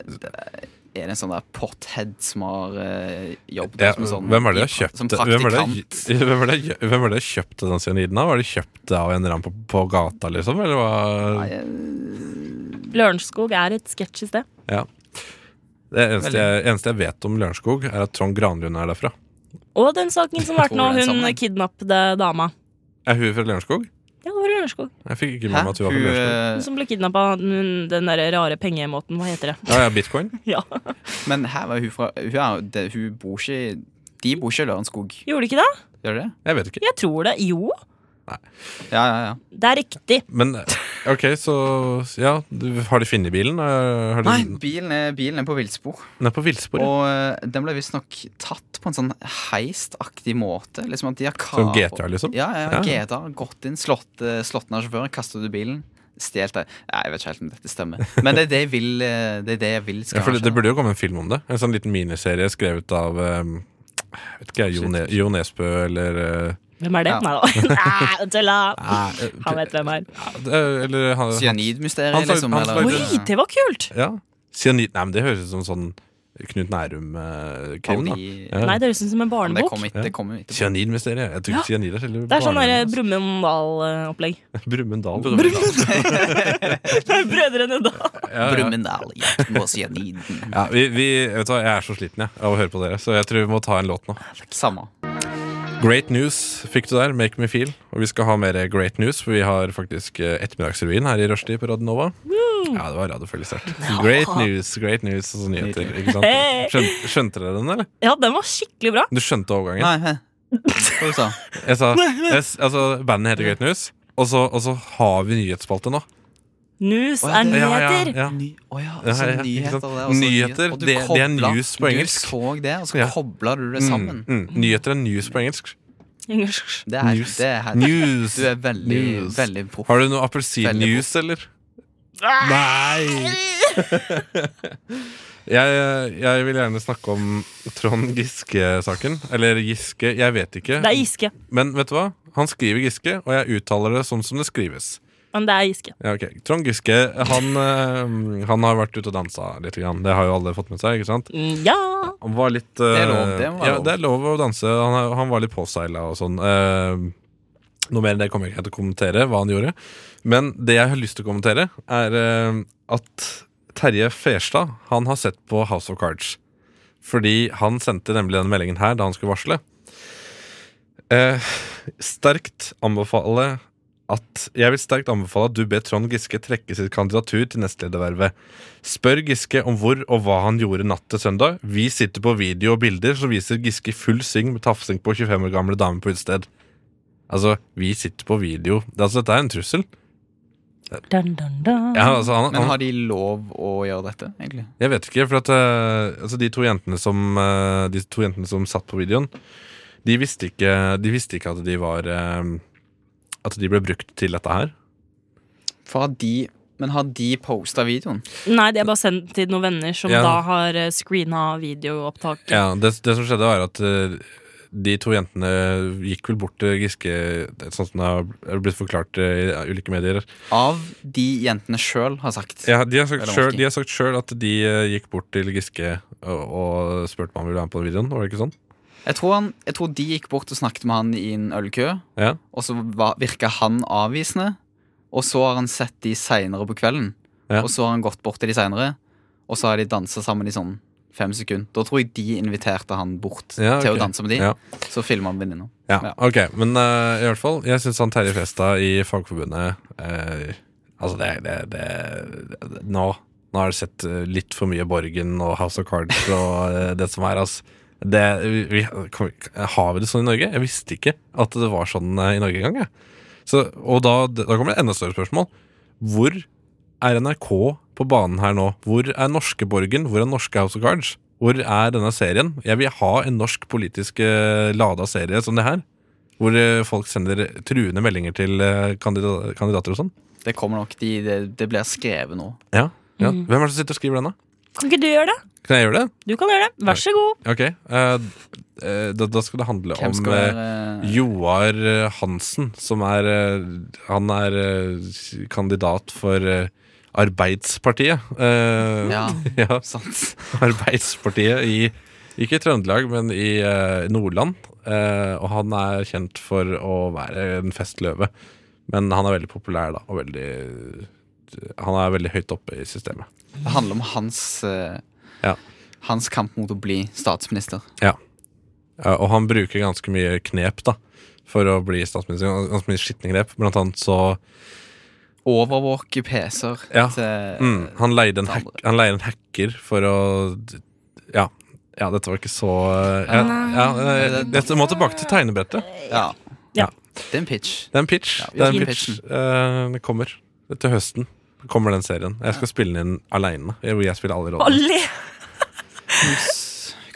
[SPEAKER 3] Er det en sånn der pothead som har eh, jobbet
[SPEAKER 4] Ja,
[SPEAKER 3] som en sånn
[SPEAKER 4] hvem er det de har kjøpt
[SPEAKER 3] Som
[SPEAKER 4] hvem er det,
[SPEAKER 3] praktikant.
[SPEAKER 4] hvem er det, hvem er det de har kjøpt den cyaniden av? Var det kjøpt av en eller annen på, på gata, liksom? Eller hva?
[SPEAKER 3] Nei, eh,
[SPEAKER 2] Lørenskog er et sketsjy sted.
[SPEAKER 4] Ja. Det eneste jeg, eneste jeg vet om Lørenskog, er at Trond Granlund er derfra.
[SPEAKER 2] Og den saken som
[SPEAKER 3] Tror
[SPEAKER 2] vært
[SPEAKER 3] du
[SPEAKER 2] nå,
[SPEAKER 3] det er
[SPEAKER 2] hun
[SPEAKER 3] sammen?
[SPEAKER 2] kidnappede dama.
[SPEAKER 4] Er hun fra Lørenskog?
[SPEAKER 2] Ja, det var Lørenskog.
[SPEAKER 4] Jeg fikk ikke
[SPEAKER 3] Hæ?
[SPEAKER 4] med meg at hun
[SPEAKER 3] Hun
[SPEAKER 4] var fra Lørenskog.
[SPEAKER 2] Hun
[SPEAKER 3] eh,
[SPEAKER 2] som ble kidnappa av den den der rare pengemåten. Hva heter det?
[SPEAKER 4] Ja, ja, bitcoin?
[SPEAKER 2] Ja.
[SPEAKER 3] eh, Men her var hun fra Hun, er, det, hun bor ikke i De bor ikke i Lørenskog,
[SPEAKER 2] Gjorde de ikke det?
[SPEAKER 3] gjør de det?
[SPEAKER 4] Jeg vet ikke.
[SPEAKER 2] Jeg tror det. Jo,
[SPEAKER 3] Ja, ja, ja.
[SPEAKER 2] det er riktig.
[SPEAKER 4] Men eh, ok, så ja, du, Har de funnet bilen? Eh, Har de,
[SPEAKER 3] Nei, bilen er, bilen er på villspor.
[SPEAKER 4] Den er på villspor. ja.
[SPEAKER 3] Og eh, den ble visstnok tatt på en sånn heistaktig måte. Liksom at de har
[SPEAKER 4] Som
[SPEAKER 3] kar-
[SPEAKER 4] GTA, liksom?
[SPEAKER 3] Ja, ja,
[SPEAKER 4] Ja.
[SPEAKER 3] GTA. Gått inn, slått, eh, slått ned sjåføren, kastet ut bilen. Stjelt det. Nei, Jeg vet ikke helt om dette stemmer. Men det er det jeg vil, eh, det er det jeg vil
[SPEAKER 4] Ja,
[SPEAKER 3] skal
[SPEAKER 4] for det, det
[SPEAKER 3] skje.
[SPEAKER 4] burde jo komme en film om det. En ehm, sånn liten miniserie skrevet av eh, jeg vet ikke, Jo, ne Jo Nesbø eller eh,
[SPEAKER 2] Hvem er det?
[SPEAKER 3] Ja.
[SPEAKER 2] Nei da. Nei, tulla!
[SPEAKER 4] Nei, eh,
[SPEAKER 2] Han vet hvem er.
[SPEAKER 4] ja, det er- eh, eller han, han, Han
[SPEAKER 3] Cyanidmysteriet,
[SPEAKER 4] tar-
[SPEAKER 3] liksom?
[SPEAKER 4] han tar-
[SPEAKER 3] Eller?
[SPEAKER 2] Oi, det var kult!
[SPEAKER 4] ja. Cyanid Nei, men det høres ut som sånn Knut Nærum-krim. da
[SPEAKER 3] Parodi-
[SPEAKER 4] Ja.
[SPEAKER 2] Nei, det høres ut som en
[SPEAKER 3] Men det
[SPEAKER 2] barnebok.
[SPEAKER 3] kommer
[SPEAKER 4] Ja.
[SPEAKER 3] ikke. Det kommer ikke.
[SPEAKER 4] Cyanidmysteriet. Jeg tror ikke cyanid er selve
[SPEAKER 2] Det er sånn eh,
[SPEAKER 4] barnehjemmet.
[SPEAKER 2] Brumunddal-opplegg.
[SPEAKER 4] Brumunddal.
[SPEAKER 2] Brødrene Dal.
[SPEAKER 4] Ja, ja.
[SPEAKER 3] Brumunddal, jakten på cyaniden.
[SPEAKER 4] Ja, vi, vi, vet du hva, Jeg er så sliten jeg, av å høre på dere, så jeg tror vi må ta en låt nå.
[SPEAKER 3] Samme.
[SPEAKER 4] Great News fikk du der. Make me feel. Og vi skal ha mer Great News, for vi har faktisk eh, Ettermiddagsrevyen her i rushtid på Radio Nova. Ja, det var radiofølelig sterkt. Great news, great news og så nyheter. ikke sant?
[SPEAKER 2] Hey.
[SPEAKER 4] Skjønte, skjønte dere den, eller?
[SPEAKER 2] Ja, den var skikkelig bra.
[SPEAKER 4] Du skjønte overgangen?
[SPEAKER 3] Nei, hæ? Hva du sa
[SPEAKER 4] Jeg sa, jeg, s- altså, Bandet heter Great News, og så, og så har vi nyhetsspalte nå.
[SPEAKER 2] News
[SPEAKER 3] Å, ja,
[SPEAKER 2] er
[SPEAKER 3] det-
[SPEAKER 4] Ja, ja,
[SPEAKER 2] nyheter.
[SPEAKER 4] ja.
[SPEAKER 3] Ny, å ja,
[SPEAKER 4] Ja, ja,
[SPEAKER 3] så
[SPEAKER 4] ja, ikke
[SPEAKER 3] nyheter,
[SPEAKER 4] sant?
[SPEAKER 3] det, og så
[SPEAKER 4] Nyheter,
[SPEAKER 3] og du
[SPEAKER 4] det- det er
[SPEAKER 3] kobla-
[SPEAKER 4] news på engelsk.
[SPEAKER 3] Du så det, og så
[SPEAKER 4] Ja.
[SPEAKER 3] kobla du det sammen.
[SPEAKER 4] Mm, mm. Nyheter er news på engelsk.
[SPEAKER 2] Engelsk.
[SPEAKER 3] Det er,
[SPEAKER 4] News.
[SPEAKER 3] Det er,
[SPEAKER 4] News.
[SPEAKER 3] Du er veldig,
[SPEAKER 4] News.
[SPEAKER 3] veldig proff.
[SPEAKER 4] Har du noe appelsinjuice, eller? Nei! jeg, jeg vil gjerne snakke om Trond Giske-saken. Eller Giske, jeg vet ikke.
[SPEAKER 2] Det er Giske.
[SPEAKER 4] Men vet du hva? Han skriver Giske, og jeg uttaler det sånn som det skrives.
[SPEAKER 2] Men det er Giske.
[SPEAKER 4] Ja, ok. Trond Giske han, eh, han har vært ute og dansa litt. Grann. Det har jo alle fått med seg. ikke sant?
[SPEAKER 2] Mm, Ja!
[SPEAKER 4] Han var litt eh,
[SPEAKER 3] Det er lov, det må være
[SPEAKER 4] ja,
[SPEAKER 3] lov.
[SPEAKER 4] det er lov å danse. Han, er- han var litt påseila og sånn. Eh, noe mer enn det kommer jeg ikke til å kommentere, hva han gjorde. Men det jeg har lyst til å kommentere, er eh, at Terje Ferstad han har sett på House of Cards. Fordi han sendte nemlig denne meldingen her da han skulle varsle. Eh, sterkt anbefale at Jeg vil sterkt anbefale at du ber Trond Giske trekke sitt kandidatur til nestledervervet. Spør Giske om hvor og hva han gjorde natt til søndag. Vi sitter på video og bilder som viser Giske i full sving med tafsing på 25 år gamle dame på utested. Altså, vi sitter på video. Det, altså, dette er en trussel.
[SPEAKER 2] Dun, dun, dun.
[SPEAKER 4] Ja, altså, han,
[SPEAKER 3] Mm. Men
[SPEAKER 4] han,
[SPEAKER 3] har de lov å gjøre dette, egentlig?
[SPEAKER 4] jeg vet ikke, for at eh, altså, de, to jentene som, eh, de to jentene som satt på videoen, de visste ikke, de visste ikke at de var eh, At de ble brukt til dette her.
[SPEAKER 3] For har de, men har de posta videoen?
[SPEAKER 2] Nei, det er bare sendt til noen venner som
[SPEAKER 4] Ja.
[SPEAKER 2] da har eh, screena videoopptaket.
[SPEAKER 4] Ja, det, det som skjedde var at eh, de to jentene gikk vel bort til Giske, sånn som det har blitt forklart eh, i ulike medier.
[SPEAKER 3] Av de jentene sjøl har sagt.
[SPEAKER 4] Ja, de har sagt
[SPEAKER 3] Eller
[SPEAKER 4] sjøl-
[SPEAKER 3] Martin.
[SPEAKER 4] de har sagt sjøl at de eh, gikk bort til Giske og, og spurte om han ville være med på videoen. Var det ikke sånn?
[SPEAKER 3] Jeg, tror han, jeg tror de gikk bort og snakket med han i en ølkø,
[SPEAKER 4] Ja,
[SPEAKER 3] og så var, virka han avvisende. Og så har han sett de seinere på kvelden,
[SPEAKER 4] Ja.
[SPEAKER 3] og så har han gått bort til de seinere, og så har de dansa sammen i sånn fem sekunder. Da tror jeg de inviterte han bort
[SPEAKER 4] Ja, ok.
[SPEAKER 3] til å danse med de.
[SPEAKER 4] Ja.
[SPEAKER 3] Så filma han venninna.
[SPEAKER 4] ja.
[SPEAKER 3] Ja.
[SPEAKER 4] ok. Men eh, i hvert fall, jeg syns han Terje Festad i Fagforbundet eh, Altså, det, det, det, det Nå Nå har jeg sett eh, litt for mye Borgen og House of Cards og eh, det som er, altså. Det, vi, vi, kom- har vi det sånn i Norge? Jeg visste ikke at det var sånn eh, i Norge engang. Jeg. Så, og da, da kommer det enda større spørsmål. Hvor er NRK på banen her nå? Hvor er norske Borgen? Hvor er norske House of Cards? Hvor er denne serien? Jeg vil ha en norsk politisk eh, lada serie som det her. Hvor eh, folk sender truende meldinger til eh, kandida- kandidater og sånn.
[SPEAKER 3] Det kommer nok, de, det, det blir skrevet nå.
[SPEAKER 4] Ja, ja.
[SPEAKER 2] Mm.
[SPEAKER 4] Hvem er det som sitter og skriver den, da?
[SPEAKER 2] Kan ikke du gjøre det?
[SPEAKER 4] Kan jeg gjøre det?
[SPEAKER 2] Du kan gjøre det. Vær så god.
[SPEAKER 4] Ok. eh, eh, da, da skal det handle
[SPEAKER 3] Hvem
[SPEAKER 4] om
[SPEAKER 3] skal
[SPEAKER 4] eh,
[SPEAKER 3] være
[SPEAKER 4] Joar eh, Hansen, som er eh, Han er eh, kandidat for eh, Arbeidspartiet. Eh,
[SPEAKER 3] Ja.
[SPEAKER 4] ja.
[SPEAKER 3] Sant.
[SPEAKER 4] Arbeidspartiet i ikke i Trøndelag, men i eh, Nordland. Eh, og han er kjent for å være en festløve. Men han er veldig populær, da. Og veldig, han er veldig høyt oppe i systemet.
[SPEAKER 3] Det handler om hans eh,
[SPEAKER 4] Ja.
[SPEAKER 3] Hans kamp mot å bli statsminister.
[SPEAKER 4] Eh, og han bruker ganske mye knep da for å bli statsminister. Gans- Ganske mye skitne grep. Blant annet så
[SPEAKER 3] Overvåke PC-er
[SPEAKER 4] Ja.
[SPEAKER 3] til
[SPEAKER 4] mm, Han leide en,
[SPEAKER 3] til
[SPEAKER 4] hack,
[SPEAKER 3] andre.
[SPEAKER 4] han leide en hacker for å Ja, ja dette var ikke så eh, ja, ja, eh, Jeg må tilbake til tegnebrettet.
[SPEAKER 3] Ja.
[SPEAKER 2] Ja.
[SPEAKER 3] Det er en pitch.
[SPEAKER 4] Det er en pitch.
[SPEAKER 3] Ja, vi
[SPEAKER 4] det er en
[SPEAKER 3] gir
[SPEAKER 4] pitch.
[SPEAKER 3] pitchen.
[SPEAKER 4] Eh, det kommer til høsten. Kommer den serien. Jeg skal spille den inn aleine. Hvor jeg spiller alle rollene.
[SPEAKER 2] Alle!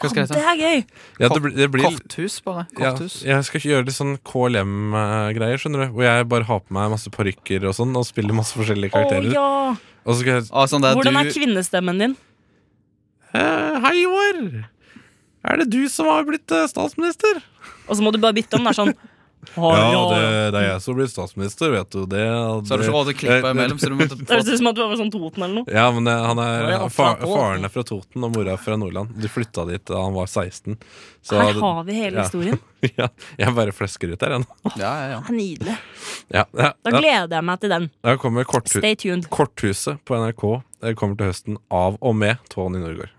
[SPEAKER 3] Hva skal det
[SPEAKER 2] Det
[SPEAKER 3] hete?
[SPEAKER 2] er gøy.
[SPEAKER 4] Ja, det, blir- det blir
[SPEAKER 3] Korthus, bare.
[SPEAKER 4] ja,
[SPEAKER 3] Korthus.
[SPEAKER 4] jeg skal ikke gjøre litt sånn KLM-greier, skjønner du. Hvor jeg bare har på meg masse parykker og sånn, og spiller masse forskjellige
[SPEAKER 2] Å
[SPEAKER 4] karakterer.
[SPEAKER 2] ja.
[SPEAKER 4] Og så skal jeg
[SPEAKER 3] Og sånn der,
[SPEAKER 2] Hvordan er
[SPEAKER 3] du,
[SPEAKER 2] kvinnestemmen din?
[SPEAKER 4] eh, Hei, Joar! Er det du som har blitt eh, statsminister?
[SPEAKER 2] Og så må du bare bytte om. Det er sånn Har
[SPEAKER 4] Ja,
[SPEAKER 2] du-
[SPEAKER 4] det, det er jeg som blir statsminister, vet du. Det,
[SPEAKER 3] Så har du ikke råd til å klippe
[SPEAKER 4] Eh,
[SPEAKER 3] imellom, så du måtte
[SPEAKER 2] Det høres ut som at du var fra sånn Toten eller noe.
[SPEAKER 4] Ja, men eh, han
[SPEAKER 3] Nå er
[SPEAKER 4] er,
[SPEAKER 3] jeg
[SPEAKER 4] fa-
[SPEAKER 3] opptatt på.
[SPEAKER 4] faren er fra Toten, og mora er fra Nordland. De flytta dit da han var 16. Så
[SPEAKER 2] Her har vi hele
[SPEAKER 4] ja.
[SPEAKER 2] historien.
[SPEAKER 4] ja, jeg bare flesker ut her ennå.
[SPEAKER 3] Ja, ja, ja.
[SPEAKER 2] Det er nydelig.
[SPEAKER 4] Ja, ja,
[SPEAKER 2] Da
[SPEAKER 4] ja.
[SPEAKER 2] gleder jeg meg til den.
[SPEAKER 4] Der kommer korthu
[SPEAKER 2] Stay tuned.
[SPEAKER 4] Korthuset på NRK eh, kommer til høsten av og med Tony Norgård.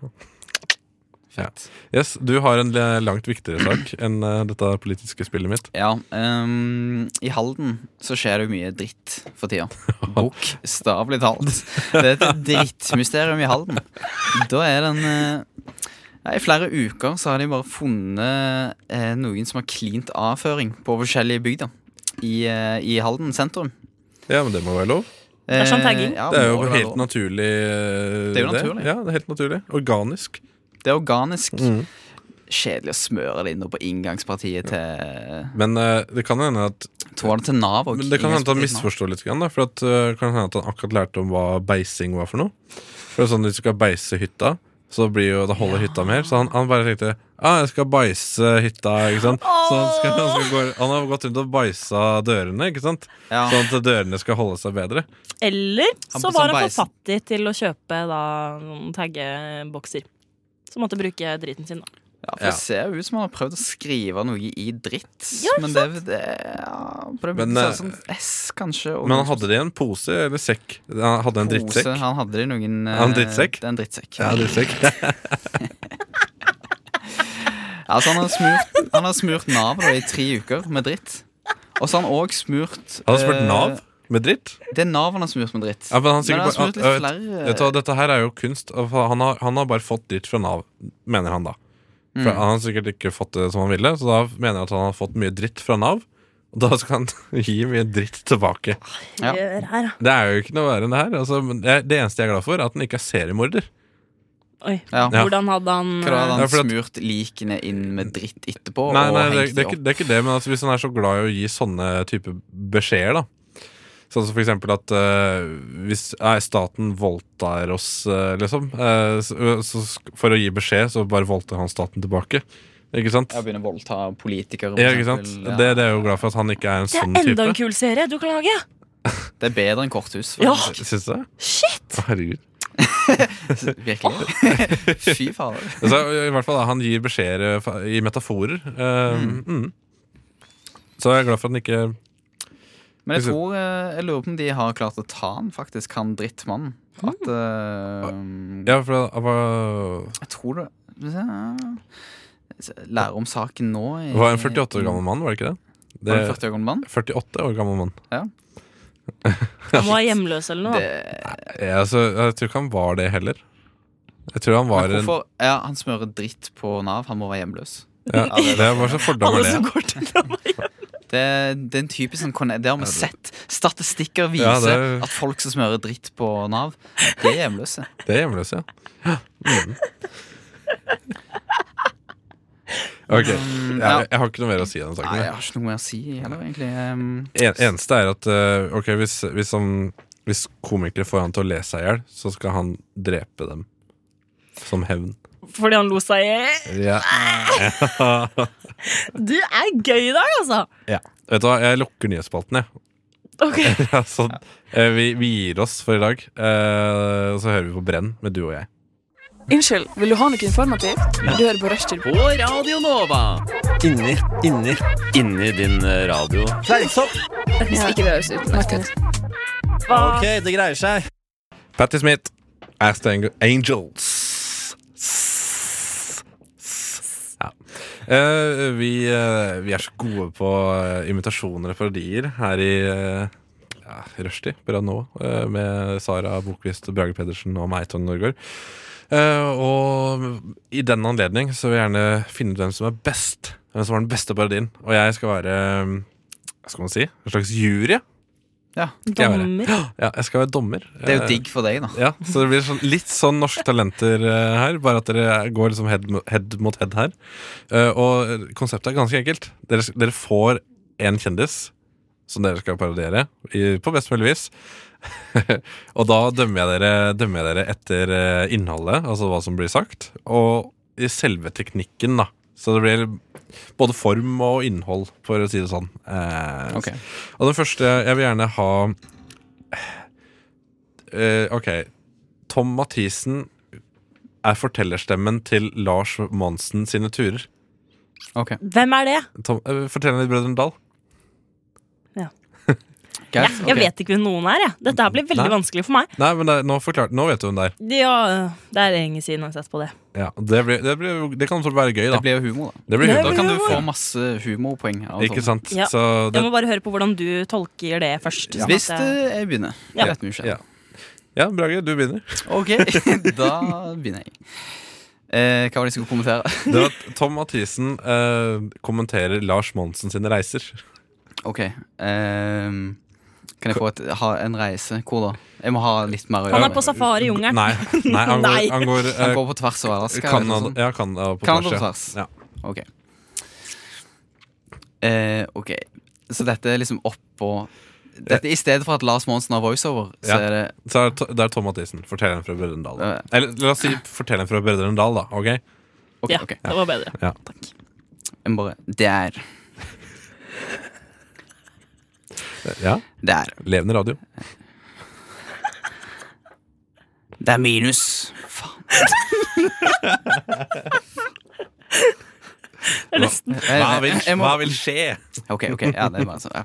[SPEAKER 3] Fett.
[SPEAKER 4] Yes, du har en le- langt viktigere sak enn eh, dette politiske spillet mitt.
[SPEAKER 3] Ja, ehm, I Halden så skjer det jo mye dritt for tida. Bokstavelig talt. Det er et drittmysterium i Halden. Da er den eh, ja, I flere uker så har de bare funnet eh, noen som har klint avføring på forskjellige bygder i, eh, i Halden sentrum.
[SPEAKER 4] Ja, men det må være lov.
[SPEAKER 3] Eh,
[SPEAKER 2] er sånn tagging.
[SPEAKER 3] ja,
[SPEAKER 4] Det er jo
[SPEAKER 3] må det være
[SPEAKER 4] helt
[SPEAKER 3] lov.
[SPEAKER 4] naturlig. eh,
[SPEAKER 3] Det er jo naturlig.
[SPEAKER 4] Ja, det er helt naturlig. Organisk.
[SPEAKER 3] Det er organisk.
[SPEAKER 4] Mm.
[SPEAKER 3] Kjedelig å smøre det inne på inngangspartiet til
[SPEAKER 4] Men eh, det kan hende at
[SPEAKER 3] Tror det til Nav og
[SPEAKER 4] Men det kan hende at han
[SPEAKER 3] inngangspartiet til Nav.
[SPEAKER 4] misforstår litt. Grann, da, for at, øh, kan hende at han akkurat lærte om hva beising var for noe. For det er sånn Hvis du skal beise hytta, så blir jo, da holder hytta mer. Så han, han bare tenkte ah, jeg skal beise hytta. ikke sant? Så han, skal, han, skal gå, han har gått rundt og beisa dørene, ikke sant?
[SPEAKER 3] Ja.
[SPEAKER 4] sånn at dørene skal holde seg bedre.
[SPEAKER 2] Eller
[SPEAKER 3] Han
[SPEAKER 2] så
[SPEAKER 3] på
[SPEAKER 2] var
[SPEAKER 3] sånn
[SPEAKER 2] han for
[SPEAKER 3] beisen.
[SPEAKER 2] fattig til å kjøpe da noen taggebokser. Så måtte bruke driten sin, da.
[SPEAKER 3] Ja, for
[SPEAKER 4] Ja.
[SPEAKER 3] Det ser jo ut som han har prøvd å skrive noe i dritt.
[SPEAKER 2] Ja,
[SPEAKER 3] men det, det ja, for det
[SPEAKER 4] Men,
[SPEAKER 3] ser
[SPEAKER 4] eh,
[SPEAKER 3] ut som S, kanskje. og
[SPEAKER 4] Men han
[SPEAKER 3] noen
[SPEAKER 4] hadde det i en pose eller sekk. Han hadde en
[SPEAKER 3] pose.
[SPEAKER 4] drittsekk.
[SPEAKER 3] Han hadde det i noen eh,
[SPEAKER 4] Han drittsekk?
[SPEAKER 3] Det er en drittsekk.
[SPEAKER 4] Ja, drittsekk.
[SPEAKER 3] Altså, han har smurt, han har smurt Nav da, i tre uker med dritt. Og så har han òg smurt
[SPEAKER 4] Han har spurt
[SPEAKER 3] eh,
[SPEAKER 4] Nav med dritt.
[SPEAKER 3] Det er Nav han har smurt med dritt.
[SPEAKER 4] Ja, men han sikkert
[SPEAKER 3] han har
[SPEAKER 4] bare-
[SPEAKER 3] smurt litt
[SPEAKER 4] han-
[SPEAKER 3] flere
[SPEAKER 4] Vet du hva, Dette her er jo kunst. og for Han har, han har bare fått dritt fra Nav, mener han da.
[SPEAKER 3] mm,
[SPEAKER 4] For Han har sikkert ikke fått det som han ville, så da mener jeg at han har fått mye dritt fra Nav. Og da skal han gi mye dritt tilbake.
[SPEAKER 3] Ja.
[SPEAKER 2] Hør her.
[SPEAKER 4] Det er jo ikke noe verre enn det her. Altså, men det, det eneste jeg er glad for, er at han ikke er seriemorder.
[SPEAKER 2] Oi.
[SPEAKER 3] Ja.
[SPEAKER 2] Hvordan hadde han eh,
[SPEAKER 3] Hva da, hadde han
[SPEAKER 4] Ja, for at-
[SPEAKER 3] smurt likene inn med dritt etterpå?
[SPEAKER 4] Nei,
[SPEAKER 3] og
[SPEAKER 4] nei det,
[SPEAKER 3] hengt
[SPEAKER 4] det,
[SPEAKER 3] de
[SPEAKER 4] er ikke,
[SPEAKER 3] opp?
[SPEAKER 4] det er ikke det, men altså, hvis han er så glad i å gi sånne type beskjeder, da. Sånn som for eksempel at eh, hvis nei, staten voldtar oss, eh, liksom, eh, så, så sk- for å gi beskjed, så bare voldtar han staten tilbake. Ikke sant?
[SPEAKER 3] Ja, begynne å voldta politikere. for
[SPEAKER 4] Ja, ikke sant?
[SPEAKER 3] eksempel. Ja.
[SPEAKER 4] Det, det er jeg jo glad for at han ikke er en
[SPEAKER 2] Det er
[SPEAKER 4] sånn
[SPEAKER 2] enda en
[SPEAKER 4] type.
[SPEAKER 2] kul serie du kan lage!
[SPEAKER 3] Det er bedre enn korthus.
[SPEAKER 2] Ja.
[SPEAKER 3] faktisk.
[SPEAKER 4] Syns du?
[SPEAKER 2] Shit!
[SPEAKER 4] Herregud.
[SPEAKER 3] Virkelig. Fy fader.
[SPEAKER 4] Altså, I hvert fall da, Han gir beskjeder eh, fa- i metaforer. Eh, mm. Så jeg er glad for at han ikke
[SPEAKER 3] Men jeg
[SPEAKER 4] Liksom-
[SPEAKER 3] tror eh, Jeg lurer på om de har klart å ta han faktisk, han drittmannen.
[SPEAKER 4] Mm.
[SPEAKER 3] At eh,
[SPEAKER 4] Ja, for det var,
[SPEAKER 3] Jeg tror det ja. Lære om saken nå. i-
[SPEAKER 4] det var en 48 år gammel mann, var det ikke det?
[SPEAKER 3] Var det en
[SPEAKER 4] det
[SPEAKER 3] 48 år gammel mann?
[SPEAKER 4] 48 år gammel mann.
[SPEAKER 2] Han var hjemløs eller noe.
[SPEAKER 3] Det,
[SPEAKER 4] Jeg, altså, jeg tror ikke han var det heller. Jeg tror han var
[SPEAKER 3] men
[SPEAKER 4] en
[SPEAKER 3] hvorfor Ja, han smører dritt på Nav. Han må være hjemløs.
[SPEAKER 4] ja, Det var så fordom
[SPEAKER 2] Alle
[SPEAKER 4] det.
[SPEAKER 2] som går til Nav.
[SPEAKER 3] Det, det er en typisk sånn konne- Det har vi sett. Statistikker viser
[SPEAKER 4] Ja, det-
[SPEAKER 3] at folk som smører dritt på Nav, de er hjemløse.
[SPEAKER 4] Det er hjemløse, ja. Mm. Ok. Jeg,
[SPEAKER 3] ja.
[SPEAKER 4] jeg har ikke noe mer å si om den saken.
[SPEAKER 3] Nei,
[SPEAKER 4] jeg.
[SPEAKER 3] jeg har ikke noe mer å si heller, egentlig. Um,
[SPEAKER 4] En, eneste er at eh, Ok, hvis, hvis, han, hvis komikere får han til å le seg i hjel, så skal han drepe dem. Som hevn.
[SPEAKER 2] Fordi han lo seg i
[SPEAKER 4] Ja.
[SPEAKER 2] Du er gøy i dag, altså!
[SPEAKER 4] Vet du hva, jeg lukker nyhetsspalten, jeg.
[SPEAKER 2] Ok,
[SPEAKER 4] Ja, så, eh, vi, vi gir oss for i dag. eh, Og så hører vi på Brenn med du og jeg.
[SPEAKER 5] Unnskyld, vil du ha noe informativt? Du hører på Rushtid.
[SPEAKER 8] Inni, inni, inni din eh, radio. Fleisopp!
[SPEAKER 5] Hvis ikke det høres ut som Rushtid.
[SPEAKER 8] Ok, det greier seg.
[SPEAKER 4] Patti Smith, Ast Angels. Ja. Eh, vi, eh, vi er så gode på eh, imitasjoner og parodier her i uh, ja, Rushdie på Radio Nova, eh, med Sara Bokvist, Brage Pedersen og meg, Tonje Norgård. Eh, og i den anledning så vil jeg gjerne finne ut hvem som er best. Hvem som har den beste parodien. Og jeg skal være eh, Hva skal man si? En slags jury.
[SPEAKER 3] ja.
[SPEAKER 4] Skal jeg være?
[SPEAKER 2] dommer.
[SPEAKER 4] Ja, jeg skal være dommer.
[SPEAKER 3] Det er
[SPEAKER 4] Eh,
[SPEAKER 3] jo digg for deg, da.
[SPEAKER 4] ja, så det blir sånn, litt sånn norske talenter eh, her, bare at dere går liksom head, mo- head mot head her. Eh, og konseptet er ganske enkelt. Dere, s- dere får en kjendis som dere skal parodiere, i, på best mulig vis. og da dømmer jeg dere, dømmer jeg dere etter eh, innholdet, altså hva som blir sagt, og i selve teknikken, da. Så det blir både form og innhold, for å si det sånn. Eh,
[SPEAKER 3] Ok.
[SPEAKER 4] Og den første Jeg vil gjerne ha eh, Ok. Tom Mathisen er fortellerstemmen til Lars Monsen sine turer.
[SPEAKER 3] ok
[SPEAKER 2] Hvem er det?
[SPEAKER 4] Tom, eh, fortell litt Brødrene Dal.
[SPEAKER 2] Ja,
[SPEAKER 3] Greit,
[SPEAKER 2] jeg
[SPEAKER 3] ok.
[SPEAKER 2] vet ikke hvem noen er. Jeg. Dette her blir veldig
[SPEAKER 4] Nei.
[SPEAKER 2] vanskelig for meg.
[SPEAKER 4] Nei, men det, er- nå, forklart, nå vet du hvem det er.
[SPEAKER 2] Ja, Det er lenge siden jeg har sett på det.
[SPEAKER 4] Ja, det, blir, det, blir, jo- det kan også være gøy, da.
[SPEAKER 3] Det blir jo humor, da.
[SPEAKER 4] Det blir
[SPEAKER 2] Det
[SPEAKER 4] humor.
[SPEAKER 3] Da
[SPEAKER 2] blir
[SPEAKER 3] kan du
[SPEAKER 2] humor.
[SPEAKER 3] få sånn. masse humorpoeng. altså. av
[SPEAKER 4] Ikke
[SPEAKER 3] sånt.
[SPEAKER 4] sant?
[SPEAKER 2] Ja.
[SPEAKER 4] Så det,
[SPEAKER 2] Jeg må bare høre på hvordan du tolker det først. sånn
[SPEAKER 3] Hvis
[SPEAKER 2] at jeg-
[SPEAKER 3] eh, jeg begynner.
[SPEAKER 2] Ja.
[SPEAKER 3] Jeg vet mye ikke.
[SPEAKER 4] Ja. ja, Brage, du begynner.
[SPEAKER 3] Ok, da begynner jeg. Eh, hva var det jeg skulle kommentere?
[SPEAKER 4] Det var at Tom Mathisen eh, kommenterer Lars Monsen sine reiser.
[SPEAKER 3] Ok. ehm, kan jeg få et, ha en reise? Hvor da? Jeg må ha litt mer å
[SPEAKER 2] Han
[SPEAKER 3] gjøre.
[SPEAKER 2] er på safari i jungelen.
[SPEAKER 4] Nei, nei, han går,
[SPEAKER 2] Nei.
[SPEAKER 4] Han går, eh,
[SPEAKER 3] Han går på tvers av Alaska? eller noe
[SPEAKER 4] Kanada,
[SPEAKER 3] sånt.
[SPEAKER 4] ja, Canada på
[SPEAKER 3] Canada
[SPEAKER 4] tvers.
[SPEAKER 3] på tvers.
[SPEAKER 4] Ja.
[SPEAKER 3] Ok. Eh, ok, så dette er liksom oppå Dette I stedet for at Lars Monsen har voiceover, så
[SPEAKER 4] Eh. Ja.
[SPEAKER 3] er det
[SPEAKER 4] Så er to- det er Tom Mathisen. Fortelleren fra Brødrene Dal.
[SPEAKER 3] Ja.
[SPEAKER 4] Eller la oss si Fortelleren fra Brødrene Dal, da. ok?
[SPEAKER 3] Ok,
[SPEAKER 2] Ja,
[SPEAKER 3] ok.
[SPEAKER 2] det var bedre.
[SPEAKER 4] Ja.
[SPEAKER 3] Jeg må bare Der.
[SPEAKER 4] ja.
[SPEAKER 3] Der.
[SPEAKER 4] Levende radio.
[SPEAKER 3] Det er minus. Faen.
[SPEAKER 4] Hva,
[SPEAKER 3] Jeg-
[SPEAKER 4] hva, vil,
[SPEAKER 3] jeg må-
[SPEAKER 4] hva vil skje?
[SPEAKER 3] Ok, ok, ja, det er bare sånn ja.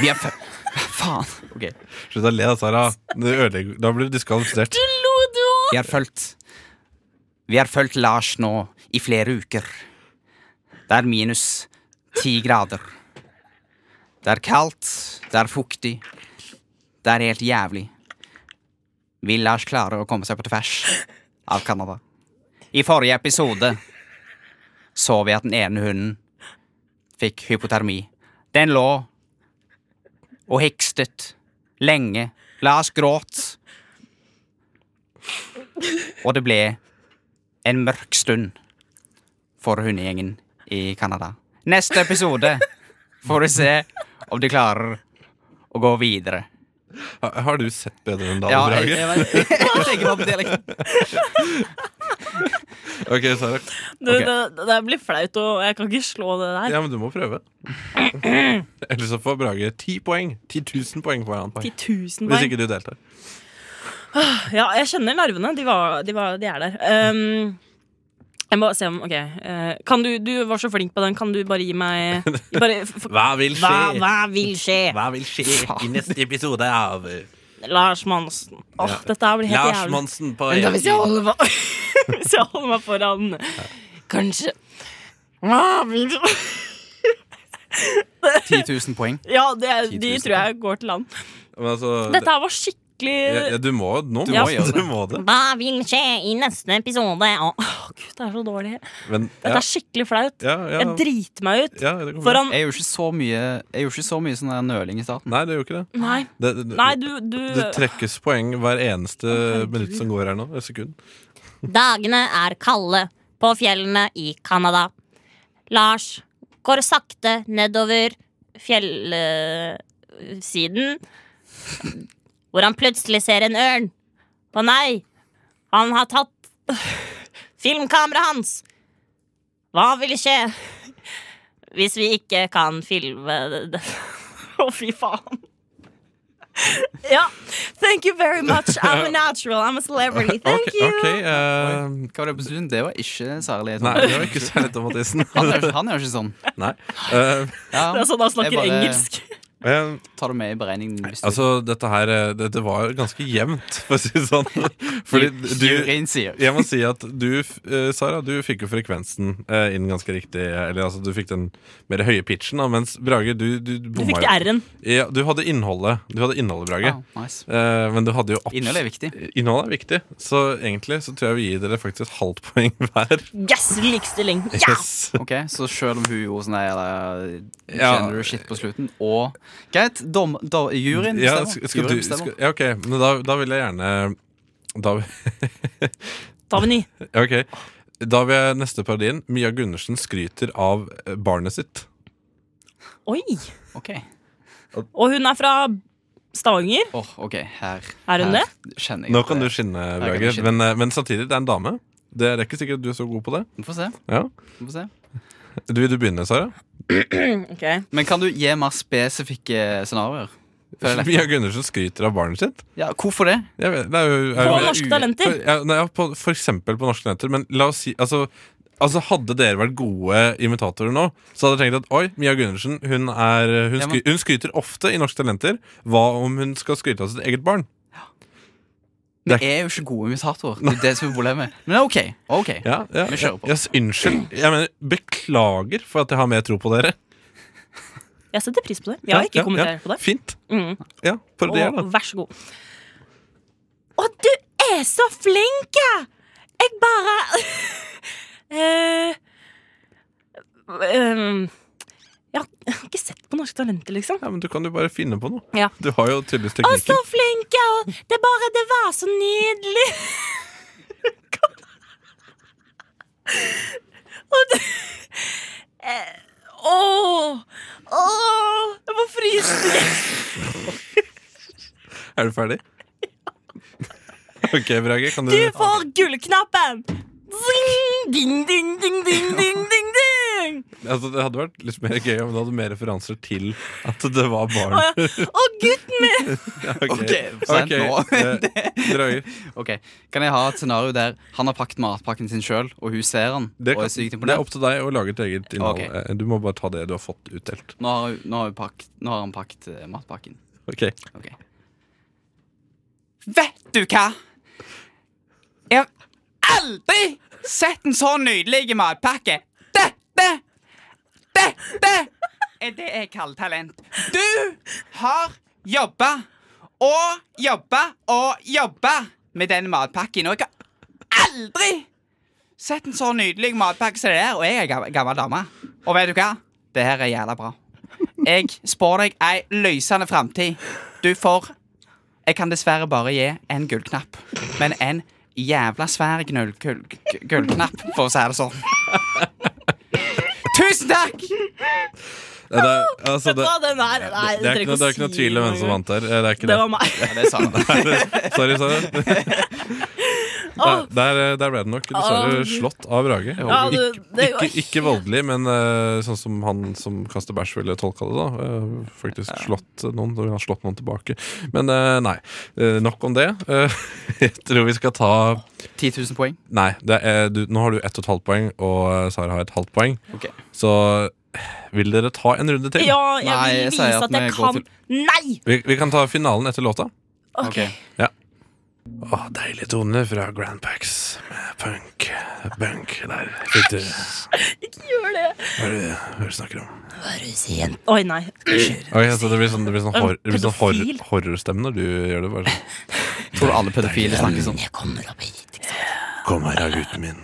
[SPEAKER 3] Vi er fø... Faen Ok
[SPEAKER 4] Slutt å le, da, Sara. Du ødelegger- Da blir du diskvalifisert.
[SPEAKER 3] Vi har følt Vi har følt Lars nå i flere uker Det er minus 10 grader Det er kaldt Det er fuktig Det er helt jævlig Vil Lars klare å komme seg på tvers Av Kanada I forrige episode Så vi at den ene hunden Fikk hypotermi Den lå Og hikstet Lenge Lars gråt og det ble en mørk stund for hundegjengen i Canada. Neste episode får du se om de klarer å gå videre.
[SPEAKER 4] Har, har du sett Brødrene Dal,
[SPEAKER 3] Ja, jeg,
[SPEAKER 4] Brage?
[SPEAKER 3] jeg, vet- jeg tenker bare på dialekten.
[SPEAKER 4] Ok, Sara.
[SPEAKER 2] Du,
[SPEAKER 3] Ok.
[SPEAKER 2] det, det blir flaut, og jeg kan ikke slå det der.
[SPEAKER 4] Ja, men du må prøve. Eller så får Brage ti poeng. 10 000 poeng får han.
[SPEAKER 2] 10 000
[SPEAKER 4] Hvis
[SPEAKER 2] poeng.
[SPEAKER 4] ikke du deltar.
[SPEAKER 2] Ja, jeg kjenner nervene. De, var, de, var, de er der. Um, jeg må se om Ok. eh, kan du, du var så flink på den. Kan du bare gi meg bare, f- f-
[SPEAKER 1] Hva vil
[SPEAKER 2] hva, hva vil skje?
[SPEAKER 1] Hva vil skje i neste episode av
[SPEAKER 2] Lars Monsen. Åh,
[SPEAKER 4] Ja.
[SPEAKER 2] Dette her blir helt jævlig.
[SPEAKER 1] Monsen på
[SPEAKER 2] Men da, hvis, jeg holder meg, hvis jeg holder meg foran Kanskje Hva vil
[SPEAKER 3] 10 000 poeng.
[SPEAKER 2] Ja, det, de
[SPEAKER 3] 10 000.
[SPEAKER 2] tror jeg går til land.
[SPEAKER 4] Men altså,
[SPEAKER 2] Dette
[SPEAKER 4] det-
[SPEAKER 2] her var skikkelig
[SPEAKER 4] ja, ja, du må nå
[SPEAKER 3] Du
[SPEAKER 4] må,
[SPEAKER 3] må gjøre det.
[SPEAKER 4] du må det.
[SPEAKER 2] Hva vil skje i neste episode? Åh, Gud, det er så dårlig.
[SPEAKER 4] Men
[SPEAKER 2] Dette
[SPEAKER 4] ja,
[SPEAKER 2] er skikkelig flaut.
[SPEAKER 4] ja, ja,
[SPEAKER 2] Jeg driter meg ut
[SPEAKER 4] ja, det går bra.
[SPEAKER 2] foran
[SPEAKER 3] Jeg gjorde ikke så mye Jeg gjorde ikke så mye sånn der nøling i starten.
[SPEAKER 4] Nei, det gjør ikke det.
[SPEAKER 2] Nei,
[SPEAKER 4] Det, det,
[SPEAKER 2] nei du, du
[SPEAKER 4] det trekkes poeng hver eneste minutt som går her nå. Et sekund.
[SPEAKER 9] Dagene er kalde på fjellene i Canada. Lars går sakte nedover fjellsiden, hvor han plutselig ser en ørn. Å nei, han har tatt filmkameraet hans! Hva vil skje hvis vi ikke kan filme det?
[SPEAKER 2] Å, fy faen. Ja. Thank you very much. I'm a natural. I'm a celebrity. Thank
[SPEAKER 4] Ok,
[SPEAKER 2] you.
[SPEAKER 4] ok, eh,
[SPEAKER 3] Hva var det på stunden? Det var ikke særlig sånn.
[SPEAKER 4] Nei, det var ikke særlig Tom Mathisen.
[SPEAKER 3] Han er, han er jo ikke sånn.
[SPEAKER 4] Nei. Eh,
[SPEAKER 3] Ja,
[SPEAKER 2] Det er sånn han snakker
[SPEAKER 3] jeg bare
[SPEAKER 2] engelsk.
[SPEAKER 4] eh,
[SPEAKER 3] Tar det med i beregningen. Hvis du-
[SPEAKER 4] altså, dette her eh, det, det var ganske jevnt, for å si det sånn. Fordi du
[SPEAKER 3] Juryen sier
[SPEAKER 4] jeg må si at du, eh, Sara, du fikk jo frekvensen eh, inn ganske riktig. Eller altså, du fikk den mer høye pitchen, da, mens Brage, du, du
[SPEAKER 2] Du
[SPEAKER 4] bomma
[SPEAKER 2] fikk
[SPEAKER 4] jo.
[SPEAKER 2] R-en.
[SPEAKER 4] Ja, du hadde innholdet, Du hadde innholdet, Brage.
[SPEAKER 3] ah, nice.
[SPEAKER 4] Eh, men du hadde jo abs-
[SPEAKER 3] Innholdet er viktig.
[SPEAKER 4] Innholdet er viktig, så egentlig så tror jeg vi gir dere faktisk et halvt poeng hver.
[SPEAKER 2] Yes, likestilling. Ja!
[SPEAKER 4] Yes.
[SPEAKER 3] Ok, Så selv om hun gjorde sånn der eller,
[SPEAKER 4] Ja.
[SPEAKER 3] Gender shit på slutten og Greit, dom, da, juryen
[SPEAKER 4] Ja,
[SPEAKER 3] bestemmer.
[SPEAKER 4] skal, skal
[SPEAKER 3] Juryen
[SPEAKER 4] du,
[SPEAKER 3] bestemmer.
[SPEAKER 4] skal, ja, ok, men da, da vil jeg gjerne da,
[SPEAKER 2] Ta med ny.
[SPEAKER 4] ja, ok. da vil jeg neste parodien. Mia Gundersen skryter av eh, barnet sitt.
[SPEAKER 2] Oi.
[SPEAKER 3] Ok,
[SPEAKER 2] Og hun er fra Stavanger.
[SPEAKER 3] Åh, ok, her
[SPEAKER 2] Er hun
[SPEAKER 3] her Kjenner jeg
[SPEAKER 4] Nå
[SPEAKER 3] at
[SPEAKER 4] kan du
[SPEAKER 3] det-
[SPEAKER 4] skinne,
[SPEAKER 3] kan
[SPEAKER 4] Brage.
[SPEAKER 3] jeg skinne.
[SPEAKER 4] Men, eh, men samtidig, det er en dame. Det er ikke sikkert at du er så god på det.
[SPEAKER 3] Vi får se.
[SPEAKER 4] Ja.
[SPEAKER 3] Vi får se.
[SPEAKER 4] Du, vil du begynne, Sara?
[SPEAKER 3] Men kan du gi mer spesifikke scenarioer? Føler jeg.
[SPEAKER 4] Mia Gundersen skryter av barnet sitt.
[SPEAKER 3] Ja, hvorfor det?
[SPEAKER 4] Jeg vet, det er jo, er
[SPEAKER 2] På
[SPEAKER 4] jo,
[SPEAKER 2] Norske Talenter.
[SPEAKER 4] For, ja, nei, ja, på, for eksempel på norske talenter. Men la oss si altså, altså Hadde dere vært gode imitatorer nå, så hadde jeg tenkt at oi, Mia Gundersen hun, er, eh, hun,
[SPEAKER 3] Ja, men-
[SPEAKER 4] skry, hun skryter ofte i Norske Talenter. Hva om hun skal skryte av sitt eget barn?
[SPEAKER 3] Vi er jo ikke gode imitatorer. Det er det som er problemet. Men OK. ok
[SPEAKER 4] Ja, ja,
[SPEAKER 3] Vi kjører på.
[SPEAKER 4] ja, s- unnskyld. Jeg mener, beklager for at jeg har mer tro på dere.
[SPEAKER 2] Jeg setter pris på det. Jeg har ikke kommentert på det.
[SPEAKER 4] Fint.
[SPEAKER 2] Mm.
[SPEAKER 4] Ja, parodier, da.
[SPEAKER 2] Og vær så god. Å, du er så flink! ja! Jeg bare eh, ehm, Jeg har jeg har ikke sett på Norske Talenter, liksom.
[SPEAKER 4] Ja, men du kan jo bare finne på noe.
[SPEAKER 2] Ja.
[SPEAKER 4] Du har jo tydeligvis
[SPEAKER 2] Å, så
[SPEAKER 4] teknikken.
[SPEAKER 2] flink! ja, Og det er bare Det var så nydelig! Og det eh, Åh! Åh! Jeg må fryse til hjel.
[SPEAKER 4] Er du ferdig? Ok, Brage. Kan du,
[SPEAKER 2] Du får gullknappen! Zing, ding, ding, ding, ding, ding, ding, ding.
[SPEAKER 4] Altså, det hadde vært litt mer gøy om du hadde mer referanser til at det var barn.
[SPEAKER 2] Å, ja. Å, gutten min!
[SPEAKER 4] Ja,
[SPEAKER 3] Ok, sent nå.
[SPEAKER 4] Drager.
[SPEAKER 3] Ok, Kan jeg ha et scenario der han har pakket matpakken sin sjøl, og hun ser han?
[SPEAKER 4] Det,
[SPEAKER 3] og
[SPEAKER 4] kan,
[SPEAKER 3] er sykt
[SPEAKER 4] det er
[SPEAKER 3] imponert?
[SPEAKER 4] opp til deg å lage et eget innhold.
[SPEAKER 3] Ok.
[SPEAKER 4] Eh, Du må bare ta det du har fått utdelt.
[SPEAKER 3] Nå har, hun- nå, har hun pakket, nå har han pakket eh, matpakken.
[SPEAKER 4] Ok.
[SPEAKER 3] Ok Vet du hva? Jeg har aldri sett en så nydelig matpakke. Dette Dette er det jeg kaller talent. Du har jobba og jobba og jobba med den matpakken. Og jeg har aldri sett en så nydelig matpakke som det der. Og jeg er gammel, gammel dame. Og vet du hva? Det her er jævla bra. Jeg spår deg ei lysende framtid. Du får Jeg kan dessverre bare gi en gullknapp, men en jævla svær knull- gull- gu- gullknapp, for å si det sånn. Tusen takk!
[SPEAKER 4] Eh, Det er, altså, det,
[SPEAKER 2] Å, den her, nei,
[SPEAKER 4] det, er, ikke, noe- det er ikke noe tvil om hvem som vant der. Eh, Det er ikke
[SPEAKER 2] Det
[SPEAKER 4] det.
[SPEAKER 2] var meg.
[SPEAKER 3] Ja, det er sant.
[SPEAKER 4] Sorry, Sara. Der, der, eh, der ble det nok dessverre
[SPEAKER 2] Åh.
[SPEAKER 4] slått av Brage.
[SPEAKER 2] Ja, det- det var
[SPEAKER 4] Ikke, ikke voldelig, men eh, sånn som han som kaster bæsj ville tolka det, da. eh, faktisk slått noen, og han har slått noen tilbake. Men eh, nei, eh, nok om det. Eh, jeg tror vi skal ta
[SPEAKER 3] 10 000 poeng.
[SPEAKER 4] Nei, det er, du, nå har du ett og et halvt poeng, og eh, Sara har et halvt poeng.
[SPEAKER 3] Ok.
[SPEAKER 4] Så eh, vil dere ta en runde til?
[SPEAKER 2] Ja, jeg
[SPEAKER 3] Nei,
[SPEAKER 2] vil
[SPEAKER 3] jeg
[SPEAKER 2] vise
[SPEAKER 3] sier at
[SPEAKER 2] at jeg
[SPEAKER 3] vi går
[SPEAKER 2] kan Nei!
[SPEAKER 4] Vi, vi kan ta finalen etter låta.
[SPEAKER 2] Ok.
[SPEAKER 4] Åh, deilig tone fra Grand Pax med punk. Bunk der. Fikk du
[SPEAKER 2] Ikke gjør det.
[SPEAKER 4] hva er det hva er det du snakker om?
[SPEAKER 2] Oi, nei.
[SPEAKER 4] Ok, så Det blir sånn, det blir sånn, hor, det blir sånn hor,
[SPEAKER 2] Pedofil.
[SPEAKER 4] horrorstemme når du gjør det. bare sånn.
[SPEAKER 3] Tror du alle pedofile snakker sånn?
[SPEAKER 2] Jeg kommer opp hit.
[SPEAKER 4] Kom her, da, gutten min.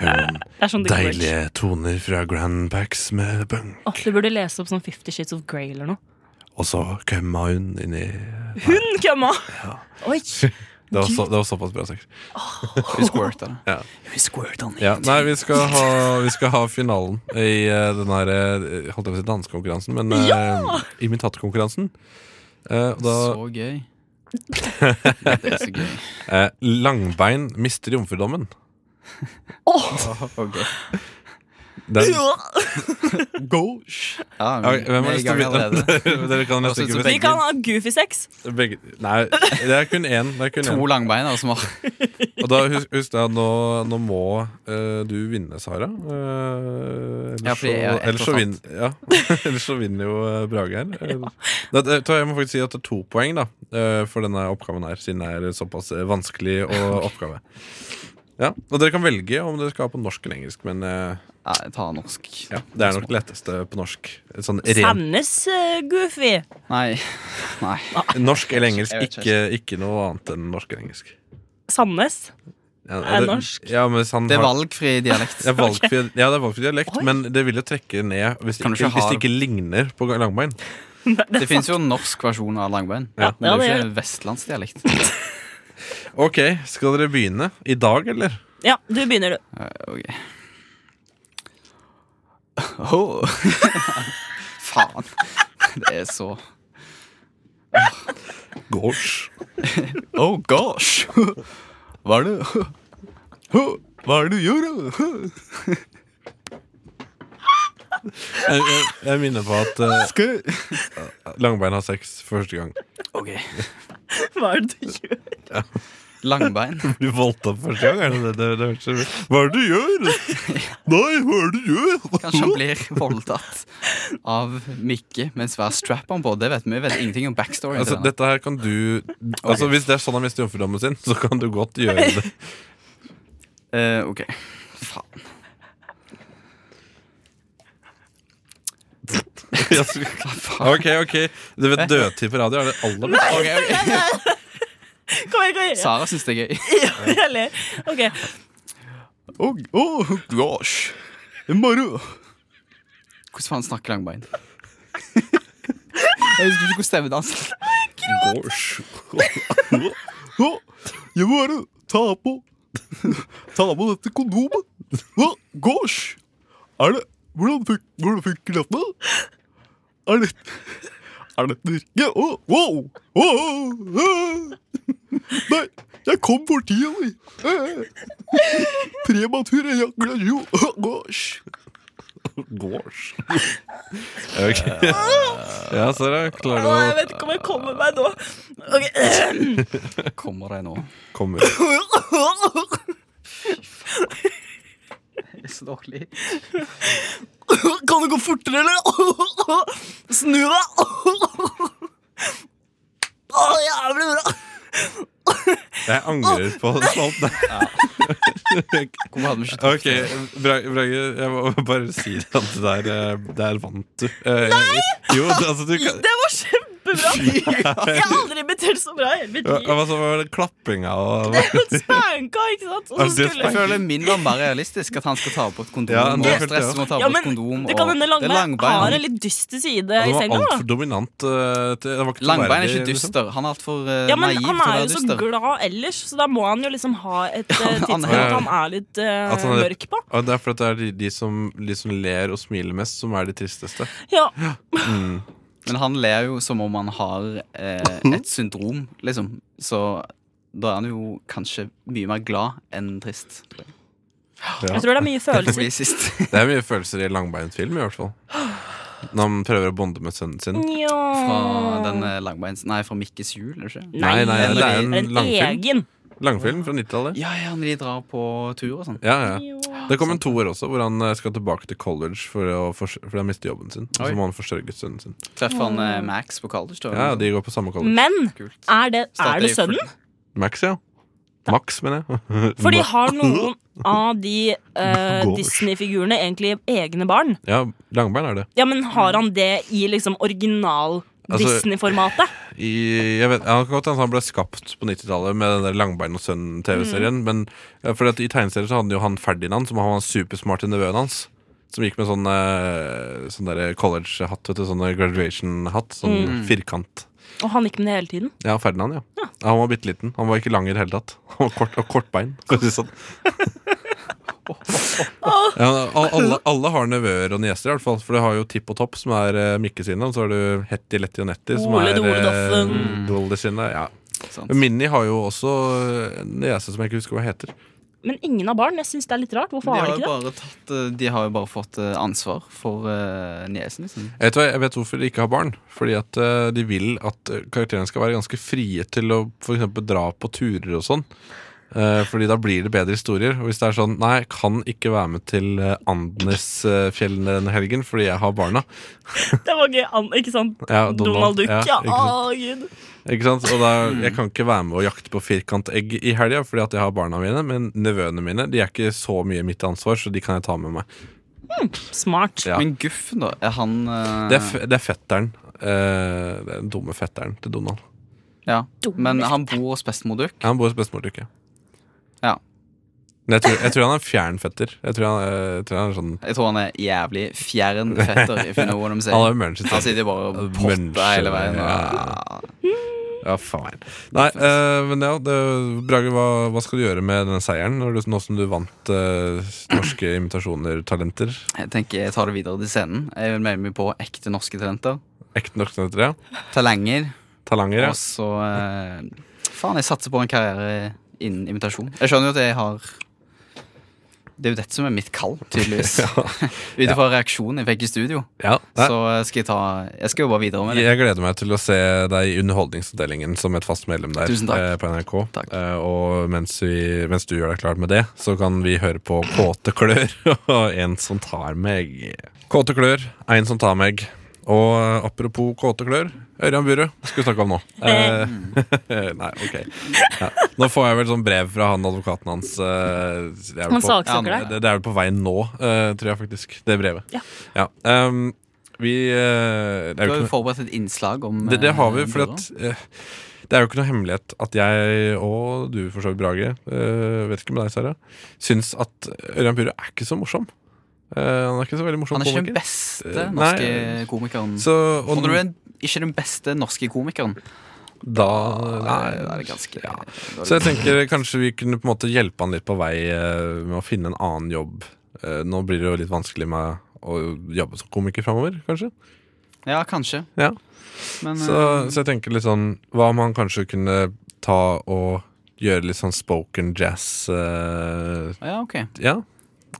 [SPEAKER 4] Hør noen
[SPEAKER 2] Det er sånn det går.
[SPEAKER 4] deilige toner fra Grand Pax med punk.
[SPEAKER 2] Å, du burde lese opp sånn Fifty Shades of Grey eller noe.
[SPEAKER 4] Og så kømma hun inn i
[SPEAKER 2] Hun kømma! Oi.
[SPEAKER 4] Det var, så, det var såpass bra sex.
[SPEAKER 3] Hun squirter.
[SPEAKER 4] Ja.
[SPEAKER 3] Hun squirter han.
[SPEAKER 4] Ja, nei, vi skal ha, vi skal ha finalen i eh, den her eh, Holdt jeg på å si dansekonkurransen, men eh, imitatorkonkurransen. Eh, og da
[SPEAKER 3] Så gøy. Det er så gøy.
[SPEAKER 4] eh, Langbein mister jomfrudommen.
[SPEAKER 3] Okay.
[SPEAKER 4] Den,
[SPEAKER 3] Ja,
[SPEAKER 4] Ja, hvem har lyst til å begynne? Dere kan
[SPEAKER 3] Hva
[SPEAKER 4] nesten ikke
[SPEAKER 3] synes du,
[SPEAKER 2] Vi
[SPEAKER 4] begge.
[SPEAKER 3] Bengt?
[SPEAKER 2] kan ha goofy sex.
[SPEAKER 4] begge nei, det er kun én. Det er kun
[SPEAKER 3] To altså,
[SPEAKER 4] én.
[SPEAKER 3] langbeiner som har
[SPEAKER 4] Og da husk, husk da, nå, nå må eh, du vinne, Sara. Eh,
[SPEAKER 3] Ja,
[SPEAKER 4] ellers,
[SPEAKER 3] fordi jeg
[SPEAKER 4] så,
[SPEAKER 3] er ett
[SPEAKER 4] ellers,
[SPEAKER 3] og
[SPEAKER 4] så
[SPEAKER 3] et
[SPEAKER 4] vinner, ja. ellers så vinner jo eh, Brage her. Eh, det- det- jeg må faktisk si at det er to poeng da eh, for denne oppgaven her, siden det er såpass eh, vanskelig å oppgave. Ja, og Dere kan velge om dere skal ha på norsk eller engelsk, men eh,
[SPEAKER 3] Nei, jeg tar norsk.
[SPEAKER 4] ja, det er nok det letteste på norsk. Sånn ren,
[SPEAKER 2] Sandnes eh, goofy.
[SPEAKER 3] Nei. Nei.
[SPEAKER 4] norsk eller engelsk,
[SPEAKER 3] Jeg vet
[SPEAKER 4] ikke, ikke noe annet enn norsk eller engelsk.
[SPEAKER 2] Sandnes.
[SPEAKER 4] Ja,
[SPEAKER 2] Er
[SPEAKER 4] det-
[SPEAKER 2] norsk?
[SPEAKER 4] Ja, men hvis han
[SPEAKER 3] Det er
[SPEAKER 4] har-
[SPEAKER 3] valgfri dialekt.
[SPEAKER 4] Det er valgfri, Ja, det er valgfri dialekt, men det vil jo trekke ned hvis det,
[SPEAKER 3] Kan du
[SPEAKER 4] ikke,
[SPEAKER 3] ikke
[SPEAKER 4] hvis
[SPEAKER 3] ha-
[SPEAKER 4] det ikke ligner på langbein.
[SPEAKER 3] Det fins jo en norsk versjon av langbein.
[SPEAKER 4] Ja.
[SPEAKER 2] Ja,
[SPEAKER 3] Men det er jo
[SPEAKER 2] det
[SPEAKER 3] ikke vestlandsdialekt.
[SPEAKER 4] Ok, skal dere begynne i dag, eller?
[SPEAKER 2] Ja, du begynner, du.
[SPEAKER 3] Ok. Åh. Faen. Det er så
[SPEAKER 4] Gosh.
[SPEAKER 3] Oh gosh. Hva er det Hå, Hva er det du gjør? Hå,
[SPEAKER 4] Jeg, jeg, jeg minner på at eh,
[SPEAKER 3] Skal jeg
[SPEAKER 4] Langbein har sex for første gang.
[SPEAKER 3] Ok.
[SPEAKER 2] Hva er det du gjør?
[SPEAKER 3] Langbein.
[SPEAKER 4] Blir voldtatt første gang? Er det det, det, det, det, Hva er det du gjør? Nei, hva er det du gjør?
[SPEAKER 3] Kanskje han blir voldtatt av Mikke med en svær strap-on på. Det vet vi. Vi vet ingenting om backstoryen.
[SPEAKER 4] Altså,
[SPEAKER 3] til denne.
[SPEAKER 4] dette her kan du Altså Hvis det er sånn han mister jomfrudommen sin, så kan du godt gjøre det.
[SPEAKER 3] Eh, ok. Faen.
[SPEAKER 4] Ja, så- ok, ok Du vet dødtid på radio er det aller beste.
[SPEAKER 3] Ok, ok.
[SPEAKER 2] Kom igjen, kom igjen.
[SPEAKER 3] Sara syns det er gøy.
[SPEAKER 2] Jeg ler. Ok.
[SPEAKER 3] Oh, oh gosh. Det er moro. Hvordan faen snakker langbein? Jeg husker ikke hvordan stemmen hans
[SPEAKER 4] Gosh.
[SPEAKER 3] Å, Jeg må bare ta på Ta på dette kondomet. Å, Gosh! Er det Hvordan fun- hvordan funker dette? Er det Er dette virke? Å, wow! Å, å, å. Nei, jeg kom for tida, jeg. Eh. Prematur ejakulasjon. Å, Gosh!
[SPEAKER 4] Gosh. Ok. Ja, Sara. Klarer
[SPEAKER 2] Å, jeg
[SPEAKER 4] du å
[SPEAKER 2] vet ikke om jeg kommer meg nå. Ok.
[SPEAKER 3] Kommer jeg nå?
[SPEAKER 4] komme
[SPEAKER 3] Jeg er så dårlig.
[SPEAKER 2] Kan det gå fortere, eller? Snu deg! Å, jævlig bra!
[SPEAKER 4] Jeg angrer på alt det.
[SPEAKER 3] Hvorfor hadde vi ikke
[SPEAKER 4] Ok, Bra- Brage, jeg må bare si det at det der, eh, der vant du. Nei! Jo, det- altså du kan
[SPEAKER 2] Det var kjempebra! Jeg har aldri blitt helt så bra i hele mitt
[SPEAKER 4] Hva
[SPEAKER 2] liv.
[SPEAKER 4] hva- hva var det klappinga og
[SPEAKER 2] Det er jo spanka, ikke sant? Og så
[SPEAKER 4] Altså, det er
[SPEAKER 2] skulle
[SPEAKER 3] Jeg føler min var mer realistisk, at han skal ta på et kondom.
[SPEAKER 4] Ja, det
[SPEAKER 3] og
[SPEAKER 4] følte jeg
[SPEAKER 3] stresse med å ta på
[SPEAKER 2] ja,
[SPEAKER 3] et
[SPEAKER 2] men
[SPEAKER 3] kondom
[SPEAKER 2] det kan
[SPEAKER 3] og-
[SPEAKER 2] hende
[SPEAKER 3] det er
[SPEAKER 2] Langbein
[SPEAKER 3] langbein.
[SPEAKER 2] har
[SPEAKER 3] Han- Altså,
[SPEAKER 2] en litt dyster side
[SPEAKER 4] Det
[SPEAKER 2] i
[SPEAKER 4] var
[SPEAKER 2] senga.
[SPEAKER 4] altfor
[SPEAKER 2] da.
[SPEAKER 4] dominant. eh, til- Det var ikke
[SPEAKER 3] Langbein
[SPEAKER 4] troverdig,
[SPEAKER 3] er ikke
[SPEAKER 4] liksom.
[SPEAKER 3] dyster. Han er altfor uh,
[SPEAKER 2] Ja, men
[SPEAKER 3] naiv til
[SPEAKER 2] Han
[SPEAKER 3] å
[SPEAKER 2] er
[SPEAKER 3] være
[SPEAKER 2] jo så
[SPEAKER 3] dyster.
[SPEAKER 2] glad ellers, så da må han jo liksom ha et eh,
[SPEAKER 3] han er-
[SPEAKER 2] tidspunkt han er litt eh,
[SPEAKER 4] At han er-
[SPEAKER 2] mørk på.
[SPEAKER 4] Og det er fordi det er de, de, som, de som ler og smiler mest, som er de tristeste. Mm.
[SPEAKER 2] Ja,
[SPEAKER 3] Men han ler jo som om han har eh,
[SPEAKER 4] Mhm.
[SPEAKER 3] et syndrom, liksom. Så da er han jo kanskje mye mer glad enn trist. tror jeg.
[SPEAKER 2] Jeg tror det er mye følelser.
[SPEAKER 3] Fordi sist
[SPEAKER 4] Det er mye følelser i Langbeins film, i hvert fall. Når han prøver å bonde med sønnen sin.
[SPEAKER 2] Nja
[SPEAKER 3] fra sånn, den eh, langbeins Nei, fra Mikkes jul, er det ikke?
[SPEAKER 4] Nei, nei, det er
[SPEAKER 2] det er en
[SPEAKER 4] en langfilm.
[SPEAKER 2] egen.
[SPEAKER 4] Langfilm fra 90-tallet.
[SPEAKER 3] Ja, ja, når de drar på tur og sånn.
[SPEAKER 4] Ja, ja. Det kom en toer også, hvor han eh, skal tilbake til college for å fors- fordi han mister jobben sin. Og
[SPEAKER 3] Oi.
[SPEAKER 4] så må han forsørge sønnen sin.
[SPEAKER 3] Treffer han eh, Max på college, da?
[SPEAKER 4] Ja, de går på samme college.
[SPEAKER 2] Men
[SPEAKER 3] Kult.
[SPEAKER 2] er det,
[SPEAKER 3] Starter
[SPEAKER 2] er det
[SPEAKER 3] i
[SPEAKER 2] sønnen?
[SPEAKER 4] Max, ja. Max, mener jeg.
[SPEAKER 2] Fordi har noen av de eh,
[SPEAKER 4] Gosh.
[SPEAKER 2] Disney-figurene egentlig egne barn?
[SPEAKER 4] Ja, Langbein er det.
[SPEAKER 2] Ja, men har han det i liksom original
[SPEAKER 4] Altså-
[SPEAKER 2] Disney-formatet?
[SPEAKER 4] I, jeg vet, jeg har ikke godt hende han ble skapt på 90-tallet med den der Langbein og sønnen-TV-serien. Men ja, fordi at I tegneserier så hadde jo han Ferdinand, som han var den supersmarte nevøen hans. Som gikk med sånn, eh, sånn der college-hatt, vet du, sånn der graduation-hatt. Sånn firkant.
[SPEAKER 2] Og han gikk med det hele tiden?
[SPEAKER 4] Ja, Ferdinand, ja. Han var bitte liten. Han var ikke lang i det hele tatt. Han var kort, og kortbein. for å si det sånn. ja, al- alle, alle har nevøer og nieser, i hvert fall. For du har jo Tipp og Topp, som er eh, Mikke sine. Og så har du Hetty, Letty og Netty, som
[SPEAKER 2] Ole,
[SPEAKER 4] er
[SPEAKER 2] Dole, Doffen.
[SPEAKER 4] eh, Dolly sine. Ja.
[SPEAKER 3] Sant.
[SPEAKER 4] Minni har jo også en niese som jeg ikke husker hva heter.
[SPEAKER 2] Men ingen har barn? Jeg syns det er litt rart. Hvorfor
[SPEAKER 3] De
[SPEAKER 2] har
[SPEAKER 3] har,
[SPEAKER 2] de
[SPEAKER 3] jo
[SPEAKER 2] ikke det?
[SPEAKER 3] bare tatt, eh, de har jo bare fått eh, ansvar for eh, niesen sin.
[SPEAKER 4] Jeg vet, hva, jeg vet hvorfor de ikke har barn. Fordi at eh, de vil at eh, karakterene skal være ganske frie til å for eksempel dra på turer og sånn. Eh, fordi da blir det bedre historier. Og hvis det er sånn Nei, jeg kan ikke være med til eh, Andenesfjellene denne helgen fordi jeg har barna.
[SPEAKER 2] Det var gøy, Ann, ikke sant?
[SPEAKER 4] Ja,
[SPEAKER 2] Donald Duck, ja.
[SPEAKER 4] ikke sant?
[SPEAKER 2] Å, Gud.
[SPEAKER 4] Ikke sant? Og da, jeg kan ikke være med og jakte på firkantegg i helga fordi at jeg har barna mine. Men nevøene mine de er ikke så mye mitt ansvar, så de kan jeg ta med meg.
[SPEAKER 2] Smart.
[SPEAKER 4] Ja.
[SPEAKER 3] Men Guffen, da? Er han eh,
[SPEAKER 4] Det er, f det er fetteren. eh, det er den dumme fetteren til Donald.
[SPEAKER 3] ja.
[SPEAKER 2] Dumme.
[SPEAKER 3] Men han bor hos bestemor Duck.
[SPEAKER 4] Ja, han bor hos bestemor til uke.
[SPEAKER 3] Ja.
[SPEAKER 4] Men jeg tror, jeg tror han er fjern fetter. Jeg tror han, eh, jeg tror han er sånn
[SPEAKER 3] Jeg tror han er jævlig fjern fetter, if you know what
[SPEAKER 4] Han har
[SPEAKER 3] I'm
[SPEAKER 4] sånn.
[SPEAKER 3] saying.
[SPEAKER 4] jo munchen
[SPEAKER 3] Han
[SPEAKER 4] sin.
[SPEAKER 3] sitter bare og
[SPEAKER 4] Munchen,
[SPEAKER 3] popper hele veien.
[SPEAKER 4] ja.
[SPEAKER 3] Og,
[SPEAKER 4] Ja, faen. Nei, eh, men ja, det, Brage, hva, hva skal du gjøre med den seieren når du, nå som du vant eh, Norske imitasjoner-talenter?
[SPEAKER 3] jeg tenker jeg tar det videre til scenen. Jeg vil melde meg på ekte norske talenter.
[SPEAKER 4] Ekte norske talenter, ja.
[SPEAKER 3] Talenger.
[SPEAKER 4] Talanger, ja.
[SPEAKER 3] Og så eh, Faen, jeg satser på en karriere innen imitasjon. Jeg skjønner jo at jeg har Det er jo dette som er mitt kall, tydeligvis. Ut ifra reaksjonen jeg fikk i studio,
[SPEAKER 4] Ja, nei,
[SPEAKER 3] så skal jeg ta Jeg skal jo bare videre med det.
[SPEAKER 4] jeg gleder meg til å se deg i Underholdningsavdelingen som et fast medlem der
[SPEAKER 3] Tusen takk.
[SPEAKER 4] eh, på NRK.
[SPEAKER 3] Takk.
[SPEAKER 4] Eh, og mens, vi, mens du gjør deg klar med det, så kan vi høre på Kåte klør og En som tar meg. Kåte klør, En som tar meg. Og eh, apropos kåte klør, Ørjan Burøe skal vi snakke om nå. Eh, nei, ok. Ja. Nå får jeg vel sånn brev fra han advokaten hans. eh, det er vel
[SPEAKER 2] Han
[SPEAKER 4] på-
[SPEAKER 2] saksøker deg.
[SPEAKER 4] det, det er vel på veien nå, eh, tror jeg faktisk. Det brevet.
[SPEAKER 2] Ja.
[SPEAKER 4] ehm, vi eh, det,
[SPEAKER 3] Du
[SPEAKER 4] er
[SPEAKER 3] har
[SPEAKER 4] jo
[SPEAKER 3] jo
[SPEAKER 4] ikke noe,
[SPEAKER 3] forberedt et innslag om
[SPEAKER 4] det, det har vi,
[SPEAKER 3] eh,
[SPEAKER 4] for at, eh, det er jo ikke noe hemmelighet at jeg og du, for så vidt Brage, eh, vet ikke med deg, Sara, syns at Ørjan Burøe er ikke så morsom. Eh, han er ikke så veldig morsom
[SPEAKER 3] Han er ikke den
[SPEAKER 4] komiker.
[SPEAKER 3] beste
[SPEAKER 4] Eh,
[SPEAKER 3] norske
[SPEAKER 4] nei.
[SPEAKER 3] komikeren.
[SPEAKER 4] Så, og
[SPEAKER 3] Og når du er ikke den beste norske komikeren,
[SPEAKER 4] da
[SPEAKER 3] nei, da er det ganske
[SPEAKER 4] ja. Så jeg tenker kanskje vi kunne på en måte hjelpe han litt på vei eh, med å finne en annen jobb. Eh, Nå blir det jo litt vanskelig med å jobbe som komiker framover, kanskje.
[SPEAKER 3] Ja, kanskje.
[SPEAKER 4] Ja.
[SPEAKER 3] Men eh,
[SPEAKER 4] Så, så jeg tenker litt sånn Hva om han kanskje kunne ta og gjøre litt sånn spoken jazz eh,
[SPEAKER 3] eh, ja, ok.
[SPEAKER 4] Ja,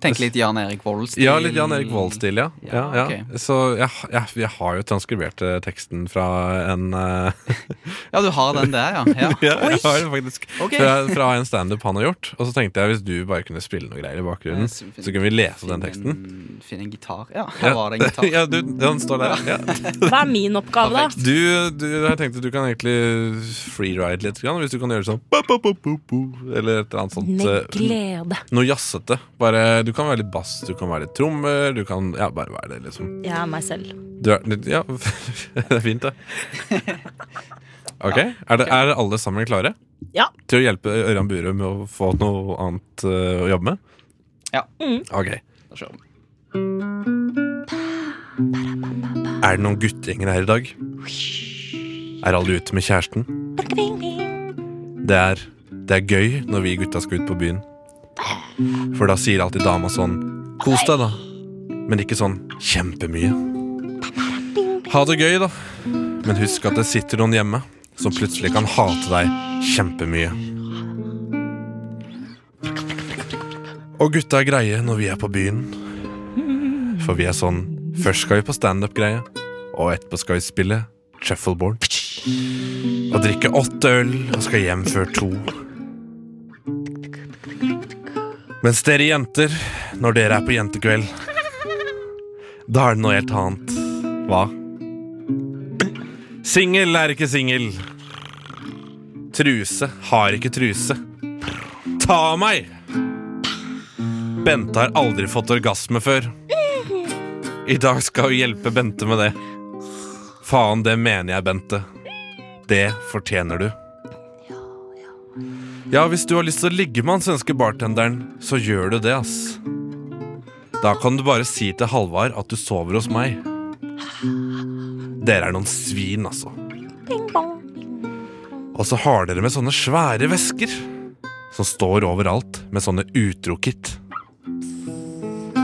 [SPEAKER 3] Tenk litt Jan Erik Vold-stil.
[SPEAKER 4] ja litt Jan Erik Vold-stil, ja. ja, ja.
[SPEAKER 3] Ja, ok.
[SPEAKER 4] Så jeg, jeg, jeg har jo transkribert eh, teksten fra en eh,
[SPEAKER 3] Ja, du har den der, ja. ja.
[SPEAKER 4] Ja, jeg har det faktisk
[SPEAKER 3] Ok.
[SPEAKER 4] fra, fra en standup han har gjort. Og så tenkte jeg hvis du bare kunne spille noe greier i bakgrunnen,
[SPEAKER 3] Jeg synes-
[SPEAKER 4] så kunne vi lese opp den teksten.
[SPEAKER 3] Finn, finn en gitar. Ja, her
[SPEAKER 4] Ja.
[SPEAKER 3] var det en gitar.
[SPEAKER 4] ja, du, den står der. Ja.
[SPEAKER 2] Hva er min oppgave, da?
[SPEAKER 4] Du, du, jeg tenkte du kan egentlig freeride litt, grann, hvis du kan gjøre sånn bo, bo, bo, bo, bo, Eller et eller annet sånt.
[SPEAKER 2] Med
[SPEAKER 4] eh,
[SPEAKER 2] glede.
[SPEAKER 4] Noe jazzete. Bare, du kan være litt bass, du kan være litt trommer, du kan ja, bare være det, liksom.
[SPEAKER 2] Jeg er meg selv.
[SPEAKER 4] Du er, ja, det er fint, det. Ok, er, det, er alle sammen klare?
[SPEAKER 2] Ja.
[SPEAKER 4] Til å hjelpe Ørjan Burøe med å få noe annet eh, å jobbe med?
[SPEAKER 3] Ja.
[SPEAKER 4] Ok.
[SPEAKER 3] Da kjører vi.
[SPEAKER 4] Er det noen guttegjenger her i dag? Er alle ute med kjæresten? Det er, det er gøy når vi gutta skal ut på byen. For da sier alltid dama sånn Kos deg, da. Men ikke sånn kjempemye. Ha det gøy, da. Men husk at det sitter noen hjemme som plutselig kan hate deg kjempemye. Og gutta er greie når vi er på byen. For vi er sånn Først skal vi på standup-greie, og etterpå skal vi spille shuffleboard. Og drikke åtte øl og skal hjem før to. Mens dere jenter, når dere er på jentekveld, da er det noe helt annet. Hva? Singel er ikke singel. Truse har ikke truse. Ta meg! Bente har aldri fått orgasme før. I dag skal vi hjelpe Bente med det. Faen, det mener jeg, Bente. Det fortjener du. Ja, hvis du har lyst til å ligge med han svenske bartenderen, så gjør du det, ass. Da kan du bare si til Halvard at du sover hos meg. Dere er noen svin, altså. Og så har dere med sånne svære vesker som står overalt med sånne utro-kit.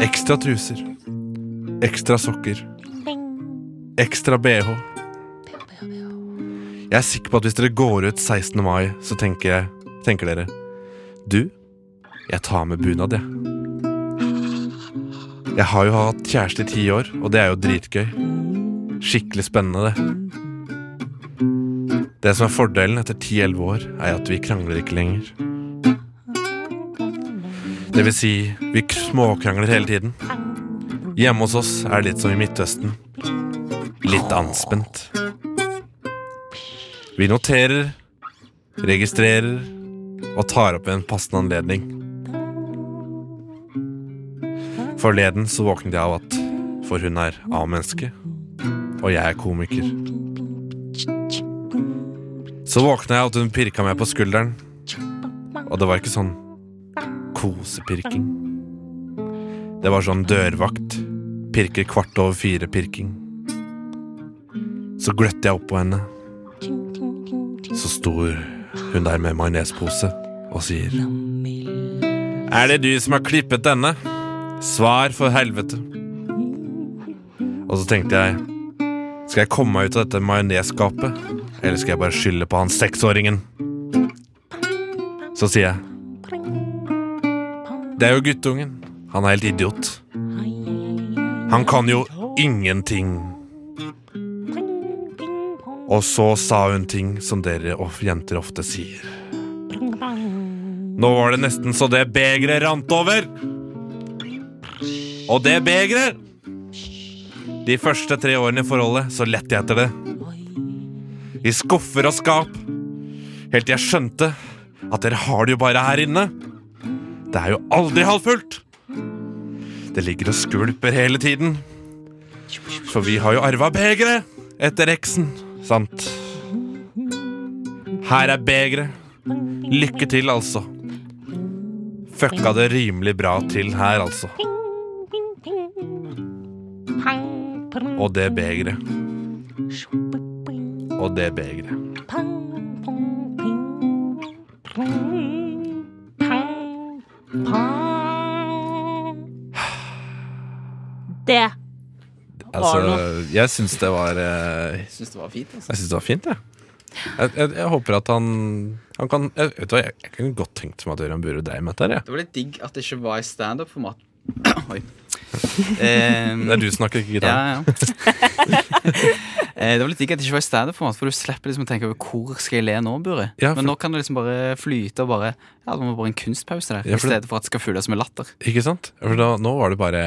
[SPEAKER 4] Ekstra truser. Ekstra sokker. Ekstra BH. Jeg er sikker på at hvis dere går ut 16. mai, så tenker, jeg, tenker dere Du, jeg tar med bunad, jeg. Jeg har jo hatt kjæreste i ti år, og det er jo dritgøy. Skikkelig spennende, det. Det som er fordelen etter 10-11 år, er at vi krangler ikke lenger. Det vil si, vi k- småkrangler hele tiden. Hjemme hos oss er det litt som i Midtøsten. Litt anspent. Vi noterer, registrerer og tar opp ved en passende anledning. Forleden så våknet jeg av at For hun er A-menneske, og jeg er komiker. Så våkna jeg av at hun pirka meg på skulderen, og det var ikke sånn kosepirking. Det var sånn dørvakt. Pirker kvart over fire-pirking. Så gløtte jeg opp på henne. Så sto hun der med majonespose og sier Er det du som har klippet denne? Svar for helvete. Og så tenkte jeg Skal jeg komme meg ut av dette majonesskapet, eller skal jeg bare skylde på han seksåringen? Så sier jeg Det er jo guttungen. Han er helt idiot. Han kan jo ingenting. Og så sa hun ting som dere og jenter ofte sier. Nå var det nesten så det begeret rant over. Og det begeret De første tre årene i forholdet så lette jeg etter det. I skuffer og skap. Helt til jeg skjønte at dere har det jo bare her inne. Det er jo aldri halvfullt. Det ligger og skvulper hele tiden. For vi har jo arva begeret etter eksen, sant? Her er begeret. Lykke til, altså. Fucka det rimelig bra til her, altså. Og det begeret. Og det begeret.
[SPEAKER 2] Det
[SPEAKER 4] Altså, jeg syns det var eh,
[SPEAKER 3] Syns det var fint. Altså.
[SPEAKER 4] Jeg syns det var fint, jeg. Jeg, jeg, jeg håper at han, han kan jeg, Vet du hva, jeg, jeg kunne godt tenkt meg at Ørjan Burøe dreiv med dette her, jeg.
[SPEAKER 3] Det var litt digg at det ikke var i standup-format. Oi. Ehm,
[SPEAKER 4] Det er du som snakker, ikke gitar.
[SPEAKER 3] Ja, ja. Eh, det var litt digg at det ikke var i standup-format, for du slipper liksom å tenke over hvor skal jeg le nå, Buri.
[SPEAKER 4] Ja, for-
[SPEAKER 3] Men nå kan det liksom bare flyte og bare Ja, det var bare en kunstpause der,
[SPEAKER 4] Ja,
[SPEAKER 3] i
[SPEAKER 4] for det-
[SPEAKER 3] stedet for at det skal fylles med latter.
[SPEAKER 4] Ikke sant? Ja, For da, nå var det bare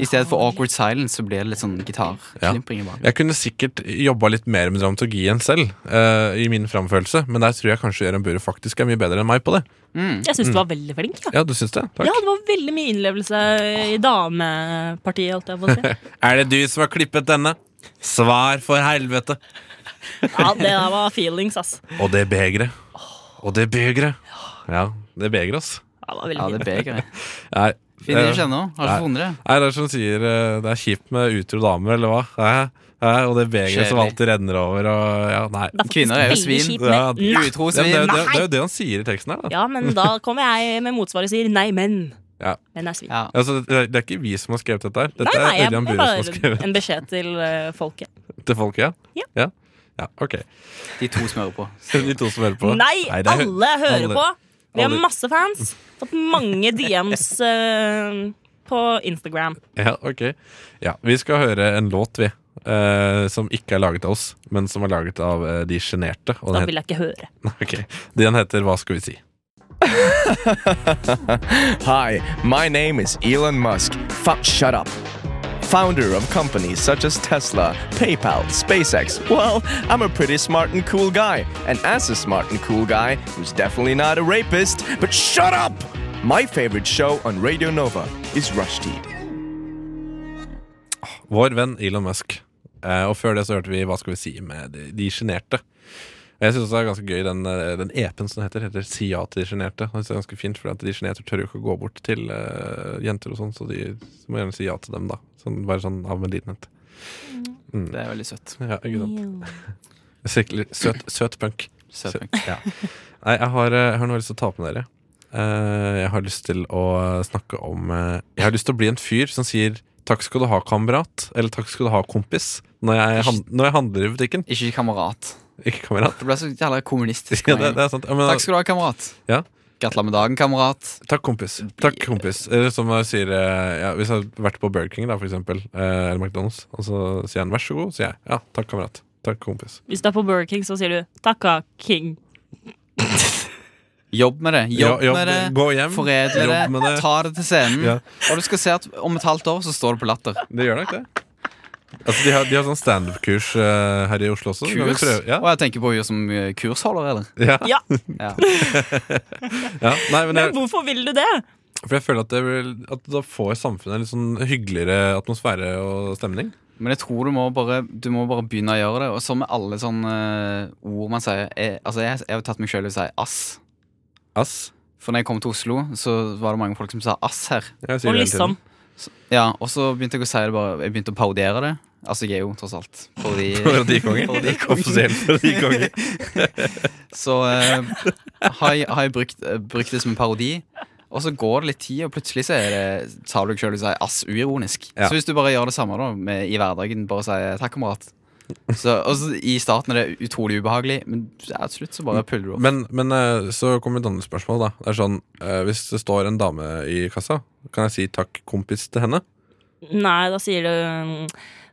[SPEAKER 3] I stedet for awkward silence så blir det litt sånn gitarklimpring i bakgrunnen.
[SPEAKER 4] Jeg kunne sikkert jobba litt mer med dramaturgien selv, eh, i min framførelse, men der tror jeg kanskje Ørjan Burøe faktisk er mye bedre enn meg på det.
[SPEAKER 2] Jeg syns du var veldig flink. da
[SPEAKER 4] Ja, du syns det? Takk.
[SPEAKER 2] Ja, det var veldig mye innlevelse i damepartiet, holdt jeg på å si.
[SPEAKER 4] Er det du som har klippet denne? Svar for helvete!
[SPEAKER 2] Ja, det der var feelings, ass.
[SPEAKER 4] Og det begeret. Og det begeret. Ja, det begeret, ass.
[SPEAKER 2] Ja, det var
[SPEAKER 3] Ja,
[SPEAKER 2] veldig
[SPEAKER 3] det
[SPEAKER 2] fint.
[SPEAKER 3] er begeret.
[SPEAKER 4] Nei,
[SPEAKER 3] Finner
[SPEAKER 4] eh,
[SPEAKER 3] ikke ennå. Har
[SPEAKER 4] Nei.
[SPEAKER 3] ikke funnet det.
[SPEAKER 4] Nei, det er som sier eh, Det er kjipt med utro damer, eller hva? Hæ? Hæ? Og det begeret som
[SPEAKER 3] Kjedelig.
[SPEAKER 4] alltid renner over og ja, nei.
[SPEAKER 2] Det er faktisk
[SPEAKER 3] Kvinner er jo
[SPEAKER 2] veldig
[SPEAKER 3] svin.
[SPEAKER 2] kjipt
[SPEAKER 4] Ja,
[SPEAKER 2] med- Nei.
[SPEAKER 3] Utro
[SPEAKER 4] Ja, men det, er jo-
[SPEAKER 3] svin.
[SPEAKER 4] det, er- det er jo det han sier i teksten her. Da.
[SPEAKER 2] Ja, men da kommer jeg med motsvaret og sier nei, men.
[SPEAKER 4] Ja.
[SPEAKER 2] Men er svin.
[SPEAKER 3] Ja.
[SPEAKER 4] Altså, det, er, det er ikke vi som har skrevet dette her. Dette
[SPEAKER 2] Nei, nei,
[SPEAKER 4] er
[SPEAKER 2] jeg, jeg
[SPEAKER 4] Ørjan Burøe som har
[SPEAKER 2] bare
[SPEAKER 4] skrevet
[SPEAKER 2] en beskjed til eh, folket.
[SPEAKER 4] til folk, ja?
[SPEAKER 2] Ja.
[SPEAKER 4] ja? Ja, ok.
[SPEAKER 3] De to som hører på.
[SPEAKER 4] De to som hører på.
[SPEAKER 2] Nei,
[SPEAKER 4] det er-
[SPEAKER 2] alle hører
[SPEAKER 4] alle-
[SPEAKER 2] på! Vi har
[SPEAKER 4] alle-
[SPEAKER 2] masse fans. Fått mange DMs eh, på Instagram.
[SPEAKER 4] Ja, ok. Ja, vi skal høre en låt, vi. eh, som ikke er laget av oss, men som er laget av eh, de sjenerte. Og
[SPEAKER 2] Da
[SPEAKER 4] den,
[SPEAKER 2] vil jeg ikke høre.
[SPEAKER 4] het- ok. den heter Hva skal vi si?
[SPEAKER 10] Hi, my name is Elon Musk. Fuck, shut up. Founder of companies such as Tesla, PayPal, SpaceX. Well, I'm a pretty smart and cool guy. And as a smart and cool guy, who's definitely not a rapist, but shut up! My favorite show on Radio Nova is Rushdie.
[SPEAKER 4] Vår venn Elon Musk. Eh, og før det så hørte vi Hva skal vi si med de- de sjenerte. Og Jeg synes det er ganske gøy Den, eh, den epen som heter, heter Si ja til de sjenerte. Og Det er ganske fint, for de sjenerte tør jo ikke å gå bort til eh, jenter og sånn, så de så må gjerne si ja til dem, da. Sånn, bare sånn av medlidenhet.
[SPEAKER 3] Det er veldig søtt.
[SPEAKER 4] Ja, ikke sant? Skikkelig søt, søt punk.
[SPEAKER 3] Søt punk.
[SPEAKER 4] Ja. Nei, jeg har, eh, jeg har noe jeg har lyst til å ta opp med dere. Eh, jeg har lyst til å snakke om eh, Jeg har lyst til å bli en fyr som sier 'takk skal du ha, kamerat', eller 'takk skal du ha, kompis', når jeg, han, når jeg handler i butikken.
[SPEAKER 3] Ikke kamerat.
[SPEAKER 4] Ikke kamerat.
[SPEAKER 3] Det ble så jævla kommunistisk.
[SPEAKER 4] Ja, det, det er sant. Ja, men,
[SPEAKER 3] Takk skal du ha, kamerat.
[SPEAKER 4] Ja.
[SPEAKER 3] Gratulerer med dagen, kamerat.
[SPEAKER 4] Takk, kompis. Takk, kompis. Eller som jeg sier eh, ja, Hvis jeg har vært på Burger King, da, for eksempel, eh, eller McDonald's, og så sier han 'vær så god', sier jeg 'ja, takk, kamerat'. Takk, kompis.
[SPEAKER 2] Hvis du er på Burger King, så sier du takka, King.
[SPEAKER 3] Jobb med det. Jobb,
[SPEAKER 4] Ja, jobb,
[SPEAKER 3] med det.
[SPEAKER 4] gå hjem,
[SPEAKER 3] Foredle
[SPEAKER 4] jobb
[SPEAKER 3] det.
[SPEAKER 4] med det.
[SPEAKER 3] Ta det til scenen.
[SPEAKER 4] Ja.
[SPEAKER 3] Og du skal se at om et halvt år så står det på Latter.
[SPEAKER 4] Det gjør nok det. Altså, de har, de har sånn standup-kurs eh, her i Oslo også. Kan vi
[SPEAKER 3] Kurs.
[SPEAKER 4] prøve- Ja.
[SPEAKER 3] Og jeg tenker på henne som eh, kursholder, eller?
[SPEAKER 4] Ja.
[SPEAKER 2] Ja.
[SPEAKER 3] Ja.
[SPEAKER 4] ja. Nei, men
[SPEAKER 2] Men
[SPEAKER 4] jeg,
[SPEAKER 2] hvorfor vil du det?
[SPEAKER 4] for jeg føler at, det vil, at da får samfunnet en litt sånn hyggeligere atmosfære og stemning.
[SPEAKER 3] Men jeg tror du må bare Du må bare begynne å gjøre det. Og så med alle sånne eh, ord man sier jeg, Altså, jeg, jeg har tatt meg sjøl i å si ass.
[SPEAKER 4] Ass.
[SPEAKER 3] For når jeg kom til Oslo, så var det mange folk som sa ass her.
[SPEAKER 4] Jeg sier
[SPEAKER 2] Og
[SPEAKER 4] det hele
[SPEAKER 2] liksom
[SPEAKER 4] tiden.
[SPEAKER 3] Ja, Og så begynte jeg å si det bare Jeg begynte å parodiere det. Altså, jeg er jo tross alt parodi...
[SPEAKER 4] Parodikongen. Offisielt parodikonge.
[SPEAKER 3] Så eh, har, jeg, har jeg brukt, eh, brukt det som en parodi. Og så går det litt tid, og plutselig så er det, tar du deg sjøl i å si ass uironisk.
[SPEAKER 4] Ja.
[SPEAKER 3] Så hvis du bare gjør det samme da med, i hverdagen, bare sier 'takk, kamerat', Så, og så I starten er det utrolig ubehagelig, men ja, til slutt så bare puller du opp.
[SPEAKER 4] Men, men eh, så kommer et annet spørsmål. da Det er sånn, eh, Hvis det står en dame i kassa, kan jeg si takk, kompis, til henne?
[SPEAKER 2] Nei, da sier du mm,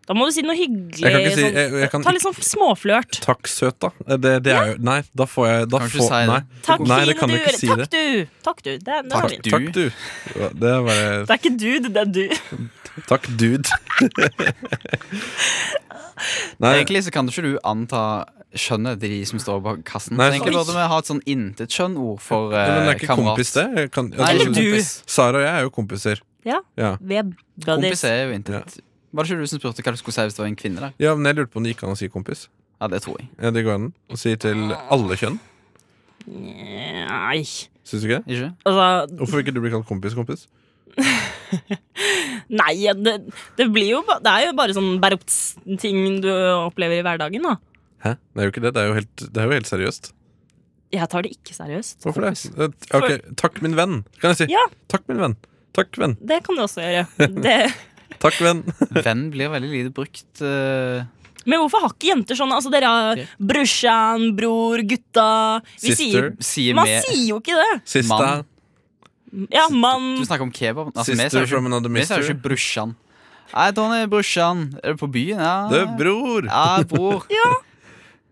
[SPEAKER 2] Da må du si noe hyggelig.
[SPEAKER 4] Jeg kan ikke si-
[SPEAKER 2] sånn-
[SPEAKER 4] jeg- jeg kan
[SPEAKER 2] ta litt sånn småflørt.
[SPEAKER 4] Takk, søt, da. Eh, Det, det er jo Nei, da får jeg da
[SPEAKER 3] Kan ikke
[SPEAKER 4] får,
[SPEAKER 3] si det.
[SPEAKER 4] nei,
[SPEAKER 2] Takk,
[SPEAKER 4] nei,
[SPEAKER 2] fine
[SPEAKER 4] det kan
[SPEAKER 2] du.
[SPEAKER 4] du ikke si
[SPEAKER 2] Takk,
[SPEAKER 4] det.
[SPEAKER 2] du. Takk, du. Det, det var
[SPEAKER 3] Takk,
[SPEAKER 2] fint.
[SPEAKER 3] du.
[SPEAKER 4] Takk, du. Ja, Det er
[SPEAKER 2] Det
[SPEAKER 4] bare
[SPEAKER 2] er ikke dude, det er du.
[SPEAKER 4] Takk, dude. nei,
[SPEAKER 3] Egentlig så kan ikke du anta skjønnet til de som står bak kassen.
[SPEAKER 4] Nei,
[SPEAKER 3] så egentlig
[SPEAKER 4] sant.
[SPEAKER 3] burde vi ha et sånn intetskjønnord for
[SPEAKER 4] ja, men det
[SPEAKER 3] eh,
[SPEAKER 4] er ikke
[SPEAKER 3] kamerat.
[SPEAKER 4] kompis, det? Jeg Kan,
[SPEAKER 3] Nei,
[SPEAKER 4] altså,
[SPEAKER 3] ikke
[SPEAKER 2] du.
[SPEAKER 3] kompis.
[SPEAKER 4] Sara og jeg er jo kompiser.
[SPEAKER 2] Ja.
[SPEAKER 4] Ja.
[SPEAKER 2] Vi er
[SPEAKER 3] Kompis
[SPEAKER 2] buddies.
[SPEAKER 3] er jo intet. Var det ikke du som spurte hva du skulle si hvis det var en kvinne der?
[SPEAKER 4] ja, men jeg lurte på om det gikk an å si kompis.
[SPEAKER 3] Ja, det tror jeg.
[SPEAKER 4] Ja, det går an å si til
[SPEAKER 2] Ah.
[SPEAKER 4] alle kjønn.
[SPEAKER 2] Nei.
[SPEAKER 4] Syns du ikke det?
[SPEAKER 3] Ikke?
[SPEAKER 2] Altså,
[SPEAKER 4] Hvorfor vil ikke du bli kalt kompis, kompis?
[SPEAKER 2] nei, det, det blir jo ba- Det er jo bare sånn berops-ting du opplever i hverdagen, da.
[SPEAKER 4] Hæ? Det er jo ikke det. Det er jo helt, det er jo helt seriøst.
[SPEAKER 2] Jeg tar det ikke seriøst.
[SPEAKER 4] Hvorfor det? Eh, Ok, takk, min venn. Kan jeg si.
[SPEAKER 2] Ja.
[SPEAKER 4] Takk, min venn. Takk, venn.
[SPEAKER 2] Det kan du også gjøre. Det,
[SPEAKER 4] Takk, venn.
[SPEAKER 3] Venn blir veldig lite brukt. eh,
[SPEAKER 2] men hvorfor har ikke jenter sånn? Altså, dere har brorsan, bror, gutta Vi sier,
[SPEAKER 4] Sister.
[SPEAKER 3] sier
[SPEAKER 2] Man
[SPEAKER 3] vi-
[SPEAKER 2] sier jo ikke det!
[SPEAKER 4] Sista.
[SPEAKER 3] Mann.
[SPEAKER 2] Ja, mann
[SPEAKER 3] Du snakker om kebab. Altså, vi
[SPEAKER 4] Sister
[SPEAKER 3] sier jo
[SPEAKER 4] from another
[SPEAKER 3] ikke, vi sier jo
[SPEAKER 4] mister.
[SPEAKER 3] ikke brorsan. Nei, Tony, brorsan. Er du på byen? Ja.
[SPEAKER 4] Du, bror.
[SPEAKER 3] Ja, bror.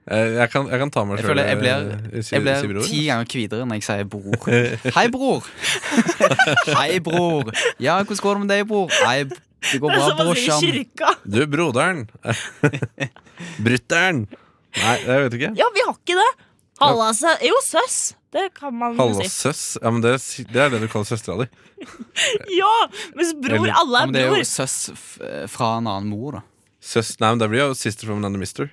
[SPEAKER 4] Eh, Jeg kan, jeg kan ta meg
[SPEAKER 3] Jeg
[SPEAKER 4] selv,
[SPEAKER 3] føler jeg
[SPEAKER 4] eh,
[SPEAKER 3] blir,
[SPEAKER 4] si-
[SPEAKER 3] jeg
[SPEAKER 4] si
[SPEAKER 3] blir
[SPEAKER 4] bror.
[SPEAKER 3] ti ganger hvitere når jeg sier bror. Hei, bror. Hei, bror. Ja, hvordan går det med deg, bror? Nei, det går
[SPEAKER 2] Det er
[SPEAKER 3] bra,
[SPEAKER 2] som man sier i
[SPEAKER 3] brorsan.
[SPEAKER 2] kirka.
[SPEAKER 4] Du, broderen. Brutter'n. Nei, jeg vet ikke.
[SPEAKER 2] Ja, vi har ikke det. Halla, sø jo, søs. Det kan man jo
[SPEAKER 4] Halla,
[SPEAKER 2] si.
[SPEAKER 4] søss. Ja, men det, si- det er det du kaller søstera di.
[SPEAKER 2] Ja, Mens bror
[SPEAKER 4] Eller-
[SPEAKER 2] alle
[SPEAKER 3] Ja,
[SPEAKER 2] er
[SPEAKER 3] men det er
[SPEAKER 2] bror.
[SPEAKER 3] jo søs f- fra en annen mor, da.
[SPEAKER 4] Søs, nei, men det blir jo sister from another mister.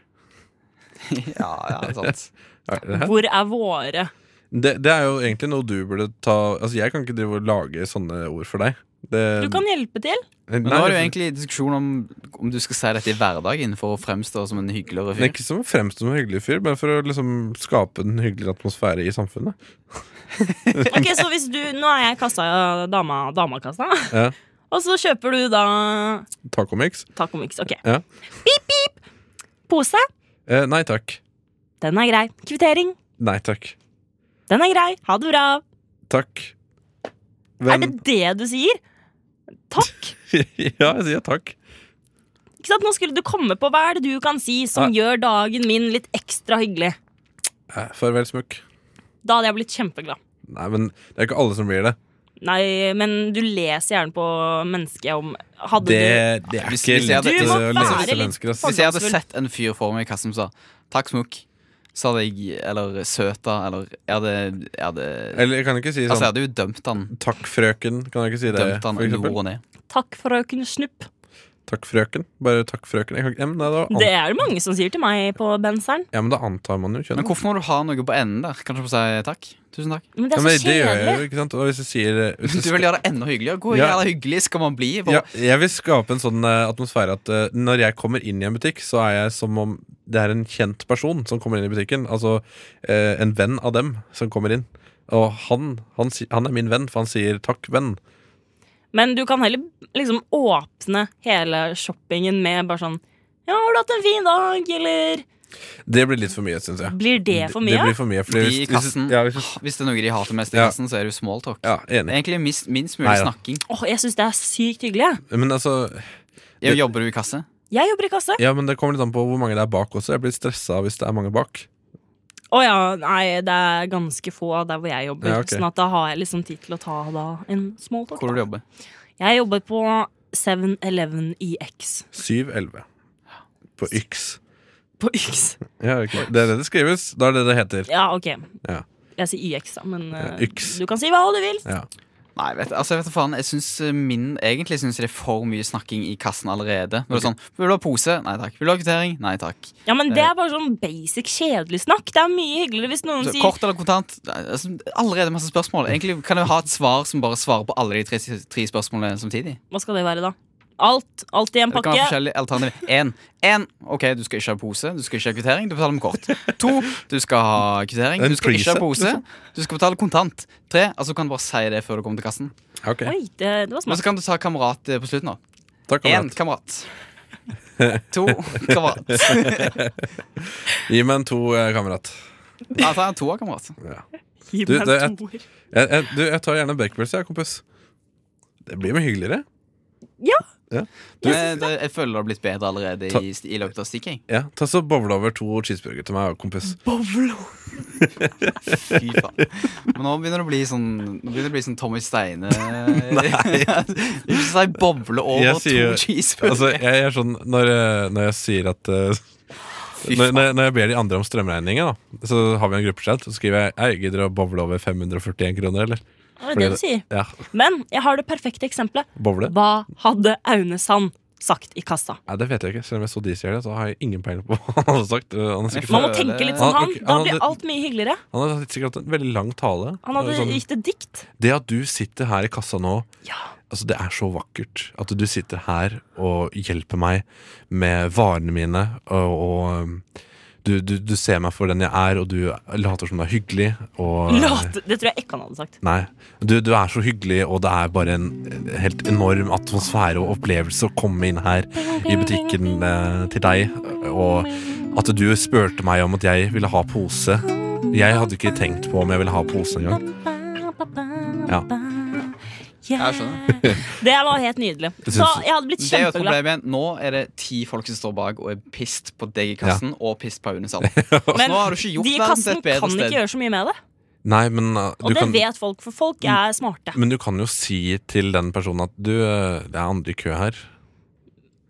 [SPEAKER 3] Ja, ja, sant.
[SPEAKER 4] Er det her?
[SPEAKER 2] Hvor er våre?
[SPEAKER 4] Det, det er jo egentlig noe du burde ta Altså, Jeg kan ikke drive og lage sånne ord for deg. Det,
[SPEAKER 2] Du kan hjelpe til.
[SPEAKER 4] Nei,
[SPEAKER 3] Men nå er det jo
[SPEAKER 4] jeg-
[SPEAKER 3] egentlig diskusjon om om du skal si dette i hverdagen for å fremstå som en hyggeligere
[SPEAKER 4] Men
[SPEAKER 3] fyr.
[SPEAKER 4] Ikke som å fremstå som en hyggelig fyr, men for å liksom skape en hyggelig atmosfære i samfunnet.
[SPEAKER 2] Ok, så hvis du, Nå er jeg i kassa, dama, damakassa,
[SPEAKER 4] Ja.
[SPEAKER 2] og så kjøper du da
[SPEAKER 4] Tacomix?
[SPEAKER 2] Tacomix. Ok.
[SPEAKER 4] Ja.
[SPEAKER 2] Pip, pip! Pose.
[SPEAKER 4] Eh, nei takk.
[SPEAKER 2] Den er grei. Kvittering.
[SPEAKER 4] Nei takk.
[SPEAKER 2] Den er grei. Ha det bra.
[SPEAKER 4] Takk.
[SPEAKER 2] Er det det du sier? Takk.
[SPEAKER 4] ja, jeg sier takk.
[SPEAKER 2] Ikke sant? Nå skulle du komme på hva er det du kan si som
[SPEAKER 4] Nei.
[SPEAKER 2] gjør dagen min litt ekstra hyggelig.
[SPEAKER 4] Eh, farvel, smukk.
[SPEAKER 2] Da hadde jeg blitt kjempeglad.
[SPEAKER 4] Nei, men det er ikke alle som blir det.
[SPEAKER 2] Nei, men du leser gjerne på mennesket om Hadde
[SPEAKER 4] Det, det er
[SPEAKER 3] Hvis-
[SPEAKER 4] ikke
[SPEAKER 3] hvis jeg
[SPEAKER 4] lett
[SPEAKER 3] hadde- Du må
[SPEAKER 4] å lese
[SPEAKER 2] være
[SPEAKER 4] disse
[SPEAKER 2] litt
[SPEAKER 4] mennesker. ass.
[SPEAKER 2] for-
[SPEAKER 3] Hvis jeg hadde sett en fyr for meg i kassen som sa 'takk, smokk', så hadde jeg Eller søta, eller Jeg hadde, jeg hadde
[SPEAKER 4] Eller jeg kan ikke si
[SPEAKER 3] Altså, jeg
[SPEAKER 4] sånn
[SPEAKER 3] hadømt jo dømt han.
[SPEAKER 4] Takk, frøken. Kan jeg ikke si det?
[SPEAKER 3] Dømt han
[SPEAKER 4] For
[SPEAKER 3] i jord
[SPEAKER 4] eksempel?
[SPEAKER 3] og ned.
[SPEAKER 2] du 'takk, frøken Snupp'?
[SPEAKER 4] Takk, frøken. Bare takk, frøken. Jeg kan ikke, ja, men, nei, da, an,
[SPEAKER 2] Det er det mange som sier til meg på benseren.
[SPEAKER 4] ja, men da antar man jo kjønn.
[SPEAKER 3] Men hvorfor må du ha noe på enden der? Kan du få si takk? Tusen takk.
[SPEAKER 2] Men det
[SPEAKER 4] ja,
[SPEAKER 2] er
[SPEAKER 4] men
[SPEAKER 2] så
[SPEAKER 4] det gjør jeg
[SPEAKER 2] kjedelig.
[SPEAKER 4] jo, ikke sant? Og hvis jeg sier eh, hvis jeg
[SPEAKER 3] Du vil gjøre det enda hyggeligere? Hvor
[SPEAKER 4] Ja.
[SPEAKER 3] jævla hyggelig skal man bli?
[SPEAKER 4] Ja,
[SPEAKER 3] Bare,
[SPEAKER 4] jeg vil skape en sånn eh, atmosfære at eh, når jeg kommer inn i en butikk, så er jeg som om det er en kjent person som kommer inn i butikken. Altså eh, en venn av dem som kommer inn. Og han, han, si- han er min venn, for han sier 'takk, venn'.
[SPEAKER 2] Men du kan heller liksom åpne hele shoppingen med bare sånn 'Ja, har du hatt en fin dag?' eller
[SPEAKER 4] Det blir litt for mye, syns jeg.
[SPEAKER 2] Blir det for
[SPEAKER 4] Det
[SPEAKER 2] mye?
[SPEAKER 4] blir for mye fordi
[SPEAKER 3] de i
[SPEAKER 4] hvis- hvis-
[SPEAKER 3] kassen Ah,
[SPEAKER 4] Ja, hvis,
[SPEAKER 3] Hvis det er noe de hater mest i
[SPEAKER 4] Ja.
[SPEAKER 3] kassen, så er det jo smalltalk.
[SPEAKER 4] ja, enig.
[SPEAKER 3] Egentlig minst, minst mulig
[SPEAKER 4] Nei da.
[SPEAKER 3] snakking.
[SPEAKER 2] Åh, jeg syns det er sykt hyggelig. jeg.
[SPEAKER 4] Men altså
[SPEAKER 3] Ja, Jobber du i kasse?
[SPEAKER 2] Jeg jobber i kasse.
[SPEAKER 4] Ja, men det kommer litt an på hvor mange det er bak også. Jeg blir stressa hvis det er mange bak.
[SPEAKER 2] Å ja, nei, det er ganske få der hvor jeg jobber.
[SPEAKER 4] Ja, ok.
[SPEAKER 2] Sånn at da har jeg liksom tid til å ta da en smalltalk.
[SPEAKER 3] Hvor du jobber?
[SPEAKER 2] Jeg jobber på 7-Eleven IX.
[SPEAKER 4] 7-11 på Yx.
[SPEAKER 2] På Yx.
[SPEAKER 4] Ja, ikke- Det er det det skrives. Da er det det heter.
[SPEAKER 2] Ja, ok.
[SPEAKER 4] Ja.
[SPEAKER 2] Jeg sier YX, da, men eh,
[SPEAKER 4] Yx.
[SPEAKER 2] du kan si hva du vil.
[SPEAKER 4] Ja.
[SPEAKER 3] Nei, vet, altså, vet du faen, jeg synes eh, min, Egentlig syns jeg det er for mye snakking i kassen allerede. Når det er sånn, Vil du ha pose? Nei takk. Vil du ha kvittering? Nei takk.
[SPEAKER 2] Ja, men Det er bare sånn basic, kjedelig snakk. Det er mye hyggeligere hvis noen
[SPEAKER 3] Så,
[SPEAKER 2] sier
[SPEAKER 3] kort eller kontant? Nei, Altså, allerede masse spørsmål. Egentlig Kan jeg ha et svar som bare svarer på alle de tre, tre spørsmålene samtidig?
[SPEAKER 2] Hva skal det være, da? Alt. Alt i en
[SPEAKER 3] Det kan være
[SPEAKER 2] pakke.
[SPEAKER 3] forskjellige alternativ. En, en, ok, du skal ikke ha pose, du skal ikke ha kvittering, du betaler med kort. To, du skal ha kvittering,
[SPEAKER 4] En
[SPEAKER 3] du skal ikke ha
[SPEAKER 4] preset,
[SPEAKER 3] pose, du skal betale kontant. Tre, altså kan du bare si det før du kommer til kassen.
[SPEAKER 4] Ok,
[SPEAKER 2] Oi, det, det var
[SPEAKER 3] Men så
[SPEAKER 2] smart.
[SPEAKER 3] kan du ta kamerat eh, på slutten. da
[SPEAKER 4] takk.
[SPEAKER 3] Én
[SPEAKER 4] kamerat.
[SPEAKER 3] kamerat. To kamerat.
[SPEAKER 4] Gi meg en to, eh, kamerat.
[SPEAKER 3] Ja, ta en toer, kamerat.
[SPEAKER 4] Ja.
[SPEAKER 2] Gi
[SPEAKER 4] Du,
[SPEAKER 2] meg
[SPEAKER 4] det-
[SPEAKER 2] en toer.
[SPEAKER 4] Jeg, jeg, du, jeg tar gjerne en bakebrød, jeg, kompis. Det blir mye hyggeligere.
[SPEAKER 2] Ja.
[SPEAKER 4] Ja. Du,
[SPEAKER 3] Men det- Jeg føler det har blitt bedre allerede
[SPEAKER 4] Ta-
[SPEAKER 3] i, i løpet av stikking.
[SPEAKER 4] ja, ta så Bowle over to cheeseburger til meg, kompis.
[SPEAKER 2] Bowlo.
[SPEAKER 3] Fy faen. Men nå begynner det å bli sånn Nå begynner det å bli sånn Tommy Steine Ikke si boble over
[SPEAKER 4] Jeg
[SPEAKER 3] to
[SPEAKER 4] sier- Altså,
[SPEAKER 3] cheeseburgere.
[SPEAKER 4] jeg, jeg er sånn når, eh, når jeg sier at eh, når, når, jeg- når jeg ber de andre om strømregninga, da, så har vi en gruppechat, så skriver jeg jeg gidder å bowle over 541 kroner, eller?
[SPEAKER 2] Hva er det du sier?
[SPEAKER 4] Ja,
[SPEAKER 2] Men jeg har det perfekte eksempelet.
[SPEAKER 4] bowle?
[SPEAKER 2] Hva hadde Aune Sand sagt i kassa?
[SPEAKER 4] Nei, det vet jeg ikke. Selv om jeg så de sier det, så har jeg ingen peiling på hva han har sagt. Eh, Han har sikkert,
[SPEAKER 2] Man må tenke litt som
[SPEAKER 4] Han-
[SPEAKER 2] han.
[SPEAKER 4] ok,
[SPEAKER 2] Da
[SPEAKER 4] han
[SPEAKER 2] blir
[SPEAKER 4] hadde-
[SPEAKER 2] alt mye hyggeligere.
[SPEAKER 4] han har sikkert hatt en veldig lang tale.
[SPEAKER 2] Han hadde
[SPEAKER 4] Sånn,
[SPEAKER 2] gitt et dikt.
[SPEAKER 4] det at du sitter her i kassa nå,
[SPEAKER 2] Ja.
[SPEAKER 4] altså det er så vakkert. At du sitter her og hjelper meg med varene mine, og, og um, du, du, du ser meg for den jeg er, og du later som du er hyggelig. Og, eh,
[SPEAKER 2] Late. Det tror jeg ikke han hadde sagt.
[SPEAKER 4] Nei. Du, du er så hyggelig, og det er bare en eh, helt enorm atmosfære og opplevelse å komme inn her i butikken eh, til deg. Og at du spurte meg om at jeg ville ha pose. Jeg hadde ikke tenkt på om jeg ville ha pose engang. Ja.
[SPEAKER 2] Yeah.
[SPEAKER 3] Jeg skjønner.
[SPEAKER 2] Det var helt nydelig.
[SPEAKER 4] Det
[SPEAKER 2] Så
[SPEAKER 4] syns-
[SPEAKER 2] jeg hadde blitt
[SPEAKER 3] Det er jo et
[SPEAKER 2] kjempeglad.
[SPEAKER 3] problem igjen. Nå er det ti folk som står bak og er pissed på deg i kassen, og pissed på Aune Sand. Så
[SPEAKER 2] Men
[SPEAKER 3] nå har du ikke gjort
[SPEAKER 2] de i
[SPEAKER 3] verden til
[SPEAKER 2] kassen
[SPEAKER 3] et bedre
[SPEAKER 2] kan ikke
[SPEAKER 3] sted.
[SPEAKER 2] gjøre så mye med det.
[SPEAKER 4] Nei, men eh,
[SPEAKER 2] Og
[SPEAKER 4] du
[SPEAKER 2] det
[SPEAKER 4] kan, Mm.
[SPEAKER 2] vet folk, for folk er smarte.
[SPEAKER 4] men du kan jo si til den personen at du, eh, det er andre i kø her.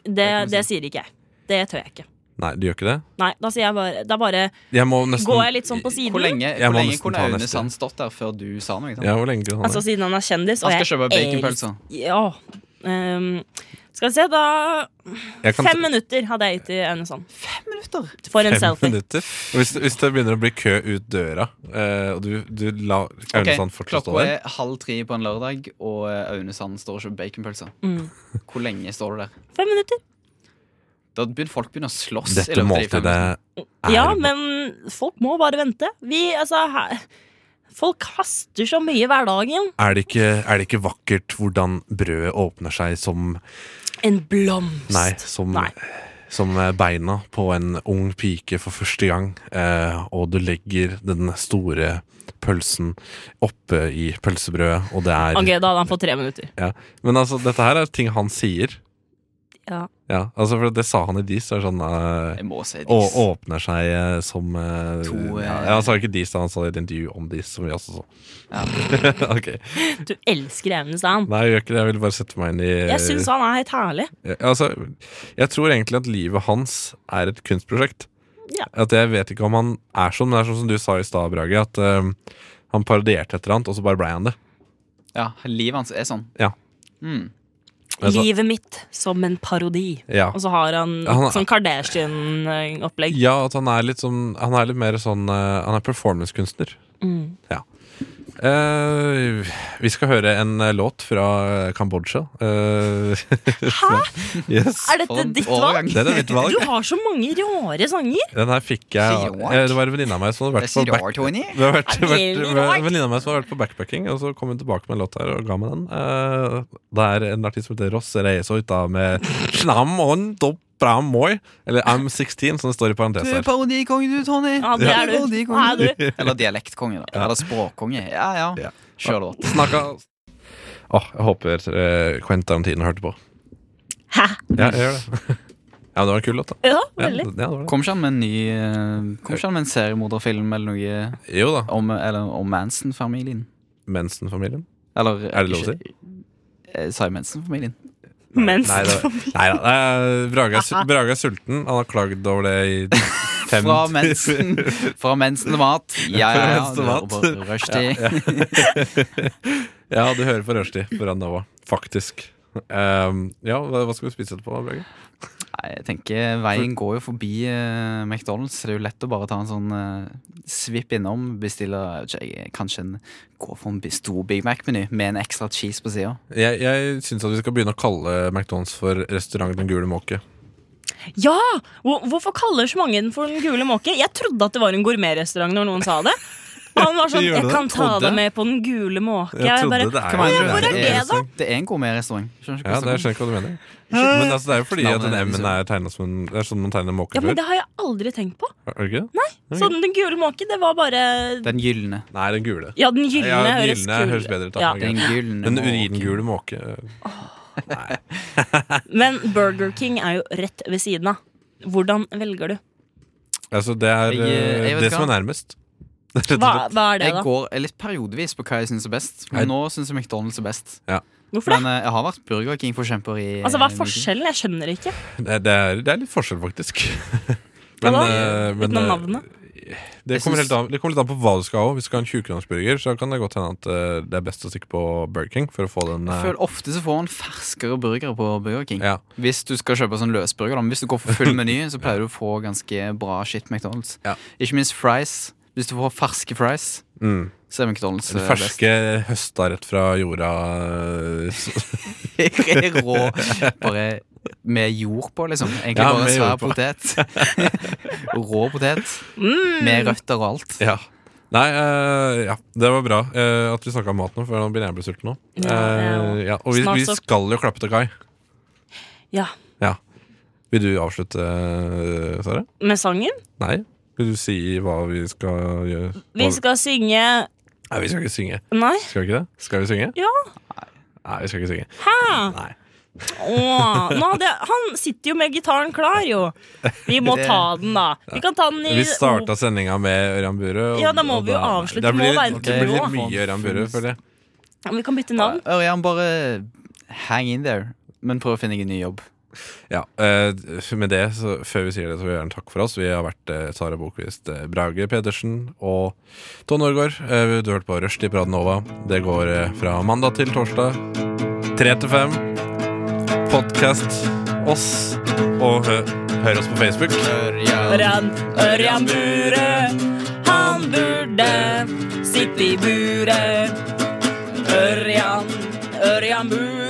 [SPEAKER 2] Det, det sier ikke jeg. Det tør jeg ikke.
[SPEAKER 4] Nei, du gjør ikke det?
[SPEAKER 2] Nei, da sier jeg bare Da bare
[SPEAKER 4] Jeg må nesten
[SPEAKER 2] går jeg litt sånn på siden.
[SPEAKER 3] Hvor lenge,
[SPEAKER 4] Jeg må
[SPEAKER 3] hvor lenge
[SPEAKER 4] nesten
[SPEAKER 3] kunne
[SPEAKER 4] ta
[SPEAKER 3] Aune
[SPEAKER 4] neste.
[SPEAKER 3] Sand stått der før du sa noe? ikke sant?
[SPEAKER 4] Ja, hvor lenge kan han
[SPEAKER 2] Altså siden han er kjendis. og
[SPEAKER 3] Han skal
[SPEAKER 2] jeg
[SPEAKER 3] kjøpe
[SPEAKER 2] elsker-
[SPEAKER 3] baconpølser.
[SPEAKER 2] Ja. ehm, skal vi se, da
[SPEAKER 4] Jeg kan-
[SPEAKER 2] Fem minutter hadde jeg gitt til Aune Sand.
[SPEAKER 3] Minutter.
[SPEAKER 2] For en
[SPEAKER 4] Fem
[SPEAKER 2] selfie.
[SPEAKER 4] minutter? Hvis, hvis det begynner å bli kø ut døra, eh, og du, du la Aune
[SPEAKER 3] Ok,
[SPEAKER 4] Sand fortsatt stå
[SPEAKER 3] Klokka
[SPEAKER 4] der
[SPEAKER 3] er halv tre på en lørdag, og eh, Aune Sand står og kjøper baconpølser.
[SPEAKER 2] Mm.
[SPEAKER 3] Hvor lenge står du der?
[SPEAKER 2] Fem minutter.
[SPEAKER 3] Da begynner folk begynner å slåss. i
[SPEAKER 4] Dette
[SPEAKER 3] løpet av de fem
[SPEAKER 4] måltidet
[SPEAKER 3] minuttene.
[SPEAKER 4] er
[SPEAKER 2] Ja, men folk må bare vente. Vi, altså her, Folk haster så mye i hverdagen.
[SPEAKER 4] er det, ikke, er det ikke vakkert hvordan brødet åpner seg som
[SPEAKER 2] En blomst.
[SPEAKER 4] Nei, som,
[SPEAKER 2] Nei.
[SPEAKER 4] som beina på en ung pike for første gang, eh, og du legger den store pølsen oppe i pølsebrødet, og det er
[SPEAKER 2] Ok, da hadde han fått tre minutter.
[SPEAKER 4] ja. Men altså, dette her er ting han sier.
[SPEAKER 2] Ja.
[SPEAKER 4] Ja, altså, for det sa han i Dis. Det er sånn eh,
[SPEAKER 3] Jeg må si
[SPEAKER 4] Og
[SPEAKER 3] det.
[SPEAKER 4] åpner seg eh, som eh,
[SPEAKER 3] To, eh,
[SPEAKER 4] ja, ja, Han sa ikke dis, da, han sa i et intervju om dis, som vi også så. ok.
[SPEAKER 2] Du elsker Aune Sand.
[SPEAKER 4] Nei, jeg gjør ikke det. Jeg vil bare sette meg inn i eh,
[SPEAKER 2] Jeg syns han er helt herlig.
[SPEAKER 4] ja, altså, Jeg tror egentlig at livet hans er et kunstprosjekt.
[SPEAKER 2] Ja.
[SPEAKER 4] At Jeg vet ikke om han er sånn, men det er sånn som du sa i stad, Brage, at eh, han parodierte et eller annet, og så bare blei han det.
[SPEAKER 3] Ja, livet hans er sånn.
[SPEAKER 4] Ja.
[SPEAKER 3] Mm.
[SPEAKER 4] Altså-
[SPEAKER 2] Livet mitt som en parodi.
[SPEAKER 4] Ja.
[SPEAKER 2] Og så har han
[SPEAKER 4] Ja, han er-
[SPEAKER 2] sånn Kardashian-opplegg.
[SPEAKER 4] Ja, at han er litt sånn Han er litt mer sånn eh, Han er performancekunstner.
[SPEAKER 2] Mm.
[SPEAKER 4] Ja. Eh, vi skal høre en eh, låt fra Kambodsja. Hæ?! yes.
[SPEAKER 2] Er dette
[SPEAKER 3] Sånn,
[SPEAKER 2] ditt valg?
[SPEAKER 3] overgang.
[SPEAKER 4] Det er mitt valg.
[SPEAKER 2] Du har så mange rare sanger.
[SPEAKER 4] Den her fikk jeg
[SPEAKER 3] Sier rart.
[SPEAKER 4] eh, Det var en venninne av meg som hadde
[SPEAKER 3] Det
[SPEAKER 4] vært på
[SPEAKER 3] sier
[SPEAKER 4] back...
[SPEAKER 3] rart, Tony.
[SPEAKER 4] Det har vært,
[SPEAKER 2] Er det
[SPEAKER 4] vært,
[SPEAKER 2] rart?
[SPEAKER 4] en venninne av meg som har vært på backpacking, og så kom hun tilbake med en låt her og ga meg den. Eh, det er en artist som heter Ross Reiso ute med Snam on top bra moi, eller I'm16, som det står i
[SPEAKER 3] Du
[SPEAKER 4] parentes her.
[SPEAKER 3] er parodikonge, du, Tony.
[SPEAKER 2] Ja, det er du.
[SPEAKER 3] parodikonge.
[SPEAKER 2] Nei, du.
[SPEAKER 3] Eller dialektkonge, da. Eller språkkonge. Ja,
[SPEAKER 4] Ja.
[SPEAKER 3] ja. Kjør låt.
[SPEAKER 4] Snakka Åh, jeg håper eh, Quentin Tarantino hørte på.
[SPEAKER 2] Hæ?
[SPEAKER 4] Ja, jeg gjør det. ja, men det var en kul låt, da.
[SPEAKER 2] Ja,
[SPEAKER 4] Ja,
[SPEAKER 2] veldig.
[SPEAKER 4] ja, det var det.
[SPEAKER 3] Kom ikke han med en ny eh, Kom ikke han med en seriemorderfilm eller noe eh,
[SPEAKER 4] Jo da.
[SPEAKER 3] om, eller om Manson-familien?
[SPEAKER 4] Mensen-familien.
[SPEAKER 3] Eller
[SPEAKER 4] Er det lov å
[SPEAKER 3] ikke- Eh, Sa jeg Manson-familien?
[SPEAKER 2] Mens
[SPEAKER 4] Nei, det, nei da. eh, Brage, er, su- Brage er sulten. Han har klagd over det i fem
[SPEAKER 3] Fra mensen Fra mensen til mat. Ja, ja, ja.
[SPEAKER 4] Fra mensen
[SPEAKER 3] Du
[SPEAKER 4] til
[SPEAKER 3] hører
[SPEAKER 4] mat.
[SPEAKER 3] på Rushdie.
[SPEAKER 4] Ja, du hører på rushtid på Randava. Faktisk. Ehm, ja, hva hva skal vi spise etterpå, Brage?
[SPEAKER 3] Nei, jeg tenker Veien går jo forbi eh, McDonald's. så Det er jo lett å bare ta en sånn eh, svipp innom, bestille eh, kanskje en, gå for en bi- stor Big Mac-meny med en ekstra cheese på sida.
[SPEAKER 4] Jeg, jeg syns at vi skal begynne å kalle McDonald's for Restaurant Den gule måke.
[SPEAKER 2] Ja! Hvor- Hvorfor kaller så mange den for Den gule måke? Jeg trodde at det var en gourmetrestaurant når noen sa det. Han var sånn
[SPEAKER 3] Gjør det?
[SPEAKER 2] 'Jeg kan ta
[SPEAKER 3] Trodde?
[SPEAKER 2] deg med på Den gule måke'. Jeg bare,
[SPEAKER 3] Hva
[SPEAKER 2] «Å,
[SPEAKER 3] mener
[SPEAKER 2] ja,
[SPEAKER 3] du?
[SPEAKER 2] hvor er
[SPEAKER 3] Det
[SPEAKER 2] det,
[SPEAKER 3] er-
[SPEAKER 2] da?
[SPEAKER 3] Det er en gourmetrestaurant. Skjønner ikke
[SPEAKER 4] Ja,
[SPEAKER 3] hva
[SPEAKER 4] det, jeg
[SPEAKER 3] som-
[SPEAKER 4] skjønner ikke hva du mener.
[SPEAKER 3] Ikke-
[SPEAKER 4] Men altså, det er jo fordi at den
[SPEAKER 3] Navnet er
[SPEAKER 4] M-en er tegna som en Det er sånn man tegner en måke
[SPEAKER 2] Ja, men
[SPEAKER 4] før.
[SPEAKER 2] det har jeg aldri tenkt på.
[SPEAKER 4] Er det ikke det?
[SPEAKER 2] Nei, sånn Den gule måke, det var bare
[SPEAKER 3] Den gylne.
[SPEAKER 4] Nei, den gule.
[SPEAKER 2] Ja, den gylne
[SPEAKER 4] Ja, den
[SPEAKER 2] høres
[SPEAKER 4] gylne
[SPEAKER 2] kul-
[SPEAKER 4] høres bedre ut. da.
[SPEAKER 2] Ja.
[SPEAKER 4] Ok.
[SPEAKER 2] Den gylne
[SPEAKER 4] Den uringule måke.
[SPEAKER 2] Men Burger King er jo rett ved siden av. Hvordan velger du?
[SPEAKER 4] Altså, det er
[SPEAKER 3] Jeg, eh, jeg
[SPEAKER 4] eh,
[SPEAKER 3] vet
[SPEAKER 4] det
[SPEAKER 3] hva.
[SPEAKER 4] som er nærmest. Rett og
[SPEAKER 2] Hva,
[SPEAKER 4] slett.
[SPEAKER 2] hva er det, da?
[SPEAKER 3] Jeg går eh, litt periodevis på hva jeg syns er best. Men
[SPEAKER 4] Nei.
[SPEAKER 3] nå syns jeg McDonald's er best.
[SPEAKER 4] Ja.
[SPEAKER 2] Hvorfor det?
[SPEAKER 3] Men eh, jeg har vært Burger King-forkjemper i
[SPEAKER 2] Altså, Hva er
[SPEAKER 3] eh, mye tid.
[SPEAKER 2] forskjellen? Jeg skjønner ikke.
[SPEAKER 4] Det, det, er, det er litt forskjell, faktisk.
[SPEAKER 2] Hva da?
[SPEAKER 4] eh, men,
[SPEAKER 2] Utenom
[SPEAKER 4] eh,
[SPEAKER 2] navnet?
[SPEAKER 4] Det
[SPEAKER 3] Jeg
[SPEAKER 4] kommer,
[SPEAKER 3] syns-
[SPEAKER 4] helt an, det kommer litt an på hva du skal ha. Hvis du skal ha en 20-kronersburger, så kan det godt hende at eh, det er best å stikke på Burger King for å få den
[SPEAKER 3] Jeg
[SPEAKER 4] eh,
[SPEAKER 3] føler Ofte så får man ferskere burgere på Burger King.
[SPEAKER 4] ja.
[SPEAKER 3] Hvis du skal kjøpe sånn løsburger. da, Men hvis du går for full meny, så pleier du å få ganske bra shit McDonald's.
[SPEAKER 4] Ja.
[SPEAKER 3] Ikke minst fries. Hvis du får ferske fries,
[SPEAKER 4] mm.
[SPEAKER 3] så er McDonald's
[SPEAKER 4] De
[SPEAKER 3] eh, best.
[SPEAKER 4] ferske høsta rett fra jorda. eh, s-
[SPEAKER 3] Jeg er rå. Bare med jord på, liksom. Egentlig
[SPEAKER 4] Ja,
[SPEAKER 3] bare en
[SPEAKER 4] med
[SPEAKER 3] svær
[SPEAKER 4] jord på.
[SPEAKER 3] potet. rå potet. Med røtter og alt.
[SPEAKER 4] ja. Nei, eh, ja, det var bra eh, at vi snakka om mat nå, for nå begynner jeg å bli sulten nå.
[SPEAKER 2] Ja,
[SPEAKER 4] Eh, ja. Og vi,
[SPEAKER 2] Snart
[SPEAKER 4] vi
[SPEAKER 2] så-
[SPEAKER 4] skal jo klappe til Kai.
[SPEAKER 2] Ja.
[SPEAKER 4] Ja. Vil du avslutte, eh, Sara?
[SPEAKER 2] Med sangen?
[SPEAKER 4] Nei? Vil du si hva vi skal gjøre? Hva-
[SPEAKER 2] Vi skal synge
[SPEAKER 4] Nei, vi skal ikke synge.
[SPEAKER 2] Nei?
[SPEAKER 4] Skal vi ikke det? Skal vi synge?
[SPEAKER 2] Ja.
[SPEAKER 4] Nei, vi skal ikke synge.
[SPEAKER 2] Hæ?
[SPEAKER 4] Nei.
[SPEAKER 2] Åh, nå hadde jeg, han sitter jo med gitaren klar, jo. Vi må ta den, da. Vi kan ta den i
[SPEAKER 4] Vi starta sendinga med Ørjan Burøe. og-
[SPEAKER 2] Ja, da må
[SPEAKER 4] og
[SPEAKER 2] vi jo avslutte.
[SPEAKER 4] Det
[SPEAKER 2] Det må
[SPEAKER 4] blir,
[SPEAKER 2] være
[SPEAKER 4] det blir
[SPEAKER 2] blå.
[SPEAKER 4] mye Ørjan Burøe, føler jeg.
[SPEAKER 2] Vi kan bytte navn.
[SPEAKER 3] Ørjan, bare hang in there. Men prøv å finne deg en ny jobb.
[SPEAKER 4] Ja, eh, med det, så, før vi sier det, så vil jeg gjerne takke for oss. Vi har vært eh, Sara Bokvist, eh, Brage Pedersen og Ton Norgård. Eh, du har hørt på Rushdie på Radio Nova. Det går eh, fra mandag til torsdag, tre til fem. Podkast oss, og hø hør oss på Facebook.
[SPEAKER 2] Ørjan, Ørjan Bure, han burde sitte i buret. Ørjan, Ørjan Bure.